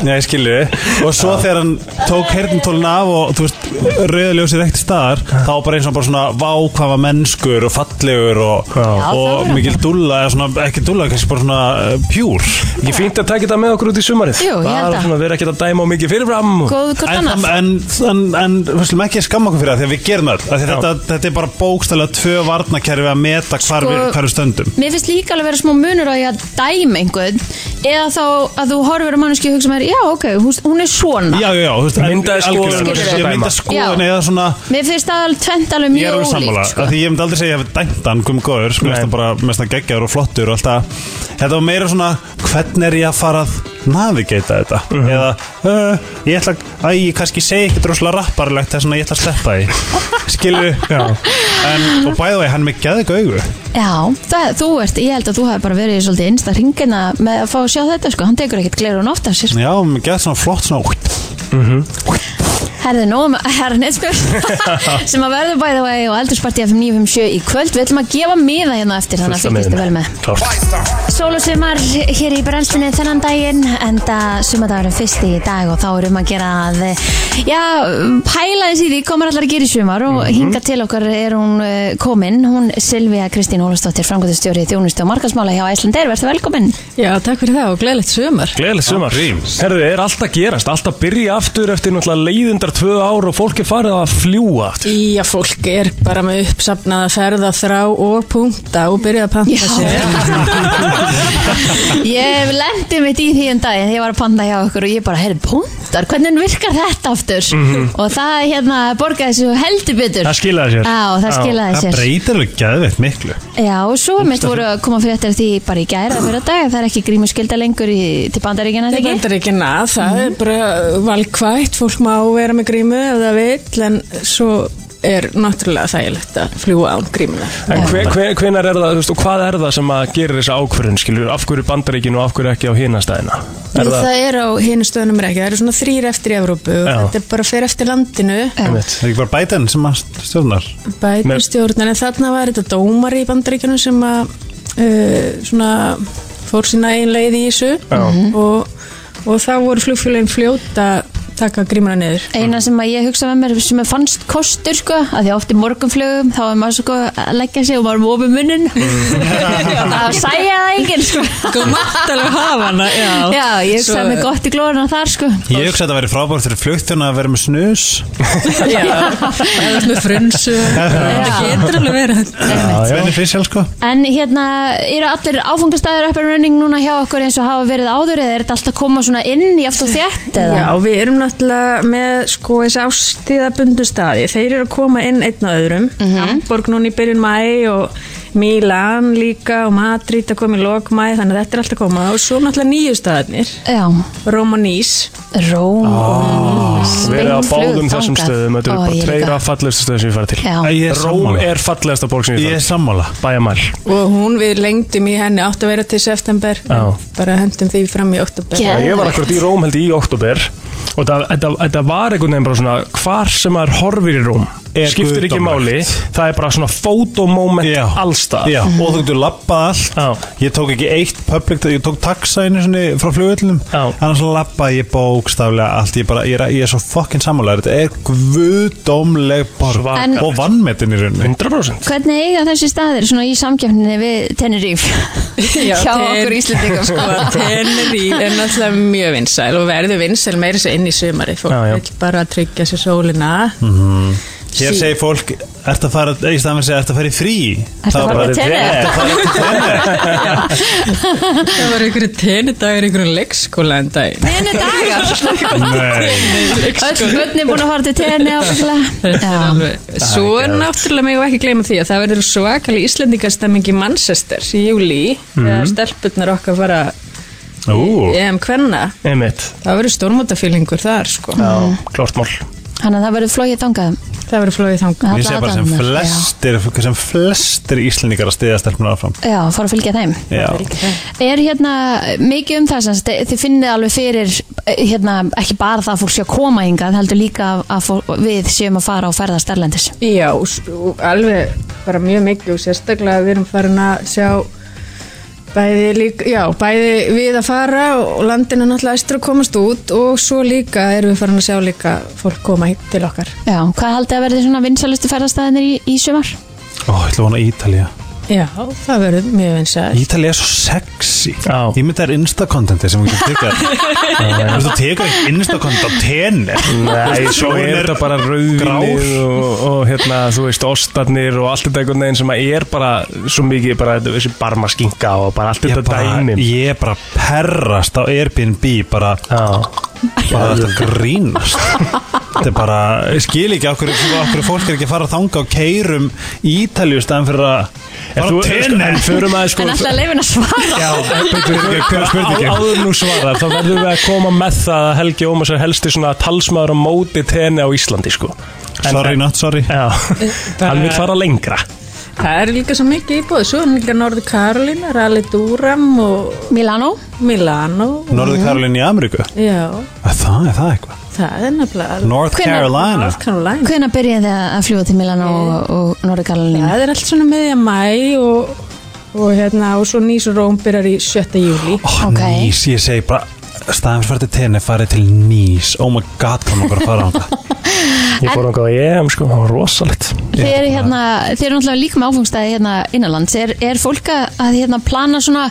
[SPEAKER 3] Nei, skilju Og svo þegar hann tók hernintólun af og þú veist, rauðljósið ekkert staðar þá bara eins og bara svona vákvafa mennskur og fallegur og, og mikil dúlla, eða svona, ekki dúlla kannski bara svona uh, pjúr
[SPEAKER 2] Ekki fínt að taka þetta með okkur út í sumarið
[SPEAKER 4] Jú, ég held
[SPEAKER 2] Bara
[SPEAKER 4] að.
[SPEAKER 2] svona vera ekki að dæma á mikið fyrirfram
[SPEAKER 4] Góð hvort
[SPEAKER 3] En,
[SPEAKER 4] annað.
[SPEAKER 3] en, en, en við slum ekki skamma okkur fyrir það því að við gerum það öll Af því þetta, þetta er bara bókstælega tvö varnakerfi að meta hvar,
[SPEAKER 4] Sko-
[SPEAKER 3] við, hvar við stöndum
[SPEAKER 4] Mér finnst líka alveg að vera smá munur á ég að dæma einhvern eða þá að þú horfir á manneski og hugsa með þér, já ok, hún, hún er svona.
[SPEAKER 3] Já, já, já, þú veist, en-
[SPEAKER 2] Myndaði skoðun
[SPEAKER 3] algjörlega,
[SPEAKER 2] og
[SPEAKER 3] ég
[SPEAKER 2] dæma.
[SPEAKER 3] mynda skoðun
[SPEAKER 4] Já.
[SPEAKER 3] eða svona
[SPEAKER 4] Mér finnst það alveg tvent alveg
[SPEAKER 3] Ég er
[SPEAKER 4] mjög
[SPEAKER 3] alveg sammála,
[SPEAKER 2] sko.
[SPEAKER 4] ólíkt. sko.
[SPEAKER 3] af því ég myndi aldrei segja að ég hef dæmt hann, kom góður, sko, mest hann bara, mest hann geggjaður og flottur og alltaf Þetta var meira svona, hvern er ég að fara að navigata þetta?
[SPEAKER 2] Mhm.
[SPEAKER 3] Eða, uh, ég ætla, að- æ, ég kannski segi ekkert rosalega rapparlegt þess að ég ætla að sleppa því Skilu, já En, og bæða vegi, hann er með geðið augu
[SPEAKER 4] Já, það, þú ert, ég held að þú hef bara verið í svolítið einsta hringina með að fá að sjá þetta sko, hann tekur ekkert glerun oft af sér.
[SPEAKER 3] Já, hann er með geðið svona flott svona
[SPEAKER 2] Mhm.
[SPEAKER 4] Herði nóg með herrnið sko, sem að verður bæða vegi og eldursparti FM 957 í kvöld. Við ætlum að gefa miða hérna eftir þannig að fylgist þið vel með.
[SPEAKER 2] Klárt
[SPEAKER 4] Sól og sumar hér í brennstunni þennan daginn en það sumardagurinn fyrst í dag og þá erum að gera að já, pæla þess í því komar allar að gera í sumar og
[SPEAKER 12] Mhm.
[SPEAKER 4] mm til okkar er hún eh, komin, hún Silvija Kristín Ólafsdóttir, frangöðustjóri þjónustu og markansmála hjá Æslandeir, verður velkomin
[SPEAKER 12] Já, takk fyrir það og gleðilegt sumar.
[SPEAKER 2] Gleðilegt sumar Herðu, er alltaf gerast, alltaf byrja aftur eftir náttúrulega leiðindar tvö ár og fólk er farið að fljúa aftur
[SPEAKER 12] Já, fólk er bara með uppsafnaða ferða þrá og punkta og byrja að panta sér.
[SPEAKER 4] Ég lendi mitt í því um daginn ég var að panta hjá okkur og ég bara, heyrðu, punktar hvernig virkar þetta aftur
[SPEAKER 12] Mhm.
[SPEAKER 4] og það hérna borgaði svo heldur betur
[SPEAKER 2] Það skilaði sér.
[SPEAKER 4] Já, það
[SPEAKER 2] Já,
[SPEAKER 4] skilaði sér
[SPEAKER 3] Það breytir alveg geðveitt miklu
[SPEAKER 4] Já, og svo mitt voru að koma fyrir eftir því bara í gæra fyrir að dag, það er ekki grímuskylda lengur í, til bandaríkina,
[SPEAKER 12] Þetta
[SPEAKER 4] þetta ekki?
[SPEAKER 12] er ekki nað, það er bara valkvætt, fólk má vera með grímu ef það vil, en svo er náttúrulega þægilegt að fljúa án grímuna.
[SPEAKER 2] En hve- hve- hvenær er það, þú veist, og hvað er það sem að gerir þessa ákvörðun, skilur, af hverju bandaríkinu og af hverju ekki á hinastæðina? Er
[SPEAKER 12] Það,
[SPEAKER 2] það,
[SPEAKER 12] það er á hinu stöðunum er ekki, það eru svona þrýr eftir í Evrópu og
[SPEAKER 2] Já.
[SPEAKER 12] þetta er bara fyrir eftir landinu,
[SPEAKER 2] einmitt,
[SPEAKER 3] Það er ekki bara bætan sem að stjórnar
[SPEAKER 12] bætum
[SPEAKER 2] Með-
[SPEAKER 12] stjórnin, en þarna var þetta dómar í bandaríkjunum sem að uh, svona fór sína einn leið í þessu og, og þá voru flugfélagin fljót að taka grímuna niður.
[SPEAKER 4] Eina sem að ég hugsa með mér sem er fannst kostur sko, að því að oft í morgunflögum þá er maður sko að leggja sig og maður mófi munnin það sæja það enginn sko.
[SPEAKER 12] Mm. Þú mátt alveg hafa hana, já.
[SPEAKER 4] Já, ég hugsa
[SPEAKER 12] Svo-
[SPEAKER 4] með gott í glóðuna þar sko
[SPEAKER 3] Ég hugsa að þetta væri frábært fyrir flugtjóna að vera með snus
[SPEAKER 12] Já, eða með frunsu, þetta getur alveg verið.
[SPEAKER 3] Beneficial sko
[SPEAKER 4] En hérna, eru allir áfangastæður upp and running núna hjá okkur eins og hafa verið áður eða er þetta alltaf að koma svona inn í aftur þétt eða?
[SPEAKER 12] Já, við erum náttúrulega með sko þessi ástíðabundu staði. Þeir eru að koma inn einn á öðrum.
[SPEAKER 4] Mhm.
[SPEAKER 12] Hamburg núna í byrjun mæ og Milan líka og Madrid að koma í lok mæ, þannig að þetta er alltaf að koma. Og svo náttúrulega nýju staðarnir,
[SPEAKER 4] Já,
[SPEAKER 12] Róm og Nýs.
[SPEAKER 4] Róm oh,
[SPEAKER 2] verið Ah, á báðum þessum stöðum, þetta eru bara treyra fallegustu stöðum sem ég farið til.
[SPEAKER 4] Já.
[SPEAKER 3] Æ, ég er
[SPEAKER 2] Róm
[SPEAKER 3] sammála.
[SPEAKER 2] er fallegasta borg sem ég
[SPEAKER 3] Ég er
[SPEAKER 2] farið til.
[SPEAKER 3] sammála
[SPEAKER 2] Bæjamæl.
[SPEAKER 12] Og hún við lengdum í henni átt að vera til september,
[SPEAKER 2] Já.
[SPEAKER 12] en bara hendum því fram í oktober.
[SPEAKER 4] Geð-
[SPEAKER 2] Já, ég var akkurat í Róm held ég í oktober og það- þetta þetta var einhvern veginn bara svona hvar sem maður horfir í Róm er skiptir ekki máli það er bara svona fotomoment allstað
[SPEAKER 3] Já, og þú getur labbað allt Ég tók ekki eitt public Ég tók taxa einu sinni frá flugvöllum Annars labbaði ég bókstaflega allt Ég, bara, ég, er, ég er svo fokkin sammálaður Þetta er guðdómleg borg
[SPEAKER 4] En-
[SPEAKER 3] Og vannmetin í rauninni
[SPEAKER 2] 100%
[SPEAKER 4] Hvernig eiga þessi staðir svona í samkeppninni við Tenerife
[SPEAKER 12] Já,
[SPEAKER 4] hjá
[SPEAKER 12] Ten-
[SPEAKER 4] okkur Íslendingum sko?
[SPEAKER 12] Tenerife er náttúrulega mjög vinsæl og verður vinsæl meira sér inn í sumari fólk
[SPEAKER 3] Já, já.
[SPEAKER 12] vil bara tryggja sér sólina
[SPEAKER 3] Mhm. Hér
[SPEAKER 12] Sí.
[SPEAKER 3] segir fólk, ert að fara, í staðan fyrir að segja, ert að fara í frí
[SPEAKER 12] Ertu að
[SPEAKER 3] Þá
[SPEAKER 12] fara
[SPEAKER 3] bara,
[SPEAKER 12] í tennis?
[SPEAKER 3] "Ertu að fara í
[SPEAKER 12] það var einhverju tenudagar í einhverju leikskóla en dag Sko,
[SPEAKER 4] Tenedagar? Öll
[SPEAKER 12] Öll
[SPEAKER 4] börn er búin að fara til tenni áfenglega
[SPEAKER 12] Svo er náttúrulega mig ekki gleyma því að það verður svakalega íslendingastemming í Manchester í júli
[SPEAKER 2] Mhm.
[SPEAKER 12] þegar stelpurnar okkar fara
[SPEAKER 2] Ú.
[SPEAKER 12] í EM kvenna
[SPEAKER 2] Einmitt,
[SPEAKER 12] það verður stórmótafílingur þar sko
[SPEAKER 4] Mm.
[SPEAKER 2] Já, klart mál
[SPEAKER 4] Þannig að það verður flogið þangað
[SPEAKER 12] Það verður flogið þangað
[SPEAKER 3] Ég segi bara sem flestir, sem flestir íslendingar að stiðja stelpuna áfram
[SPEAKER 4] Já, fara að fylgja þeim
[SPEAKER 3] Já,
[SPEAKER 4] Er hérna mikið um það sem sagt, þið finnið alveg fyrir eh, hérna, ekki bara það að fólk sé að koma hingað heldur líka að fólk, við séum að fara og ferðast erlendis
[SPEAKER 12] Já, og s- og alveg bara mjög mikið og sérstaklega við erum farin að sjá bæði, líka, já, bæði við að fara og landinu náttúrulega æstur að komast út og svo líka erum við farin að sjá líka fólk koma hit- til okkar.
[SPEAKER 4] Já, hvað haldið að verði svona vinsalustu ferðastæðinir í, í sumar?
[SPEAKER 3] ó, ég ætla að vona Ítalía
[SPEAKER 12] Já, það verður mjög vinsæl.
[SPEAKER 3] Ítalía er svo sexy Ég myndi það er instakontenti sem við getum tekað
[SPEAKER 2] Já.
[SPEAKER 3] Þú veist, þú tekur ekki instakontent á tennis
[SPEAKER 2] Nei, svo er þetta bara rauðinir og, og hérna, þú veist, ostarnir og allt þetta einhvern veginn sem að er bara svo mikið, bara þetta- þessi barmaskinka og bara allt þetta
[SPEAKER 3] bara-
[SPEAKER 2] dæmin
[SPEAKER 3] Ég er bara perrast á Airbnb bara, bara þetta grínast Þetta er bara, ég skil ekki okkur, okkur fólk er ekki að fara þanga og keirum Ítalíu staðan fyrir að fara
[SPEAKER 2] þú-
[SPEAKER 3] á tenni
[SPEAKER 2] en förum aðeins, sko, En ætla að
[SPEAKER 4] leifin að svara
[SPEAKER 3] Já, betur, hver er
[SPEAKER 2] Á-
[SPEAKER 3] spurningin?
[SPEAKER 2] Áður nú svarar, þá verðum við að koma með það að Helgi Ómars er helsti svona talsmaður á móti tenni á Íslandi sko en,
[SPEAKER 3] Sorry, not sorry
[SPEAKER 2] Já, hann vil fara lengra
[SPEAKER 12] Það er líka svo mikið íbúið, svo er líka Norður Karolina, Rally Durham og...
[SPEAKER 4] Milano.
[SPEAKER 12] Milano.
[SPEAKER 3] Norður Karolín í Ameríku
[SPEAKER 12] Já,
[SPEAKER 3] Það er það eitthvað
[SPEAKER 12] það er nefnilega...
[SPEAKER 3] North Hvenær- Carolina.
[SPEAKER 12] North Carolina.
[SPEAKER 4] Hvenær byrjaði þið að fljúa til Milano og, og Norður Karolín?
[SPEAKER 12] Það er allt svona miðja mæ og, og hérna og svo nýs og róm byrjar í 7. júli
[SPEAKER 3] oh, Nýs, ég segi bara staðan fyrir til tenni farið til nýs Oh my god, hvað maður að fara á það
[SPEAKER 2] Ég fór ángað að ég, sko, það var rosalegt
[SPEAKER 4] Þið eru hérna, þið eru náttúrulega líka með áfengstæði hérna innanlands. Er, er fólk að- að hérna plana svona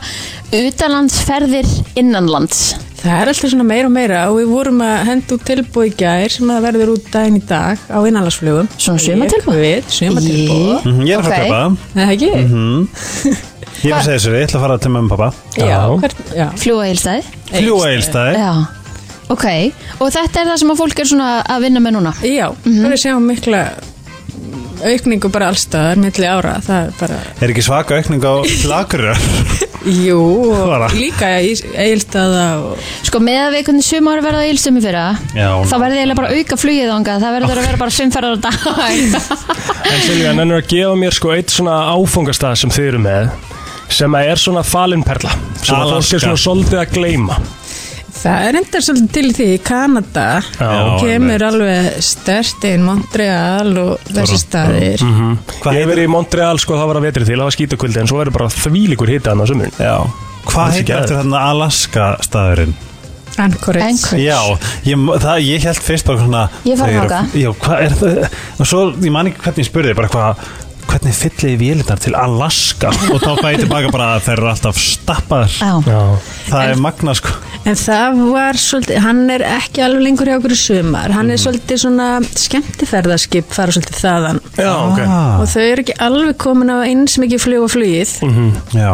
[SPEAKER 4] utanlandsferðir innanlands?
[SPEAKER 12] Það er alltaf svona meira og meira og við vorum að henda út tilbúið í gær sem að verður út daginn í dag á innanlandsflugum Svona
[SPEAKER 4] sumartilboð?
[SPEAKER 12] Við, sumatilbúið
[SPEAKER 3] Mhm, Ég er að fara að kaupa það.
[SPEAKER 12] Nei, það ekki?
[SPEAKER 3] Mhm. Ég er að segja þessu, ég ætla að fara til mömmu og pappa
[SPEAKER 12] Já, hvern, já.
[SPEAKER 4] Fljúa eilstæði?
[SPEAKER 3] Fljúga Egilsstaði.
[SPEAKER 4] Já, ok. Og þetta er það sem að fólk er svona að vinna með núna? Mhm.
[SPEAKER 12] Já, mm -hmm. við sjáum mikla aukningu bara allstaðar milli ára, það er bara
[SPEAKER 3] Er ekki svaka aukning á lagurar?
[SPEAKER 12] Jú,
[SPEAKER 3] Bara.
[SPEAKER 12] líka eilstaða og...
[SPEAKER 4] Sko með að við hvernig sumar verða eilstum í fyrra
[SPEAKER 3] Já.
[SPEAKER 4] þá verði eiginlega bara að auka flugið þangað það verður að vera bara fimmferðar á dag
[SPEAKER 2] En Silvíu, hann er að gefa mér sko eitt svona áfungastað sem þið eru með sem að er svona falinperla sem að fólk
[SPEAKER 12] Alaska.
[SPEAKER 2] er svona soldið að gleyma
[SPEAKER 12] Það er enda svolítið til því í Kanada
[SPEAKER 2] Já,
[SPEAKER 12] kemur alveg stert inn Montreal og þessi staðir
[SPEAKER 2] mm Ég hef verið í Montreal sko, það var að vetri til, það var skítakvöldi en svo verður bara þvílíkur hita hann á sömurinn
[SPEAKER 3] Já Hvað heitir eftir þarna Alaska staðurinn?
[SPEAKER 12] Anchorage.
[SPEAKER 3] Já, ég, það, ég held fyrst bara svona
[SPEAKER 12] Ég fara
[SPEAKER 3] þau eru-
[SPEAKER 12] þangað.
[SPEAKER 3] Já, hvað er það? Og svo, ég man ekki hvernig ég spurði bara hvað hvernig fylliði vélunar til Alaska og þá fæði tilbaka bara að þær eru alltaf stappaðar
[SPEAKER 4] Já.
[SPEAKER 3] Það er magna sko
[SPEAKER 12] En það var svolítið, hann er ekki alveg lengur hjá okkur í sumar, hann
[SPEAKER 2] Mhm.
[SPEAKER 12] er svolítið svona skemmtiferðarskip fara svolítið þaðan
[SPEAKER 2] Já, ok.
[SPEAKER 3] Ah.
[SPEAKER 12] og þau eru ekki alveg komin á eins mikið flug og flugið
[SPEAKER 3] Já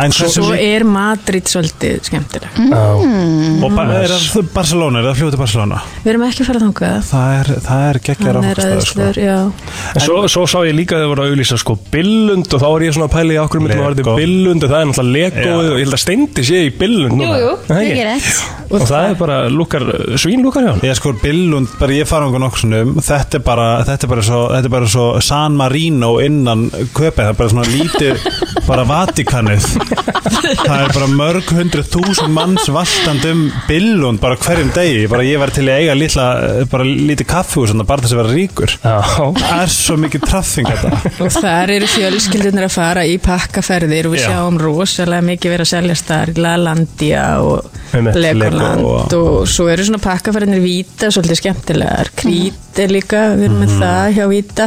[SPEAKER 3] En
[SPEAKER 12] svo,
[SPEAKER 3] svo,
[SPEAKER 12] er Madrid svolítið skemmtileg
[SPEAKER 4] Mm.
[SPEAKER 3] Og ba er það Barcelona, er það fljóðu til Barcelona?
[SPEAKER 12] Við erum ekki að fara þangað
[SPEAKER 3] Það er, það er geggjara
[SPEAKER 12] Hann er aðeinslegur,
[SPEAKER 3] sko.
[SPEAKER 12] já
[SPEAKER 2] En svo, svo sá ég líka að þau voru að auðlýsa sko billund og þá var ég svona að pæla í okkur myndum að verði billund og það er náttúrulega legoð og ég held að steindi sé í billund núna.
[SPEAKER 4] Jú, jú,
[SPEAKER 2] Er það
[SPEAKER 4] það
[SPEAKER 2] ekki?
[SPEAKER 4] er rétt
[SPEAKER 2] Og það er bara lukkar, eh, svín lukkar hjá hann
[SPEAKER 3] Ég sko, Billund, bara ég fara okkur nokkusunum Þetta er bara, þetta er bara svo, þetta er bara svo San Marino innan köpið Það er bara svona lítið, bara Vatikanið Það er bara mörg hundru þúsund manns vastandum Billund bara hverjum degi Bara ég var til að eiga litla, eh, bara lítið kaffihús þarna, Bara þess að vera ríkur Það er svo mikið traffing þetta
[SPEAKER 12] Og þar eru fjölskyldunir að fara í pakkaferðir og við
[SPEAKER 3] Já.
[SPEAKER 12] sjáum rosalega mikið verið að seljast þar í Lalandia og
[SPEAKER 2] Einmitt,
[SPEAKER 12] Legoland
[SPEAKER 2] Lego
[SPEAKER 12] og,
[SPEAKER 2] og-
[SPEAKER 12] svo eru svona pakkaferðinir Víta svolítið
[SPEAKER 4] Mm.
[SPEAKER 12] skemmtilegar, Krít er líka við erum
[SPEAKER 3] Mhm.
[SPEAKER 12] með það hjá Víta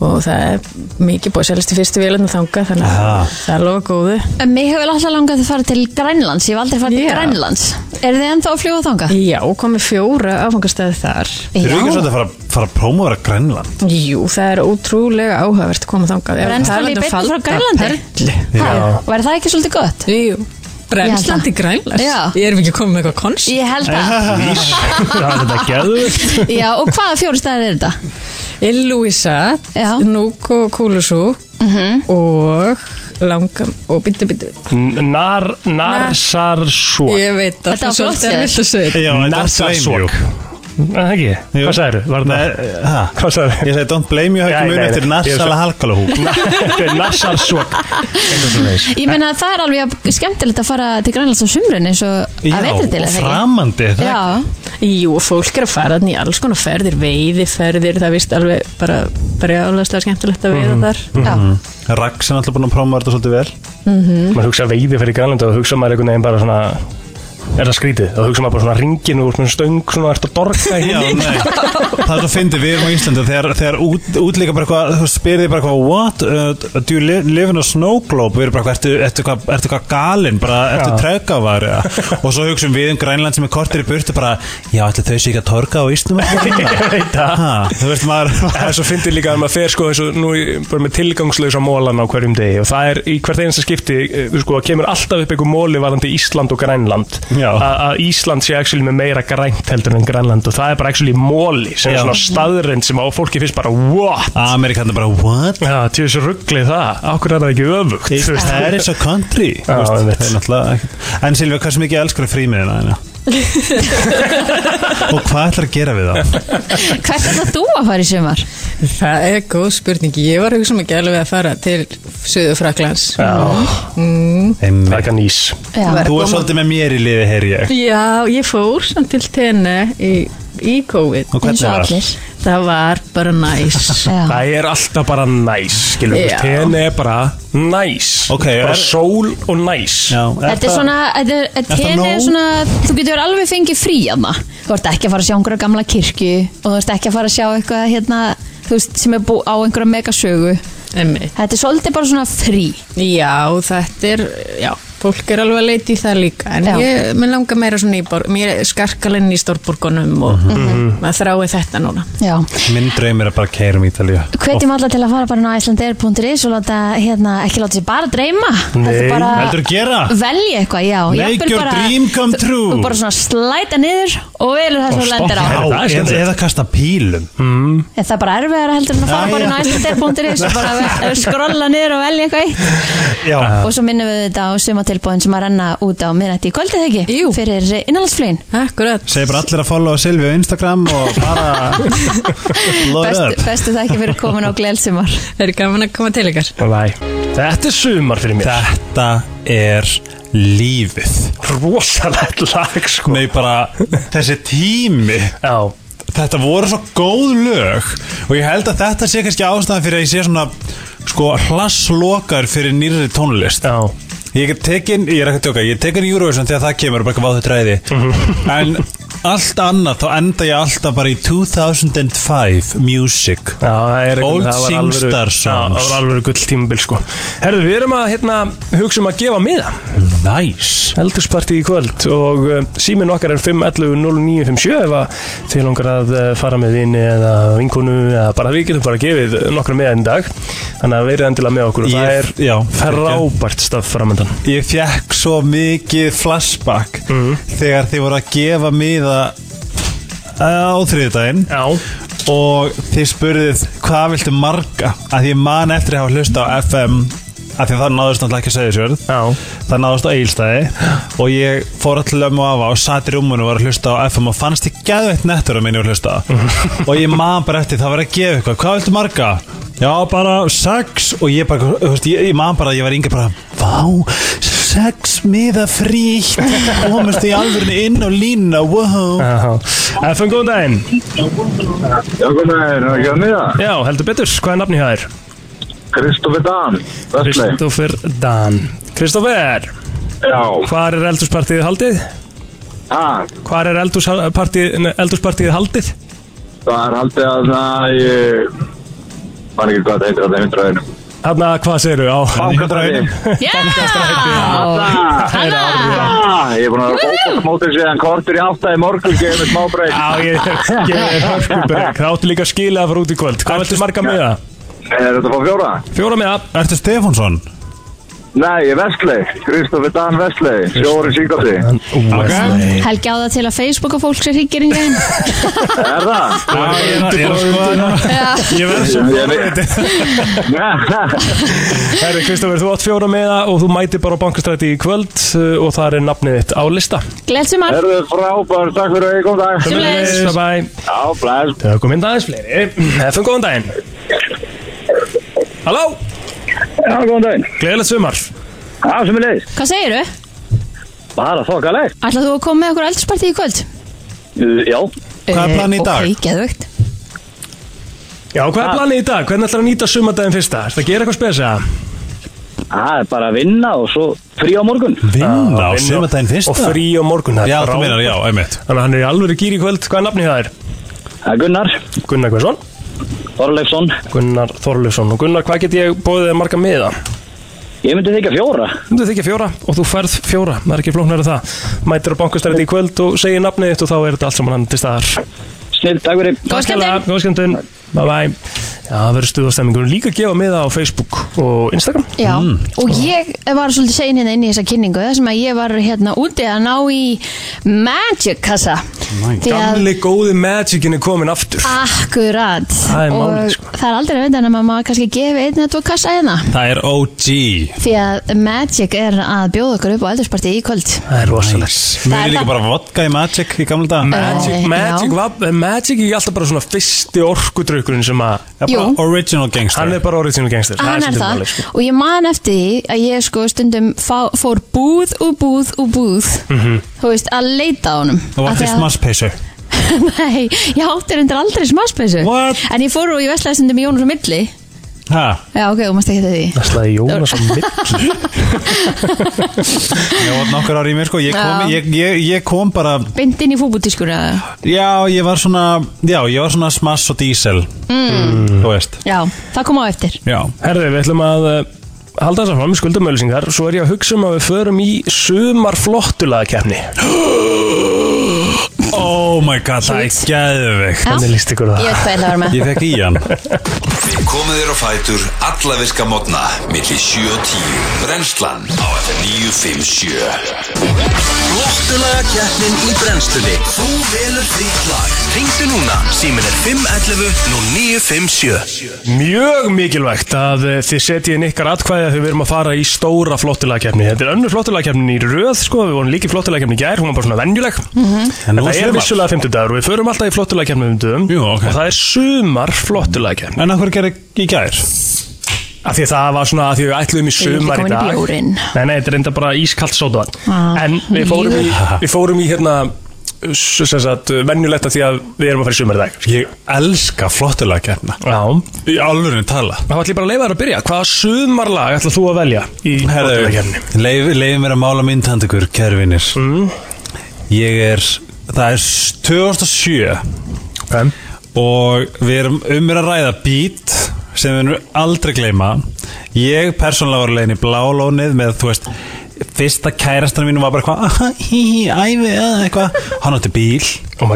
[SPEAKER 12] og það er mikið búið að seljast í fyrstu vélunum þanga þannig að það er lofa góðu
[SPEAKER 4] En Mig hefur alltaf langað að fara til Grænlands, ég hef aldrei farið til Grænlands. Er þið ennþá að fljúa þanga?
[SPEAKER 12] Já, komið fjóra áfangastæði þar
[SPEAKER 3] Þeir eru ekki svolítið að fara, fara að próma að vera Grænland
[SPEAKER 12] Jú, það er ótrúlega áhugavert að koma þangað Ef
[SPEAKER 4] Brennslan í
[SPEAKER 12] talandi um
[SPEAKER 4] beinni frá
[SPEAKER 12] falda
[SPEAKER 4] Grænlandi?
[SPEAKER 3] Já.
[SPEAKER 4] Væri það ekki svolítið gott?
[SPEAKER 12] Jú, brennslan til Grænlands? Ég erum ekki komið með eitthvað konst
[SPEAKER 4] Ég held að
[SPEAKER 2] þetta geðvögt
[SPEAKER 4] Já, og hvaða fjóru stæðir er þetta?
[SPEAKER 12] Illuisa, Núk og Kúlusú
[SPEAKER 4] Mhm.
[SPEAKER 12] og langam og byttu byttu
[SPEAKER 2] Nar, narsarsvok
[SPEAKER 12] Ég veit að það er svolítið er vilt að segja
[SPEAKER 2] Narsarsvok Það ekki, hvað sagðir þú? Hvað sagðir
[SPEAKER 3] eh, Ég segi don't blame you,
[SPEAKER 2] Nei,
[SPEAKER 3] höfum
[SPEAKER 2] nei,
[SPEAKER 3] við eftir
[SPEAKER 2] nei.
[SPEAKER 3] Narsala Halkalahúk
[SPEAKER 2] Narsarsvok
[SPEAKER 4] Ég meina að það er alveg jafn skemmtilegt að fara til Grænlands á sumrun eins og
[SPEAKER 3] Já,
[SPEAKER 4] að veitir til
[SPEAKER 3] og
[SPEAKER 4] eða ekki?
[SPEAKER 3] framandi, það er
[SPEAKER 4] Já,
[SPEAKER 12] Jú, og fólk er að fara þannig í alls konar ferðir, veiðiferðir, það er vist alveg bara, bara alveg skemmtilegt að veiða
[SPEAKER 3] Mhm.
[SPEAKER 12] þar.
[SPEAKER 3] Rax er alltaf búin að próma þetta svolítið vel
[SPEAKER 12] Mhm.
[SPEAKER 2] maður hugsa veiði fyrir Grænlandi og þá hugsa maður einhvern veginn bara svona er það skrítið, þá hugsa maður bara svona ringin og svona stöng svona ert að dorka
[SPEAKER 3] Já, nei. Það er svo fyndið, við erum á Íslandi og þegar, þegar út, útlíka bara eitthvað, þú spyrir þig bara eitthvað What, uh, do you li- live in a snow globe? Við erum bara eitthvað, ertu, ertu, eitthvað- ertu eitthvað galinn, bara ertu trekavar ja. Og svo hugsaum við um Grænland sem er kortir í burtu bara Já, ætli þau sé ekki að torka á Íslandi Þú veist maður
[SPEAKER 2] Það er svo fyndið líka að maður fer sko eins og nú í- bara með tilgangslösa mólan á hverjum degi og það er í hvert einasta skipti eh, sko, kemur alltaf upp einhver móli varandi Ísland og Grænland A- að Ísland sé actually með meira grænt heldur en Grænland og það er bara actually móli sem
[SPEAKER 3] Já.
[SPEAKER 2] er svona staðrind sem á fólki finnst bara what
[SPEAKER 3] Amerikan er bara what
[SPEAKER 2] Já, til þessu ruggli það, okkur er það ekki öfugt þú veist.
[SPEAKER 3] Það er eins og country þú
[SPEAKER 2] Já,
[SPEAKER 3] veist,
[SPEAKER 2] einmitt.
[SPEAKER 3] það er náttúrulega ekkert- En Silvia, hversu mikið elskar frímiðina þína? Og hvað ætlar að gera við það?
[SPEAKER 4] hvert er það þú að fara í sumar?
[SPEAKER 12] Það er góð spurning, ég var hugsa mikið alveg að fara til Suðufraklands.
[SPEAKER 3] Já.
[SPEAKER 12] Mm.
[SPEAKER 2] Það er kanís
[SPEAKER 12] Já.
[SPEAKER 3] Þú er svolítið með mér í liði, heyr ég
[SPEAKER 12] Já, ég fór samt til tenni í, í COVID
[SPEAKER 3] Og hvernig Eins og var? allir.
[SPEAKER 12] Það var bara næs
[SPEAKER 2] Það er alltaf bara næs, skilur við,
[SPEAKER 12] Já.
[SPEAKER 2] tenni er bara næs
[SPEAKER 3] okay,
[SPEAKER 2] Bara sól og næs Já,
[SPEAKER 4] Þetta er svona, þetta er-
[SPEAKER 2] það
[SPEAKER 4] tenni er
[SPEAKER 2] nóg?
[SPEAKER 4] svona, þú getur alveg fengið frí aðna. Þú ert ekki að fara að sjá einhverja gamla kirkju og þú ert ekki að fara að sjá eitthvað hérna, þú veist, sem er bú, á einhverja megasögu.
[SPEAKER 12] Einmitt.
[SPEAKER 4] Þetta er svolítið bara svona frí.
[SPEAKER 12] Já, þetta er, já, fólk er alveg að leita í það líka En
[SPEAKER 4] Já.
[SPEAKER 12] ég, mér langar meira svona í borg, mér er skarkalinn í stórborgunum og
[SPEAKER 3] Mhm.
[SPEAKER 12] maður þrái þetta núna
[SPEAKER 4] Já.
[SPEAKER 3] Minn draum er að bara kæra um Ítalíu
[SPEAKER 4] Hvetjum alla til að fara bara inn á Icelandair.is og láta, hérna, ekki láta sér bara dreyma.
[SPEAKER 3] Nei.
[SPEAKER 4] Heldur bara
[SPEAKER 3] Heldur gera?
[SPEAKER 4] Velja eitthvað, já.
[SPEAKER 3] Make
[SPEAKER 4] Jafnvel
[SPEAKER 3] your dream come
[SPEAKER 4] þú-
[SPEAKER 3] true.
[SPEAKER 4] Þú bara svona slæta niður og velur það sem þú lendir á.
[SPEAKER 3] Já, eða- Eða kasta pílum mm.
[SPEAKER 4] En það er bara erfiðar að heldur en að fara bara inn á Icelandair.is og bara skrolla niður og velja eitthvað eitt.
[SPEAKER 3] Já
[SPEAKER 2] Uh.
[SPEAKER 4] Og svo minnum við þetta á sumatilbóðin sem að renna út á miðnætti í kvöldið ekki? Jú. Fyrir innanlandsflögin.
[SPEAKER 12] Akkurat.
[SPEAKER 3] Segir bara allir að followa Silvi á Instagram og bara Load
[SPEAKER 4] Bestu,
[SPEAKER 3] up
[SPEAKER 4] bestu þakki fyrir komin á glelsumar.
[SPEAKER 12] Það er gaman að koma til ykkar.
[SPEAKER 2] Læ. Þetta er sumar fyrir mér
[SPEAKER 3] Þetta er lífið
[SPEAKER 2] Rosalegt lag sko
[SPEAKER 3] Nei bara þessi tími
[SPEAKER 2] Já
[SPEAKER 3] Þetta voru svo góð lög Og ég held að þetta sé kannski ástæðan fyrir að ég sé svona Sko hlasslokar fyrir nýrri tónlist
[SPEAKER 2] Já
[SPEAKER 3] Ég er tekin, ég er ekki að tjóka Ég er tekin í Eurovision þegar það kemur og bara hvað þau dræði
[SPEAKER 2] Mhm.
[SPEAKER 3] En allt annað Þá enda ég alltaf bara í 2005 Music
[SPEAKER 2] Já, það er
[SPEAKER 3] Old
[SPEAKER 2] það var alvöru-
[SPEAKER 3] Singstar
[SPEAKER 2] Já,
[SPEAKER 3] songs
[SPEAKER 2] Það var alveg gull tímabil sko Herðu, við erum að hérna, hugsa um að gefa miða
[SPEAKER 3] Næs
[SPEAKER 2] Eldursparti í kvöld og uh, síminn okkar er 511-0957 ef að þið langar að uh, fara með vini eða vinkonu eða bara við getum bara gefið nokkra miða enn dag Þannig að verið endilega með okkur og það er
[SPEAKER 3] já,
[SPEAKER 2] frábært stað framöndan
[SPEAKER 3] Ég fekk svo mikið flashback þegar þið voru að gefa miða eh, á þriðdægin og þið spurðið hvað viltu marga að ég man eftir að hafa hlusta á FM af því að það náðust náttúrulega ekki að segja sér það náðust á Egilstæði og ég fór allir lömmu af og satt í rúmunu og var að hlusta á FM og fannst ég geðveitt nettur að minni að hlusta á. og ég man bara eftir það var að gefa eitthvað, hvað viltu marga? Já, bara sex og ég bara, þú veist, ég, ég man bara að ég var yngri bara, vá, sex miða frítt komast í alvörni inn á línuna, wow
[SPEAKER 2] FM, góðan daginn
[SPEAKER 13] Já, góðan daginn, er ekki að miða?
[SPEAKER 2] Já, heldur betur, hvað er nafni hjá þér?
[SPEAKER 13] Kristoffer Dan Vestlein.
[SPEAKER 2] Kristoffer Dan Kristoffer
[SPEAKER 13] Já
[SPEAKER 2] Hvar er eldurspartíð haldið?
[SPEAKER 13] Ha?
[SPEAKER 2] Hvar er eldurspartíð haldið?
[SPEAKER 13] Það er haldið að það ég man ekki hvað það heitir að það heitir að það
[SPEAKER 2] Hanna, hvað segirðu? Á hérna.
[SPEAKER 13] Bankastræti. Ég er búin að vera bókbóksmótið síðan kortur í átta í morgun gefið mér smá breyk
[SPEAKER 2] Já, ég, ég er hörkubrek Sko, Það áttu líka að skila að fara út í kvöld Hvað viltu marga með það?
[SPEAKER 13] Er þetta fór fjóra?
[SPEAKER 2] Fjóra með það
[SPEAKER 3] Ertu Stefánsson?
[SPEAKER 13] Nei, ég er Vestley, Kristoffer Dan Vestley, sjóri síkóti
[SPEAKER 2] Vestley
[SPEAKER 4] Helgi á það til að Facebooka fólk sér higgir yngi
[SPEAKER 13] Er það?
[SPEAKER 2] Ég verð svo Herri, Kristoffer, þú átt fjóra með það og þú mæti bara á bankastræti í kvöld uh, og það er nafnið þitt á lista
[SPEAKER 4] Gleðt sumar
[SPEAKER 13] Erðu frábær, takk fyrir að ég kom dag
[SPEAKER 2] Sömuleiðis. Bye bye
[SPEAKER 13] Já, blæs
[SPEAKER 2] Það kom inn aðeins fleiri FM, góðan daginn Halló
[SPEAKER 13] Já, góðan daginn
[SPEAKER 2] Gleðilegt sumar
[SPEAKER 13] Já, sem er leiðis
[SPEAKER 4] Hvað segiru?
[SPEAKER 13] Bara þokkalegt
[SPEAKER 4] Ætlað þú að koma með okkur eldsparti í kvöld?
[SPEAKER 13] Já
[SPEAKER 2] Hvað er
[SPEAKER 4] Eh,
[SPEAKER 2] planið í dag?
[SPEAKER 4] Ok, geðvögt
[SPEAKER 2] Já, hvað
[SPEAKER 13] Ah.
[SPEAKER 2] er planið í dag? Hvernig ætlar að nýta sumardaginn fyrsta? Er að gera eitthvað spesa?
[SPEAKER 13] Ah, Það er bara að vinna og svo frí á morgun
[SPEAKER 2] Ah, Vinna
[SPEAKER 3] á sumardaginn fyrsta?
[SPEAKER 2] Og frí á morgun það er
[SPEAKER 3] Já, þú
[SPEAKER 2] frábært.
[SPEAKER 3] meinar, já, einmitt.
[SPEAKER 2] Þannig að hann er í alvöru gýr í kvöld Hvað er nafnið það er?
[SPEAKER 13] Gunnar
[SPEAKER 2] Gunnar Hversson
[SPEAKER 13] Þorleifsson
[SPEAKER 2] Gunnar Þorleifsson Og Gunnar, hvað get ég bóðið þér marga miða?
[SPEAKER 13] Ég myndi þykja fjóra
[SPEAKER 2] Þú þykja fjóra og þú færð fjóra, það er ekki flóknar að það Mætir á bankastærit í kvöld og segir nafnið þitt og þá er þetta allt saman hann til staðar
[SPEAKER 13] Snill, takk fyrir
[SPEAKER 2] Góð skemmtun Góð skemmtun, bye bye Já, það verður stuðastemmingur líka að gefa miða á Facebook og Instagram Mm.
[SPEAKER 4] Já, og ég var svolítið sein hérna inn í þessa kynningu þar sem að ég var hérna úti að ná í Magic kassa Því að-
[SPEAKER 2] Gamli góði magicin er komin aftur
[SPEAKER 4] Akkurat
[SPEAKER 2] Það er
[SPEAKER 4] Og
[SPEAKER 2] málið, sko.
[SPEAKER 4] það er aldrei að veit en að maður kannski gefi einn eða tvo kassa hérna
[SPEAKER 3] Það er OG
[SPEAKER 4] Því að Magic er að bjóða okkur upp á eldursparti í kvöld
[SPEAKER 2] Það er rosalegt
[SPEAKER 3] Mjög líka bara vodka í Magic í gamla dag
[SPEAKER 2] Magic,
[SPEAKER 4] Eh,
[SPEAKER 2] magic, var, er magic er ekki alltaf bara svona fyrsti orkudraukurinn sem að
[SPEAKER 4] Jú.
[SPEAKER 2] Original gangster Hann er bara original gangster
[SPEAKER 4] Hann er
[SPEAKER 2] svolítið
[SPEAKER 4] það
[SPEAKER 2] málið, sko.
[SPEAKER 4] og ég man eftir því að ég sko stundum fá, fór búð og búð og búð
[SPEAKER 3] Mhm.
[SPEAKER 4] þú veist að leita á honum
[SPEAKER 3] Þú
[SPEAKER 4] Af
[SPEAKER 3] varst
[SPEAKER 4] því
[SPEAKER 3] í
[SPEAKER 4] að-
[SPEAKER 3] smaspeysu
[SPEAKER 4] Nei, ég átti reyndar aldrei smaspeysu What? En ég fór og ég veslaði stundum í Jónas og Milli
[SPEAKER 3] Ha?
[SPEAKER 4] Já, ok, þú mást ekki þetta því
[SPEAKER 2] Veslaði Jónas og
[SPEAKER 4] Milli
[SPEAKER 3] Ég var nokkur ári í mér sko Ég kom,
[SPEAKER 4] Já.
[SPEAKER 3] ég, ég, ég kom bara
[SPEAKER 4] Bind inn í fútbútískur eða?
[SPEAKER 3] Já, ég var svona Já, ég var svona smass og dísel
[SPEAKER 4] Mm.
[SPEAKER 3] Þú veist
[SPEAKER 4] Já, það kom á eftir
[SPEAKER 3] Já
[SPEAKER 2] Herði, við ætlum að uh, halda þess að fram í skuldamölusingar Svo er ég að hugsa um að við förum í sumar flottulagakeppni
[SPEAKER 3] Oh my god, það er geðveikt
[SPEAKER 4] Já. Hvernig
[SPEAKER 2] líst ykkur
[SPEAKER 4] Ég veit hvað ég ætla að vera með.
[SPEAKER 3] Ég fekk í hann
[SPEAKER 1] Komið þér á fætur alla virka mótna millir 7 og 10 Brennslan á FM 957
[SPEAKER 5] Flottulaga keppnin í brennslunni Þú velur þitt lag Ringdu núna, símin er 511 0957
[SPEAKER 2] Mjög mikilvægt að eh, þið setjið inn ykkar atkvæði að þið verum að fara í stóra flottulagakeppni Þetta er önnur flottulagakeppnin í röð sko, við vorum líki flottulagakeppni í gær, hún var bara svona venjuleg En
[SPEAKER 3] nú
[SPEAKER 2] það
[SPEAKER 3] er
[SPEAKER 2] er
[SPEAKER 3] sumar.
[SPEAKER 2] vissulega 50 dagur og við förum alltaf í flottulagakeppni um dögum okay. og það er sumar flottulagakeppni
[SPEAKER 3] En af hverju gerði í gær?
[SPEAKER 2] Af því að það var svona að því að við ætluðum í
[SPEAKER 4] Ég er ekki
[SPEAKER 2] sumar í
[SPEAKER 4] komin í
[SPEAKER 2] dag
[SPEAKER 4] bjórinn.
[SPEAKER 2] Nei, nei, þetta er enda bara ískalt sótaðan
[SPEAKER 4] Ah,
[SPEAKER 2] En við fórum í,
[SPEAKER 4] líður.
[SPEAKER 2] við fórum í hérna s- sem sagt, venjulegt að því að við erum að fara í sumar í dag
[SPEAKER 3] Ég elska flottulega keppna
[SPEAKER 2] Já
[SPEAKER 3] Í alvörinu tala
[SPEAKER 2] Þá ætlum ég bara að leifa þér að byrja Hvaða sumarlag ætlað þú að velja í
[SPEAKER 3] Herðu, leif, leif mér að mála mynd hand ykkur, kæru vinnir Ég er, það er 2007
[SPEAKER 2] okay.
[SPEAKER 3] Og við erum um mér að ræða beat sem við erum aldrei gleyma Ég persónulega var leiðin í blálónið með, þú veist Fyrsta kærastan mínu var bara eitthvað "Ah, hí, hí, Ævi, eða eitthvað Hann átti bíl
[SPEAKER 2] oh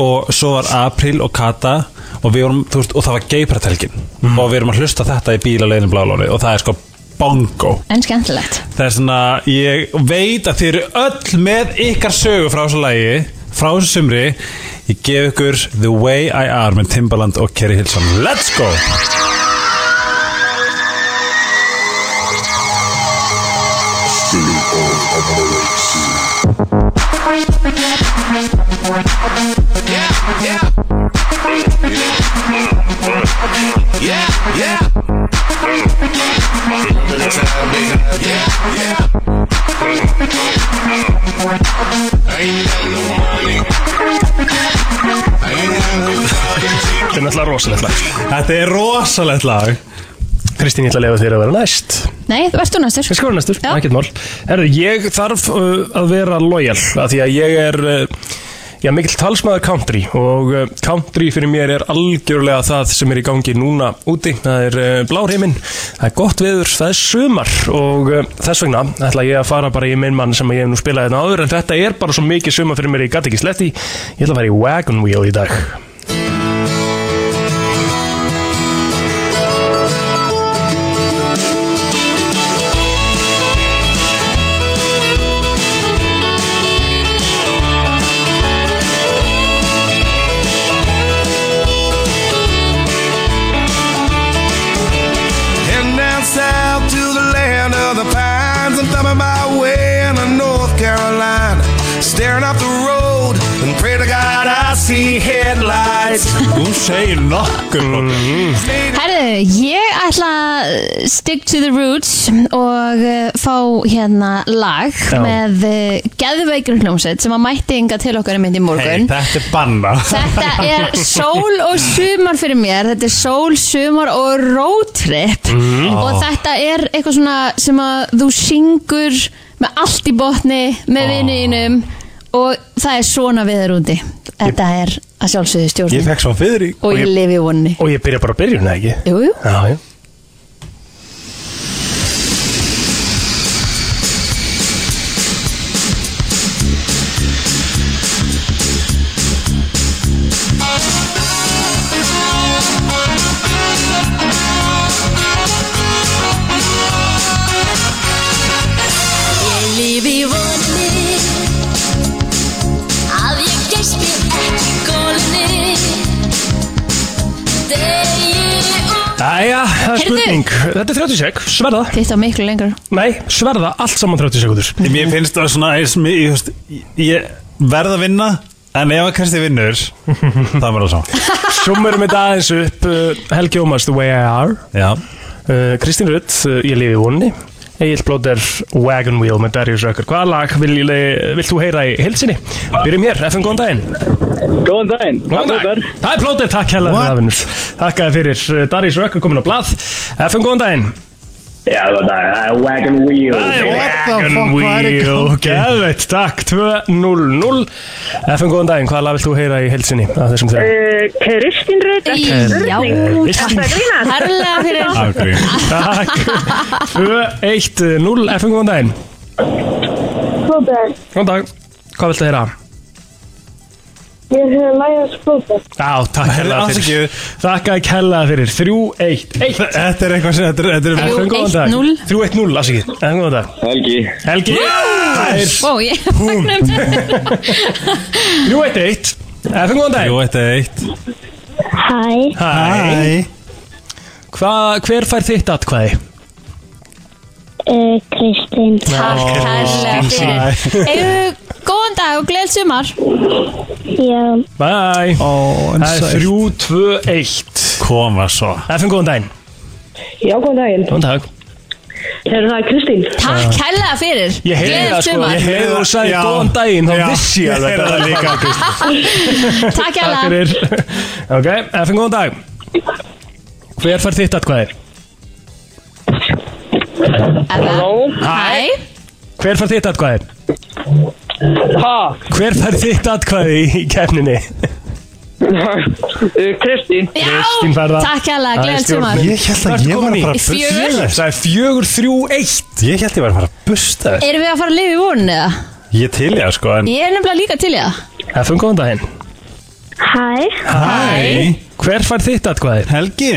[SPEAKER 3] Og svo var April og Kata Og, við vorum, þú veist, og það var geipartelgin Og við erum að hlusta þetta í bíl að leiðin í blálónið Og það er sko bongo
[SPEAKER 4] En skemmtilegt
[SPEAKER 3] Það er svona, ég veit að þið eru öll með ykkar sögu frá þessu lagi, frá þessu sumri. Ég gef ykkur The Way I Are með Timbaland og Kerry Hilson. Let's go!
[SPEAKER 1] Brennslan
[SPEAKER 2] Þetta er náttúrulega rosalegt lag
[SPEAKER 3] Þetta er rosalegt lag
[SPEAKER 2] Kristín, ég ætla að lefa þér að vera næst
[SPEAKER 4] Nei, verður þú næstur?
[SPEAKER 2] Ég skoður næstur, ekkert mál Herðu, ég þarf uh, að vera lojal af Því að ég er uh, Já, mikill talsmaður country Og uh, country fyrir mér er algjörlega það sem er í gangi núna úti Það er uh, blár heiminn, það er gott veður, það er sumar Og uh, þess vegna ætla ég að fara bara í minn mann sem ég hef nú spilað þetta áður En þetta er bara svo mikið sumar fyrir mér, ég gat ekki sletti Ég ætla að vera í Wagon Wheel í dag
[SPEAKER 14] Heading down south to the land of the pines. I'm thumbing my way into North Carolina. Staring up the road and pray to God I see headlights.
[SPEAKER 3] Hún segir nokkur
[SPEAKER 4] Mm-hmm. Herðu, ég ætla að stick to the roots og uh, fá hérna lag
[SPEAKER 3] Já.
[SPEAKER 4] með uh, Geðveikur hljómsveit sem að mætti ynga til okkar í myndi morgun
[SPEAKER 3] Þetta er banna
[SPEAKER 4] Þetta er sól og sumar fyrir mér Þetta er sól, sumar og roadtrip
[SPEAKER 3] Mm.
[SPEAKER 4] Og
[SPEAKER 1] Ah.
[SPEAKER 3] Ó.
[SPEAKER 4] þetta er eitthvað svona sem að þú syngur með allt í botni, með oh. vinninum Og það er svona viður úti Þetta er að sjálfsögðu
[SPEAKER 2] Ég
[SPEAKER 4] stjórnin
[SPEAKER 2] fekk svo fyrir
[SPEAKER 4] Og ég lifi í vonni
[SPEAKER 2] Og ég byrja bara að byrjun, eða ekki?
[SPEAKER 4] Jú, jú
[SPEAKER 2] Já, já
[SPEAKER 15] Ég líf í vonni að ég geisti ekki gólni degi og
[SPEAKER 2] Æja, það er
[SPEAKER 4] Heyrðu.
[SPEAKER 2] spurning Þetta er 30 sek, sverða
[SPEAKER 4] Þetta var miklu lengur
[SPEAKER 2] Nei, sverða allt saman 30 sekundur
[SPEAKER 3] Mér finnst það svona eins mi- ég, þú veist, ég verð að vinna En ef að Kristi vinnur Það verður það saman
[SPEAKER 2] Summerum þetta aðeins upp uh, Helgi Ómars, The Way I Are
[SPEAKER 3] Já.
[SPEAKER 2] uh, Kristín Rutt, uh, Ég lifi í vonni Egil Blóter, Wagon Wheel með Darius Rökkur Hvaða lag vil, vil þú heyra í heilsinni? Byrjum hér, FM, góðan daginn
[SPEAKER 16] Góðan daginn,
[SPEAKER 2] góðan daginn Það er Blóter, takk hella fyrir aðvinnur Þakkaði fyrir uh, Darius Rökkur komin á blað FM, góðan daginn
[SPEAKER 16] Já, góðan daginn, það er Wagon Wheel
[SPEAKER 2] Wagon
[SPEAKER 4] er
[SPEAKER 2] Wheel, geðveitt, takk 2-0-0 FM, góðan daginn, hvaða lag vil þú heyra í heilsinni? Af þessum þeirra
[SPEAKER 17] Eh, Kristín Rutt, ekki
[SPEAKER 2] Já.
[SPEAKER 17] spurning.
[SPEAKER 2] Kristín.
[SPEAKER 17] Þetta er grínast.
[SPEAKER 4] Herlega fyrir
[SPEAKER 2] Takk 2-1-0 FM, góðan daginn
[SPEAKER 17] Blóðberg,
[SPEAKER 2] Góðan dag Hvað viltu heyra?
[SPEAKER 17] ég hef lægast blóðberg.
[SPEAKER 2] Já, takk hella fyrir Takk að kella fyrir 3-1-1
[SPEAKER 3] Þetta er eitthvað sem Þetta er, þetta er
[SPEAKER 2] FM, góðan dag 3-1-0, afsakið FM, góðan dag
[SPEAKER 16] Helgi
[SPEAKER 2] Helgi Það er
[SPEAKER 4] Ó, ég fagnum þetta
[SPEAKER 2] 3-1-1 FM, góðan dag 3-1-1
[SPEAKER 17] Hæ.
[SPEAKER 2] Hæ Hva, Hver fær þitt atkvæði?
[SPEAKER 17] Eh, Kristín.
[SPEAKER 4] Takk hella fyrir Eigum góðan dag og gleðið sumar
[SPEAKER 17] Já.
[SPEAKER 2] Bye
[SPEAKER 3] Ó, en
[SPEAKER 2] Það
[SPEAKER 3] sætt.
[SPEAKER 2] er 3-2-1
[SPEAKER 3] Koma svo
[SPEAKER 2] FM, góðan daginn
[SPEAKER 17] Já, góðan daginn.
[SPEAKER 2] Góðan dag
[SPEAKER 17] Eru það Kristín?
[SPEAKER 4] Takk hella fyrir
[SPEAKER 2] Ég heyrði
[SPEAKER 4] Gleðilegt
[SPEAKER 2] það sko,
[SPEAKER 4] sumar.
[SPEAKER 2] ég heyrði þú sagði
[SPEAKER 3] Já.
[SPEAKER 2] góðan daginn, þá
[SPEAKER 3] Já,
[SPEAKER 2] vissi ég
[SPEAKER 3] ég
[SPEAKER 2] að
[SPEAKER 3] heyrði
[SPEAKER 2] þetta
[SPEAKER 3] það líka,
[SPEAKER 4] Takk
[SPEAKER 2] Takk
[SPEAKER 4] hella
[SPEAKER 2] fyrir Ok, FN góðan dag Hver fær þitt atkvæði?
[SPEAKER 17] Halló.
[SPEAKER 2] Hæ Hver fær þitt atkvæði? Ha? Hver fær þitt atkvæði í kefninni?
[SPEAKER 17] Eh,
[SPEAKER 16] Kristín
[SPEAKER 2] Kristín fær það
[SPEAKER 4] Takk hella, gleðið sumar
[SPEAKER 3] Ég held að ég var að fara að busta
[SPEAKER 4] Fjögur.
[SPEAKER 3] Það er
[SPEAKER 2] fjögur, þrjú, eitt
[SPEAKER 3] Ég held að ég var að fara að busta þér.
[SPEAKER 4] Erum við að fara að lifa í vonin eða?
[SPEAKER 3] Ég til ég sko en
[SPEAKER 4] Ég er nefnilega líka til ég
[SPEAKER 2] FN góðan daginn
[SPEAKER 17] Hæ.
[SPEAKER 2] Hæ Hver fær þitt atkvæði?
[SPEAKER 3] Helgi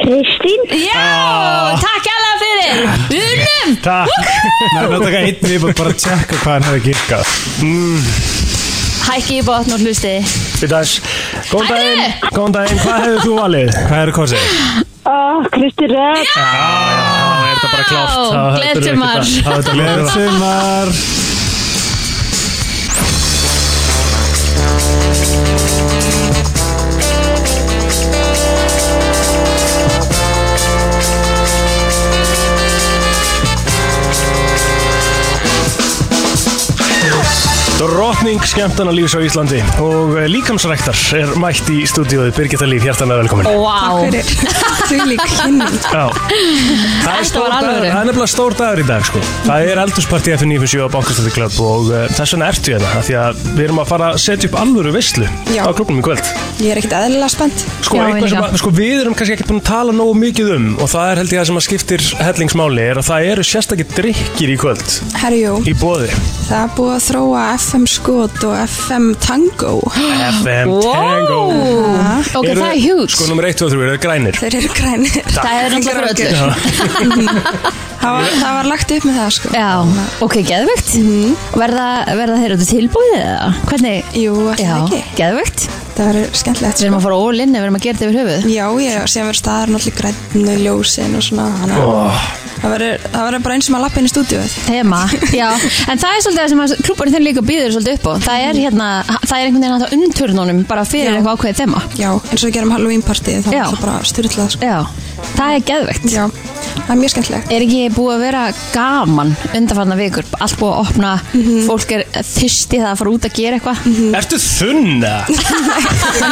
[SPEAKER 17] Kristín.
[SPEAKER 4] Já, takk hella fyrir Unum
[SPEAKER 2] Ah. Takk
[SPEAKER 3] Það er náttúrulega einn við bara að tjekka hvað hann hefði girkað
[SPEAKER 4] Hækki í botn og hlusti
[SPEAKER 2] Við Mm, dags Góðan daginn, góðan daginn, hvað hefur þú valið?
[SPEAKER 3] Hvað eru kosið?
[SPEAKER 17] Kristín Rett.
[SPEAKER 2] Já, já, já, er þetta er bara klárt
[SPEAKER 4] Vá,
[SPEAKER 2] Það- það
[SPEAKER 4] gleðsumar.
[SPEAKER 2] þurfum við ekki það- það- það-
[SPEAKER 3] Gleðsumar.
[SPEAKER 2] Drottning skemmtana lífs á Íslandi og eh, líkamsræktar er mætt í stúdíóið Birgitta Líf, hjartanlega velkomin
[SPEAKER 7] Wow
[SPEAKER 18] Þvílík kynning
[SPEAKER 2] Já, það er, stór dagur, það er nefnilega stór dagur í dag sko. Það er eldurspartí F957 á Bankastöldi Club og uh, þess vegna ertu hérna af því að við erum að fara að setja upp alvöru veislu
[SPEAKER 19] Já.
[SPEAKER 2] á klubnum í kvöld
[SPEAKER 19] Ég er ekkert eðlilega spennt
[SPEAKER 2] Sko, eitthvað sem að, sko, við erum kannski ekkert búin að tala nógu mikið um og það er held ég það sem að skiptir hellingsmáli er að það eru sérstakir drikkir í kvöld
[SPEAKER 19] Herjú,
[SPEAKER 2] í bóði
[SPEAKER 19] það er búið að þróa FM skot og FM tango
[SPEAKER 2] FM
[SPEAKER 19] Wow.
[SPEAKER 2] Tango
[SPEAKER 19] Ha? Ok,
[SPEAKER 2] Eru-
[SPEAKER 19] það er huge.
[SPEAKER 2] Sko, nummer 1, 2, 3 eru þeir grænir
[SPEAKER 19] Þeir eru grænir
[SPEAKER 2] Takk. Það er náttúrulega fyrir öllu.
[SPEAKER 19] öllu það, var, það var lagt upp með það sko Mhm.
[SPEAKER 4] Já, ok, geðvögt verða, verða þeir auðvitað tilbúið eða? Hvernig?
[SPEAKER 19] Jú,
[SPEAKER 4] Já,
[SPEAKER 19] ekki.
[SPEAKER 4] geðvögt
[SPEAKER 19] Það verður skemmtilegt sko.
[SPEAKER 4] Við erum að fara all-in ef við erum að gera þetta yfir höfuð
[SPEAKER 19] Já, já, sem verður staðar náttúrulega grænnu ljósin og svona hana.
[SPEAKER 4] Oh.
[SPEAKER 19] Það verður það verður bara eins og maður lappa inn í stúdíuð
[SPEAKER 4] Þema, já, en það er svolítið það sem að klubbarinn þinn líka býður svolítið upp á það er hérna, það er einhvern veginn hægt að undturnunum bara fyrir eitthvað ákveðið þema
[SPEAKER 19] Já, eins og við gerum Halloween party það er alltaf bara styrlað sko.
[SPEAKER 4] Já, það er geðvegt
[SPEAKER 19] Já, það er mjög skemmtilegt
[SPEAKER 4] Er ekki búið að vera gaman undanfarnar vikur, allt búið að opna
[SPEAKER 19] Mhm.
[SPEAKER 4] fólk er þyrst í það að fara út að gera eitthvað
[SPEAKER 2] Ertu þunna?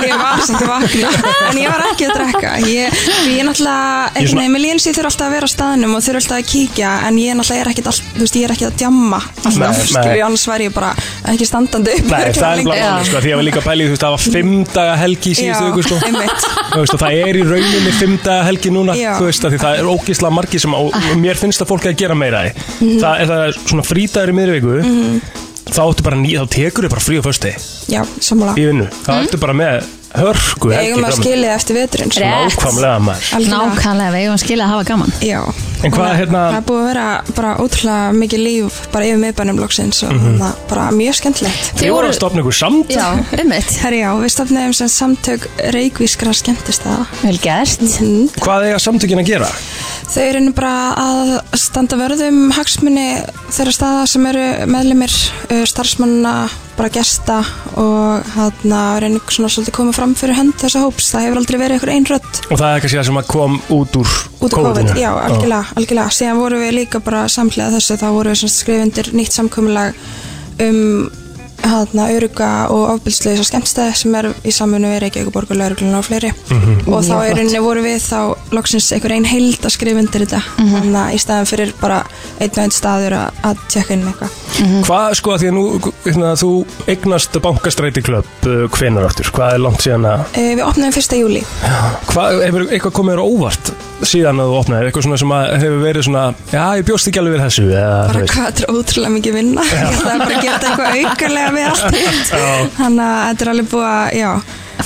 [SPEAKER 19] ég var samt að vakna en ég var ekki að drekka ég, því ég náttúrulega,
[SPEAKER 2] Ég er
[SPEAKER 19] einhvern
[SPEAKER 2] svona-
[SPEAKER 19] veginn, með lénsið þurfa alltaf að vera á staðnum og þurfa alltaf að kíkja en ég náttúrulega er ekkert all, þú veist, ég er ekkert að djamma alltaf,
[SPEAKER 2] Nei, nei.
[SPEAKER 19] skilju, annars væri ég bara ekki standandi upp
[SPEAKER 2] Nei, það er
[SPEAKER 19] örugglega
[SPEAKER 2] bara
[SPEAKER 19] lengi.
[SPEAKER 2] alveg, sko, því að við líka pælið, þú veist, það var fimm daga helgi í síðustu
[SPEAKER 19] Já,
[SPEAKER 2] viku, sko
[SPEAKER 19] einmitt.
[SPEAKER 2] Þú veist, og það er í rauninni fimm daga helgi núna,
[SPEAKER 19] Já.
[SPEAKER 2] þú veist, af því það er ógislega margi sem, og og mér finnst að fólk er að gera meira í
[SPEAKER 19] Mhm.
[SPEAKER 2] Það er það er svona frídagur í miðri viku,
[SPEAKER 19] Mhm.
[SPEAKER 2] þá áttu bara ný, þá tekur þau bara frí á fösti
[SPEAKER 19] Já, sammála
[SPEAKER 2] í vinnu, þá ertu bara með hörku helgi
[SPEAKER 19] Mm. Eigum að
[SPEAKER 2] framundan.
[SPEAKER 19] skilja eftir veturinn sko.
[SPEAKER 2] Nákvæmlega maður
[SPEAKER 4] Nákvæmlega, við eigum að skilja að hafa gaman
[SPEAKER 19] Já
[SPEAKER 2] En hvað, hérna-
[SPEAKER 19] Það er búið að vera bara ótrúlega mikið líf bara yfir miðbænum loksins og
[SPEAKER 2] Mhm.
[SPEAKER 19] það er bara mjög skemmtilegt
[SPEAKER 2] Þið voru að stopna ykkur samt
[SPEAKER 19] Já,
[SPEAKER 4] einmitt
[SPEAKER 19] Herri já, við stopnaðum sem samtök reykvískra skemmtistaða Mhm.
[SPEAKER 4] Vel gert
[SPEAKER 2] Hvað eiga samtökin að gera?
[SPEAKER 19] Þau eru nú bara að standa vörðum hagsmunni þeirra staða sem eru meðlumir starfsmanna, bara gesta og hérna reynir svona svolítið koma fram fyrir hönd þessa hóps það hefur aldrei verið einhver einrödd
[SPEAKER 2] Og það er kannski það sem að kom út úr
[SPEAKER 19] út af COVID,
[SPEAKER 2] -inu.
[SPEAKER 19] já, algjörlega, algjörlega síðan vorum við líka bara samlega þessu þá vorum við skrifundir nýtt samkomulag um hérna öruga og ofbilslega skemmtstæði sem er í samfunni við Reykjavík og borgar og fleiri
[SPEAKER 17] Mhm.
[SPEAKER 19] og þá
[SPEAKER 17] Mjög
[SPEAKER 19] í
[SPEAKER 17] flott.
[SPEAKER 19] rauninni vorum við þá loksins einhver ein heild að skrifundir þetta þannig að í staðan fyrir bara einn og einn staður að, að tjekka inn eitthvað
[SPEAKER 2] Hvað, sko, að því að nú, hérna, þú eignast bankastræti klöpp uh, hvenar áttur? Hvað er langt síðan að...
[SPEAKER 19] e, Við opnaðum 1. júli
[SPEAKER 2] Hvað, hefur eitthvað komið þér á óvart síðan að þú opnaðir? Eitthvað svona sem að hefur verið svona, já, ég bjóst ekki alveg við þessu, eða... þú
[SPEAKER 19] bara
[SPEAKER 2] veist.
[SPEAKER 19] hvað þetta er ótrúlega mikið vinna ég ætlaði bara að geta eitthvað aukarlega við allt hitt.
[SPEAKER 2] Já.
[SPEAKER 19] þannig að þetta er alveg búið að já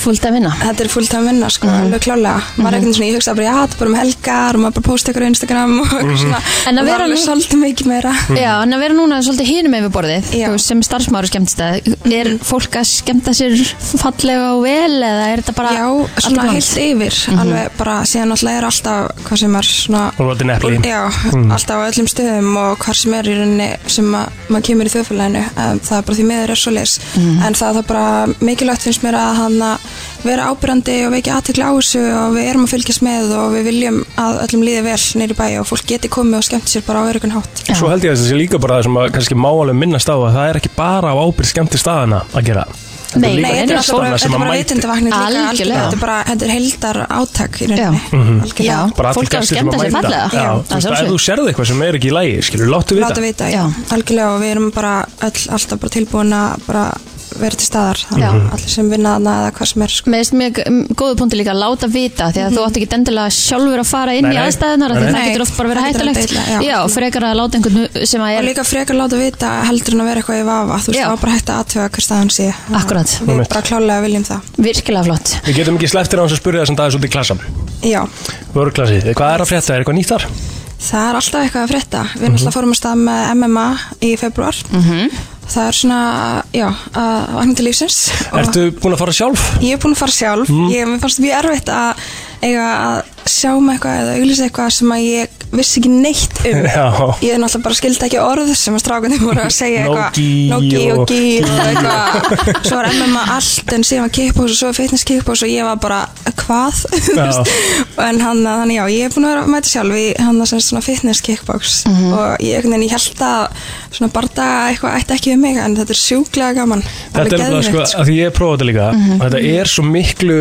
[SPEAKER 4] fullt að vinna Mhm.
[SPEAKER 19] þetta er fullt að vinna sko, alveg klálega maður er ekkert svona, ég hugsa bara, já, þetta er bara um helgar og maður bara posta ykkur á Instagram og eitthvað
[SPEAKER 2] Mhm.
[SPEAKER 19] svona Og
[SPEAKER 4] En að
[SPEAKER 19] það er
[SPEAKER 4] vera
[SPEAKER 19] alveg
[SPEAKER 4] nú-
[SPEAKER 19] svolítið mikið meira
[SPEAKER 4] Já, en að vera núna svolítið hinum yfir borðið þú veist, sem starfsmáru skemmtist að er fólk að skemmta sér fallega og vel eða er þetta bara Mhm.
[SPEAKER 19] já, svona heilt yfir alveg bara, síðan alltaf er alltaf hvað sem er svona
[SPEAKER 2] Og rotin epli.
[SPEAKER 19] já,
[SPEAKER 2] Mhm.
[SPEAKER 19] alltaf á öllum stöðum og hvað sem er í rauninni sem að maður kemur í þjóðfélaginu um, það er bara því miður er svoleiðis
[SPEAKER 17] Mhm.
[SPEAKER 19] en það er bara mikilvægt finnst mér að hann að vera ábyrjandi og vekja aðtekla á þessu og við erum að fylgjast með og við viljum að öllum líði vel neyri bæja og fólk geti komið og skemmt sér bara á örugun hátt
[SPEAKER 2] Svo held ég að þessi líka bara það sem að kannski má alveg minnast á að það er ekki bara á ábyrð skemmti staðana að gera. Þetta er
[SPEAKER 19] Nei,
[SPEAKER 2] líka
[SPEAKER 19] nei, þetta er alltaf
[SPEAKER 2] gestarna
[SPEAKER 19] bara, þetta
[SPEAKER 2] sem
[SPEAKER 19] er
[SPEAKER 2] að
[SPEAKER 19] bara
[SPEAKER 2] mæta.
[SPEAKER 19] vitundavakning líka
[SPEAKER 4] Algjörlega.
[SPEAKER 19] algjörlega. Þetta er bara, þetta er heldar átak í rauninni
[SPEAKER 2] Mhm.
[SPEAKER 19] Algjörlega.
[SPEAKER 2] Bara allir
[SPEAKER 4] Fólk er að
[SPEAKER 2] gestir sem
[SPEAKER 4] skemmta sér
[SPEAKER 2] mæta.
[SPEAKER 4] fallega.
[SPEAKER 2] Já,
[SPEAKER 4] Já, að
[SPEAKER 2] þú veist, ef
[SPEAKER 4] sjálfsögðu.
[SPEAKER 2] þú sérði eitthvað sem er ekki í lagi, skilur, láttu vita.
[SPEAKER 19] Láta vita, já, algjörlega og við erum bara öll, alltaf bara tilbúin að bara vera til staðar þannig að allir sem vinna þarna eða hvað sem er sko.
[SPEAKER 4] Mhm.
[SPEAKER 19] Mhm.
[SPEAKER 4] Mér finnst mjög mm, góðu punkti líka að láta vita því að þú átt ekki dendilega sjálfur að fara inn
[SPEAKER 19] Nei,
[SPEAKER 4] í
[SPEAKER 19] nei.
[SPEAKER 4] aðstæðunar af því
[SPEAKER 19] Nei,
[SPEAKER 4] það
[SPEAKER 19] nei.
[SPEAKER 4] getur oft bara verið
[SPEAKER 19] Það getur
[SPEAKER 4] hættulegt
[SPEAKER 19] verið illa, já.
[SPEAKER 4] Já, frekar að láta einhvern sem að
[SPEAKER 19] og
[SPEAKER 4] er
[SPEAKER 19] líka frekar láta vita heldur en að vera eitthvað í vafa þú veist, þá er bara hægt að aðtöfa hver staðan sé
[SPEAKER 4] Akkurat.
[SPEAKER 19] Við bara klálega viljum það
[SPEAKER 4] virkilega flott
[SPEAKER 2] Við getum ekki sleftir á hans að spyrja þessum dag svolítið klassam.
[SPEAKER 19] Já,
[SPEAKER 2] Vörklassið, hvað er að frétta? Er eitthvað nýtt þar?
[SPEAKER 19] það er alltaf eitthvað að frétta Við erum alltaf fórum að stað með MMA í februar
[SPEAKER 4] Mhm.
[SPEAKER 19] Það er svona, já, að vakna til lífsins og-
[SPEAKER 2] Ertu búin að fara sjálf?
[SPEAKER 19] Ég er búin að fara sjálf,
[SPEAKER 2] Mm.
[SPEAKER 19] ég, mér fannst mjög erfitt að eiga að sjá með eitthvað eða auglýsa eitthvað sem að ég vissi ekki neitt um
[SPEAKER 2] Já.
[SPEAKER 19] ég náttúrulega bara skildi ekki orð sem að strákunni voru að segja eitthvað
[SPEAKER 2] Nógi
[SPEAKER 19] Nógi
[SPEAKER 2] og
[SPEAKER 19] og gí og
[SPEAKER 2] gí.
[SPEAKER 19] eitthvað svo var MMA allt en síðan var kickbox og svo fitness kickbox og ég var bara hvað Þú veist? en hann, hann, já, ég er búin að vera að mæta sjálf í hann að svona fitness kickbox og ég, einhvern veginn, ég held að svona bardaga eitthvað ætti ekki við mig en þetta er sjúklega gaman
[SPEAKER 2] Þetta
[SPEAKER 19] Alveg
[SPEAKER 2] er nefnilega sko,
[SPEAKER 19] geðveikt,
[SPEAKER 2] að því ég prófaði þetta líka
[SPEAKER 19] Mhm.
[SPEAKER 2] og þetta er svo miklu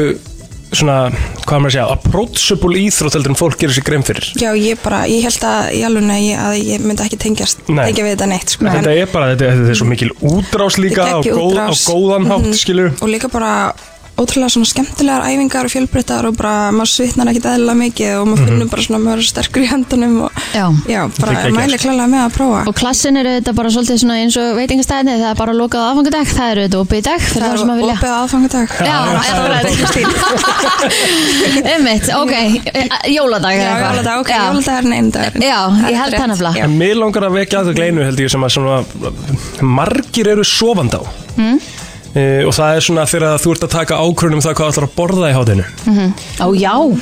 [SPEAKER 2] svona, hvað á maður að segja, approachable íþrótt heldur en fólk gerir sér grein fyrir
[SPEAKER 19] Já, ég bara, ég held að í alveg að, ég- að ég myndi ekki tengjast,
[SPEAKER 2] Nei.
[SPEAKER 19] tengja við þetta neitt sko,
[SPEAKER 2] Þetta er bara, þetta, þetta er svo mikil útrás líka á,
[SPEAKER 19] geggjuð
[SPEAKER 2] góð, á
[SPEAKER 19] útrás.
[SPEAKER 2] góðan hátt,
[SPEAKER 19] Mhm.
[SPEAKER 2] skilur
[SPEAKER 19] og líka bara ótrúlega svona skemmtilegar æfingar og fjölbreyttar og bara maður svitnar ekkit eðla mikið og maður
[SPEAKER 2] Mhm.
[SPEAKER 19] finnur bara svona að maður er sterkur í hendunum og
[SPEAKER 4] já,
[SPEAKER 19] já bara
[SPEAKER 4] Þetta er geggjað,
[SPEAKER 19] mæli
[SPEAKER 4] sko.
[SPEAKER 19] klálega með að prófa
[SPEAKER 4] Og klassin eru þetta bara svolítið svona eins og veitingastæðinni það er bara lokað á aðfangadag, það eru þetta opið í dag fyrir
[SPEAKER 19] Það
[SPEAKER 4] það
[SPEAKER 19] er
[SPEAKER 4] sem að vilja
[SPEAKER 19] opið á aðfangadag
[SPEAKER 4] Já,
[SPEAKER 2] um
[SPEAKER 4] akkurat Einmitt, ok, jóladag eða
[SPEAKER 19] Já,
[SPEAKER 4] eitthvað.
[SPEAKER 19] jóladag, ok,
[SPEAKER 4] Já.
[SPEAKER 19] jóladag er neinn dagur
[SPEAKER 4] Já, ég held það nefnilega
[SPEAKER 2] En mér langar að vekja aðeins gleinu held ég sem að svona margir eru sofandi á
[SPEAKER 4] Mm.
[SPEAKER 2] e, og það er svona þegar þú ert að taka ákvörðun um það hvað ætlar að borða í hátinu
[SPEAKER 4] Mhm. Á já,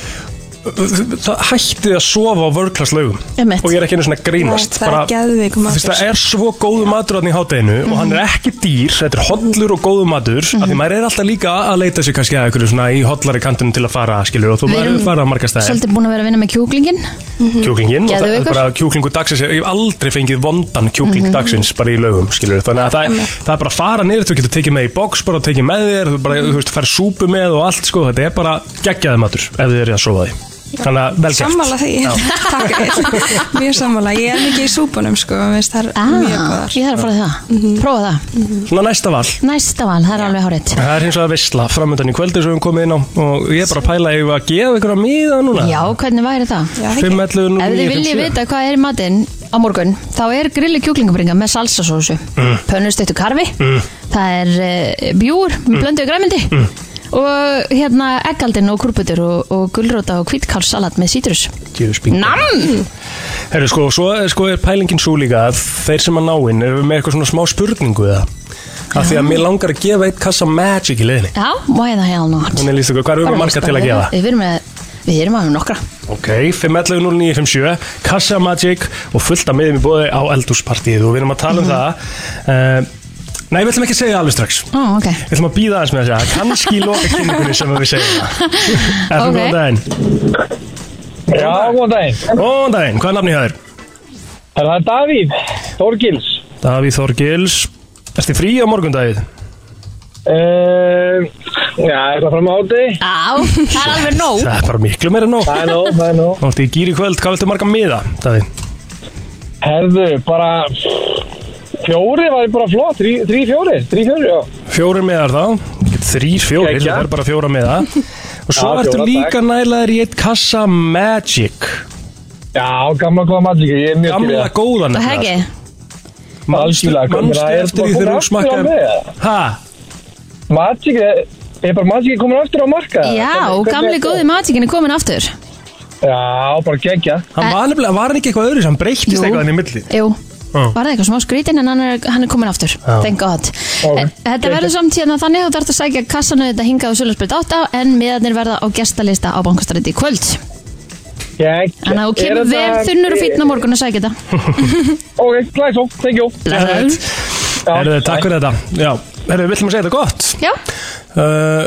[SPEAKER 2] það hætti að sofa á vörklast laugum
[SPEAKER 4] Einmitt.
[SPEAKER 2] og ég er ekki einu svona að
[SPEAKER 19] Nei,
[SPEAKER 2] grínast
[SPEAKER 19] það er
[SPEAKER 2] Bara-
[SPEAKER 19] geðveikur
[SPEAKER 2] þú
[SPEAKER 19] matur.
[SPEAKER 2] veist, það er svo góðu matur hann í hátæðinu og hann er ekki dýr, þetta er hollur og góðu matur af því maður er alltaf líka að leita sér kannski að einhverju svona í hollari kantunum til að fara skilur og þú
[SPEAKER 4] Við
[SPEAKER 2] maður
[SPEAKER 4] erum
[SPEAKER 2] fara að marga stæði
[SPEAKER 4] svolítið búin að vera að vinna með kjúklingin
[SPEAKER 19] Mhm.
[SPEAKER 2] kjúklingin og það er
[SPEAKER 4] Geðveikur.
[SPEAKER 2] bara kjúklingu dagsins ég hef aldrei fengið vondan kjúkling
[SPEAKER 4] Mhm.
[SPEAKER 2] dagsins bara í lögum skilur þannig að það, er- það er bara að fara niður þú getur tekið með í box bara og tekið með þér þú bara
[SPEAKER 4] Mhm.
[SPEAKER 2] þú veist fær súpu með og allt sko þetta er bara geggjaði matur ef þið eru að sofa því þannig að vel gert
[SPEAKER 19] Sammála því, takk Egill. Mjög sammála, ég er mikið í súpunum sko, mér finnst það
[SPEAKER 4] ah,
[SPEAKER 19] mjög góðar Mhm.
[SPEAKER 4] Ég þarf að fara í það, prófa það
[SPEAKER 2] svona næsta val
[SPEAKER 4] Næsta val, það er alveg hárið
[SPEAKER 2] Það er hins vegar veistla framöndan í kvöldi sem við komum inn á og ég er bara að pæla ef að gefa ykkur að miða núna
[SPEAKER 4] Já, hvernig væri það?
[SPEAKER 2] Já, ekki. 5, 11, 09,
[SPEAKER 4] Ef þið viljið
[SPEAKER 2] 57.
[SPEAKER 4] vita hvað er í matinn á morgun þá er grilli kjúklingabringa með salsasósu mm. pönnustöttu karfi
[SPEAKER 2] Mhm.
[SPEAKER 15] Mm.
[SPEAKER 4] það er uh, bjúr með
[SPEAKER 15] Mm.
[SPEAKER 4] blöndu og græmindi
[SPEAKER 15] Mm.
[SPEAKER 4] og hérna eggaldin og kurbutur og, og gulróta og hvítkárssalat með sítrus
[SPEAKER 2] Djöfus bingo.
[SPEAKER 4] Namm!
[SPEAKER 2] Herru, sko, svo er, sko er pælingin svo líka að þeir sem að náinn eru með eitthvað svona smá spurningu það af því að mér langar að gefa eitt kassa magic í liðinni
[SPEAKER 4] Já, why the hell not?
[SPEAKER 2] Þannig líst ykkur, hvað erum
[SPEAKER 4] Bara
[SPEAKER 2] við marga til að
[SPEAKER 4] spennandi.
[SPEAKER 2] gefa?
[SPEAKER 4] Við erum með, við erum með nokkra
[SPEAKER 2] Ok, 511-0957, Kassa Magic og fullt af miðum í bóði á eldúspartíð og við erum að tala um það uh, Nei, við ætlum ekki að segja það alveg strax
[SPEAKER 4] Ó, ok
[SPEAKER 2] Við ætlum að býða aðeins með þess að kannski í loka kynningunni sem við segjum það FM,
[SPEAKER 4] Ok.
[SPEAKER 2] góðan daginn Já, góðan daginn Góðan daginn, hvað er nafnið það er? Það er Davíð Þorgils Davíð Þorgils Erstu frí á morgundagið? Eh,
[SPEAKER 16] Uh, já, eitthvað fram á háti
[SPEAKER 4] Á, það er alveg nóg
[SPEAKER 2] Það er bara miklu meira en nóg
[SPEAKER 16] Það er nóg, það er nóg
[SPEAKER 2] Þú ert í gýri kvöld, hvað viltu marga miða, Davíð?
[SPEAKER 16] Herðu, bara Fjóri var bara flott, þrý, þrý fjóri, þrý fjóri, já
[SPEAKER 2] Fjórir miðar þá Þrýr, fjórir,
[SPEAKER 16] Gekkja.
[SPEAKER 2] það er bara fjóra miða Og svo
[SPEAKER 16] Já,
[SPEAKER 2] ertu
[SPEAKER 16] fjóra,
[SPEAKER 2] líka nælaðir í eitt kassa Magic
[SPEAKER 16] Já, gamla góða magic, ég er mjög til í
[SPEAKER 2] Gamla
[SPEAKER 16] það.
[SPEAKER 2] góða
[SPEAKER 4] Það er ekki
[SPEAKER 2] Manstu
[SPEAKER 16] Algjörlega, komið
[SPEAKER 2] manstu
[SPEAKER 16] að- er
[SPEAKER 2] eftir
[SPEAKER 16] bara
[SPEAKER 2] því
[SPEAKER 16] komið
[SPEAKER 2] þegar þú
[SPEAKER 16] aftur á
[SPEAKER 2] smakkaðir
[SPEAKER 16] mig,
[SPEAKER 2] Hæ?
[SPEAKER 16] Magic, er- er bara magic komin aftur á marka
[SPEAKER 4] Já, gamli góði matikin er komin aftur
[SPEAKER 16] Já, bara geggja
[SPEAKER 2] Hann var nefnilega, var hann ekki eitthvað öðru sem breyttist
[SPEAKER 4] Jú.
[SPEAKER 2] eitthvað hann í milli
[SPEAKER 4] Jú,
[SPEAKER 2] Já.
[SPEAKER 4] var það eitthvað smá skrítin en hann er, hann er komin aftur,
[SPEAKER 2] Já.
[SPEAKER 4] thank god okay. Þetta
[SPEAKER 2] Geggjað.
[SPEAKER 4] verður samt hérna þannig að þú þarfst að sækja kassanu þetta hingað á Sölusbyrð 8 en miðarnir verða á gestalista á bankastræti í kvöld
[SPEAKER 16] Þannig
[SPEAKER 4] Þannig að þú kemur vel þunnur og fínn á morgun að sækja þetta
[SPEAKER 16] Ok, glæs og, thank you
[SPEAKER 4] Blessaður.
[SPEAKER 2] Herðu, takk fyrir þetta Já, herðu, við ætlum að segja þetta gott
[SPEAKER 4] Já
[SPEAKER 2] uh,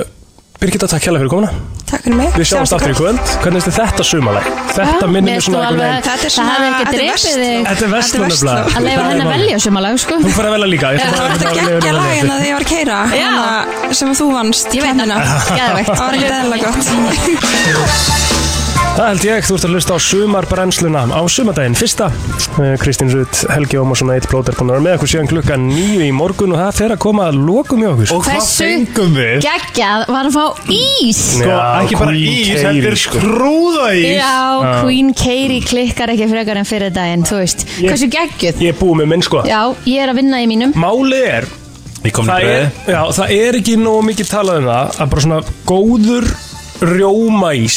[SPEAKER 2] Birgitta, takk hérlega fyrir komuna
[SPEAKER 19] Takk fyrir mig
[SPEAKER 2] Við sjáumst aftur í kvöld Hvernig finnst þið þetta sumaleg? Þetta minnir mig svona einhvern veginn
[SPEAKER 4] Þetta er svona, það hefði ekki drefið þig
[SPEAKER 2] Þetta er verslun nefnilega.
[SPEAKER 4] Að leifa
[SPEAKER 2] Það er
[SPEAKER 4] henni að
[SPEAKER 2] málið.
[SPEAKER 4] velja sumalag, sko
[SPEAKER 2] Þú fær að velja líka
[SPEAKER 19] Það var sko. þetta geggja lagin að því ég var að keira hana sem að þú vannst Ég veit
[SPEAKER 4] Geðveikt.
[SPEAKER 19] Það var ekki eðla gott
[SPEAKER 2] Það held ég, þú ert að hlusta á sumarbrennsluna á sumardaginn fyrsta. Eh, Kristín Rutt, Helgi Ómarsson, Eitt Plóter búin að vera með okkur síðan klukkan nýju í morgun og það fer að koma að lokum í okkur.
[SPEAKER 4] Hversu geggjað var að fá ís
[SPEAKER 2] Sko, Já, ekki bara Queen ís, Keiri, heldur sko. skrúða ís.
[SPEAKER 4] Já,
[SPEAKER 2] Já.
[SPEAKER 4] Queen Katie klikkar ekki frekar en fyrir daginn, þú veist Hversu geggjuð
[SPEAKER 2] Ég er búið með minn sko.
[SPEAKER 4] Já, ég er að vinna í mínum
[SPEAKER 2] Málið er það
[SPEAKER 3] í
[SPEAKER 2] er, já, það er ekki nóg mikið talað um það að bara svona góður rjómaís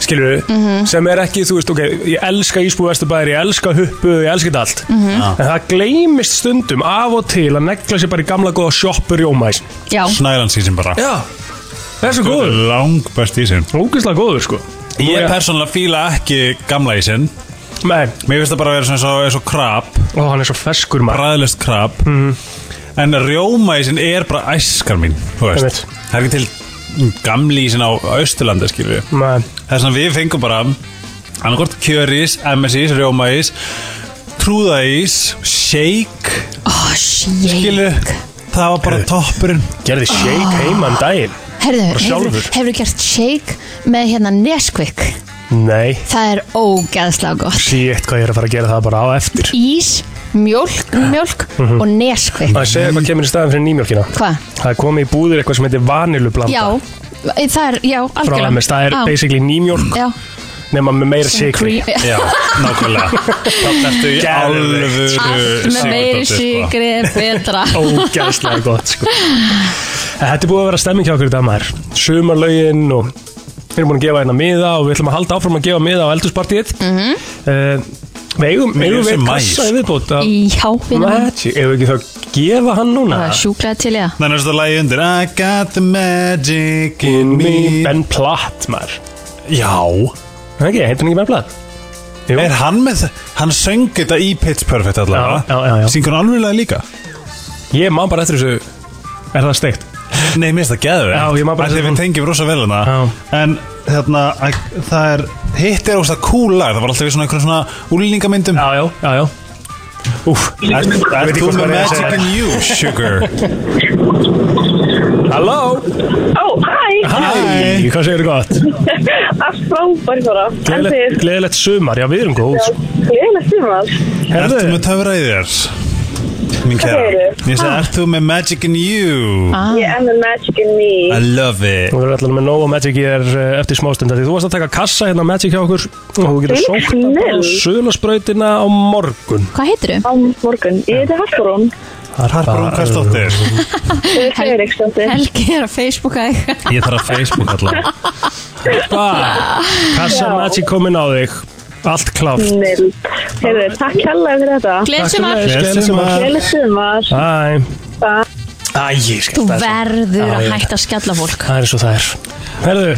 [SPEAKER 2] skilur við,
[SPEAKER 3] Mhm.
[SPEAKER 2] sem er ekki þú veist, ok, ég elska ísbúi vesturbæðir ég elska huppu, ég elska þetta allt
[SPEAKER 4] Mhm. Já.
[SPEAKER 2] en það gleymist stundum af og til að negla sér bara í gamla góða sjoppu rjómaís
[SPEAKER 4] Já.
[SPEAKER 3] Snælandsísin bara Sko,
[SPEAKER 2] Já, þessu góður
[SPEAKER 3] Lang best í sin
[SPEAKER 2] Ógislega góður sko
[SPEAKER 3] Ég persónulega fíla ekki gamla ísinn
[SPEAKER 2] Nei
[SPEAKER 3] Mér finnst það bara að vera svona eins og, eins og krab
[SPEAKER 2] Ó, hann er svo feskur maður Mhm.
[SPEAKER 3] Bræðlust krab En rjóma ísinn er bara æskar mín Þú
[SPEAKER 2] Einmitt.
[SPEAKER 3] veist Það er ekki til gamli ísinn á Östurlanda skilur við
[SPEAKER 2] Nei.
[SPEAKER 3] Það er svona við fengum bara Annarkort kjörís, MSís, rjómaís Trúðaís Shake
[SPEAKER 4] oh, Shake
[SPEAKER 3] Skilur Það var bara toppurinn
[SPEAKER 2] Gerði shake
[SPEAKER 4] Ah.
[SPEAKER 2] heima um daginn
[SPEAKER 4] Herðu,
[SPEAKER 2] Bara
[SPEAKER 4] hefur,
[SPEAKER 2] sjálfur.
[SPEAKER 4] hefur gert shake með hérna Nesquik
[SPEAKER 2] Nei
[SPEAKER 4] Það er ógeðslega gott
[SPEAKER 2] Sýtt hvað ég er að fara að gera það bara á eftir
[SPEAKER 4] Ís, mjólk, mjólk
[SPEAKER 2] Mhm.
[SPEAKER 4] og Nesquik
[SPEAKER 2] Það er segja hvað kemur í staðan fyrir nýmjólkina
[SPEAKER 4] Hvað?
[SPEAKER 2] Það er komið í búðir eitthvað sem heitir vanilublanda
[SPEAKER 4] Já, það er, já,
[SPEAKER 2] Frá
[SPEAKER 4] algjörlega
[SPEAKER 2] MS, það er
[SPEAKER 4] Já.
[SPEAKER 2] basically nýmjólk
[SPEAKER 4] Já,
[SPEAKER 2] nema með meira
[SPEAKER 4] Sem
[SPEAKER 2] sigri
[SPEAKER 4] cream- Já.
[SPEAKER 3] nákvæmlega Þannig ertu í alvöru sko.
[SPEAKER 4] allt með meiri
[SPEAKER 2] sko.
[SPEAKER 4] sigri er betra
[SPEAKER 2] Ógæðslega gott sko. En Þetta er búið að vera stemming hjá okkur í dag maður Sumarlaugin og við erum búin að gefa hérna miða og við ætlum að halda áfram að gefa miða á eldurspartíð mm
[SPEAKER 4] Mhm.
[SPEAKER 2] -hmm. Við eigum,
[SPEAKER 3] Mér er
[SPEAKER 2] eigum
[SPEAKER 3] sem
[SPEAKER 2] við
[SPEAKER 3] maís.
[SPEAKER 2] kassa í viðbót af
[SPEAKER 4] Já, vinur minn.
[SPEAKER 2] Magic, ef við ekki þá gefa hann núna
[SPEAKER 4] Það er sjúklega til ég
[SPEAKER 3] Þannig er þetta lagi undir I got the magic in me
[SPEAKER 2] Ben Platt maður
[SPEAKER 3] Já
[SPEAKER 2] Það ekki, heitir hann ekki Ben Platt? Jú.
[SPEAKER 3] Er hann með það? Hann söng þetta í Pitch Perfect allavega
[SPEAKER 2] Já, já, já, já.
[SPEAKER 3] Syngur hann alveg líka?
[SPEAKER 2] Ég man bara eftir þessu Er það steikt?
[SPEAKER 3] Nei, mér finnst það geður
[SPEAKER 2] Já, ég man bara
[SPEAKER 3] Þegar
[SPEAKER 2] eftir
[SPEAKER 3] við tengjum rosa vel hana En þarna, að- það er Hitt er ógst að cool lag Það var alltaf í svona einhverjum svona úlningamyndum
[SPEAKER 2] Já, já, já, já Úf,
[SPEAKER 3] Er,
[SPEAKER 2] Ég veit
[SPEAKER 3] er
[SPEAKER 2] ekki
[SPEAKER 3] þú með
[SPEAKER 2] hvað maður er að
[SPEAKER 3] magic
[SPEAKER 2] segja.
[SPEAKER 3] in you, sugar?
[SPEAKER 2] Halló
[SPEAKER 20] Ó, hæ
[SPEAKER 2] Hæ, hvað segir þú gott?
[SPEAKER 20] Allt frábært bara En
[SPEAKER 2] Gleðilegt,
[SPEAKER 20] þið
[SPEAKER 2] gleðilegt sumar, já við erum góð sko.
[SPEAKER 20] Gleðilegt sumar
[SPEAKER 3] Ertu með töfraðir? Mín
[SPEAKER 20] Hvað
[SPEAKER 3] kæra
[SPEAKER 20] segirðu?
[SPEAKER 3] Ég segi,
[SPEAKER 20] Ah.
[SPEAKER 3] ert þú með magic in you?
[SPEAKER 4] Ah,
[SPEAKER 20] Ég er með magic in me
[SPEAKER 3] I love it
[SPEAKER 2] Þú verður allavega með nóg og Magic er eftir smástunda Því þú varst að taka kassa hérna á Magic hjá okkur Og þú getur
[SPEAKER 20] Þvílík
[SPEAKER 2] sókt að
[SPEAKER 20] snill.
[SPEAKER 2] á sölasbrautina á morgun
[SPEAKER 4] Hvað heitir
[SPEAKER 20] Á morgun, ég heiti Hallbrún
[SPEAKER 2] Það er Harpa
[SPEAKER 3] Rún Hversdóttir
[SPEAKER 20] Helgi
[SPEAKER 4] Helgi er að Facebooka þig
[SPEAKER 3] Ég þarf að Facebook allavega
[SPEAKER 20] Já.
[SPEAKER 2] Kassa Magic komin á þig Allt klárt
[SPEAKER 20] Snill Heyrðu, takk hella fyrir þetta
[SPEAKER 2] Gleðilegt Takk sumar. sömuleiðis, gleðilegt sumar.
[SPEAKER 20] Gleðilegt sumar
[SPEAKER 2] Æ
[SPEAKER 20] Bye.
[SPEAKER 2] Æ, ég skil
[SPEAKER 4] Þú
[SPEAKER 2] það.
[SPEAKER 4] verður
[SPEAKER 2] Já,
[SPEAKER 4] að
[SPEAKER 2] ég-
[SPEAKER 4] hætta að skjalla fólk
[SPEAKER 2] Það er eins og það er Herðu,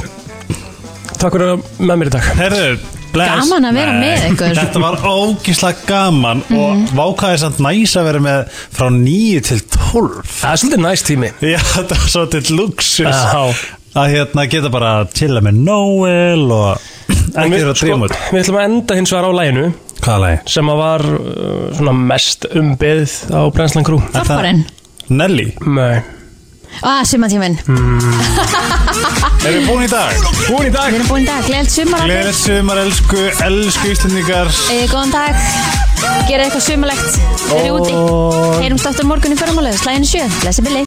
[SPEAKER 2] takk fyrir að vera með mér í dag
[SPEAKER 3] Herðu, bless
[SPEAKER 4] Gaman að vera
[SPEAKER 3] Nei,
[SPEAKER 4] með ykkur. Mhm.
[SPEAKER 3] Þetta var ógíslega gaman og vákaði samt næs að vera með frá 9 til 12
[SPEAKER 2] Það er svolítið næst tími
[SPEAKER 3] Já, þetta var svolítið luxus
[SPEAKER 2] Já.
[SPEAKER 3] að hérna geta bara að chilla með Noel og ekki
[SPEAKER 2] En við, sko,
[SPEAKER 3] vera að dríma út
[SPEAKER 2] við ætlum að enda hins vegar á læginu
[SPEAKER 3] Hvaða lægi?
[SPEAKER 2] Sem að var uh, svona mest umbyggð á Brensland Crew
[SPEAKER 4] Þorparinn
[SPEAKER 3] Nelly?
[SPEAKER 2] Nei
[SPEAKER 4] Ah, sumartíminn
[SPEAKER 3] Erum við búin í dag?
[SPEAKER 2] Búin í dag
[SPEAKER 4] Við erum búin í dag, gleðilegt sumar allir.
[SPEAKER 3] Gleðið sumar, elsku, elsku Íslendingar
[SPEAKER 4] Egið góðan dag um Gerið eitthvað sumarlegt Þeir eru úti Heyrumst aftur á morgun í fyrramálega Slæðin sjö Blessi Billy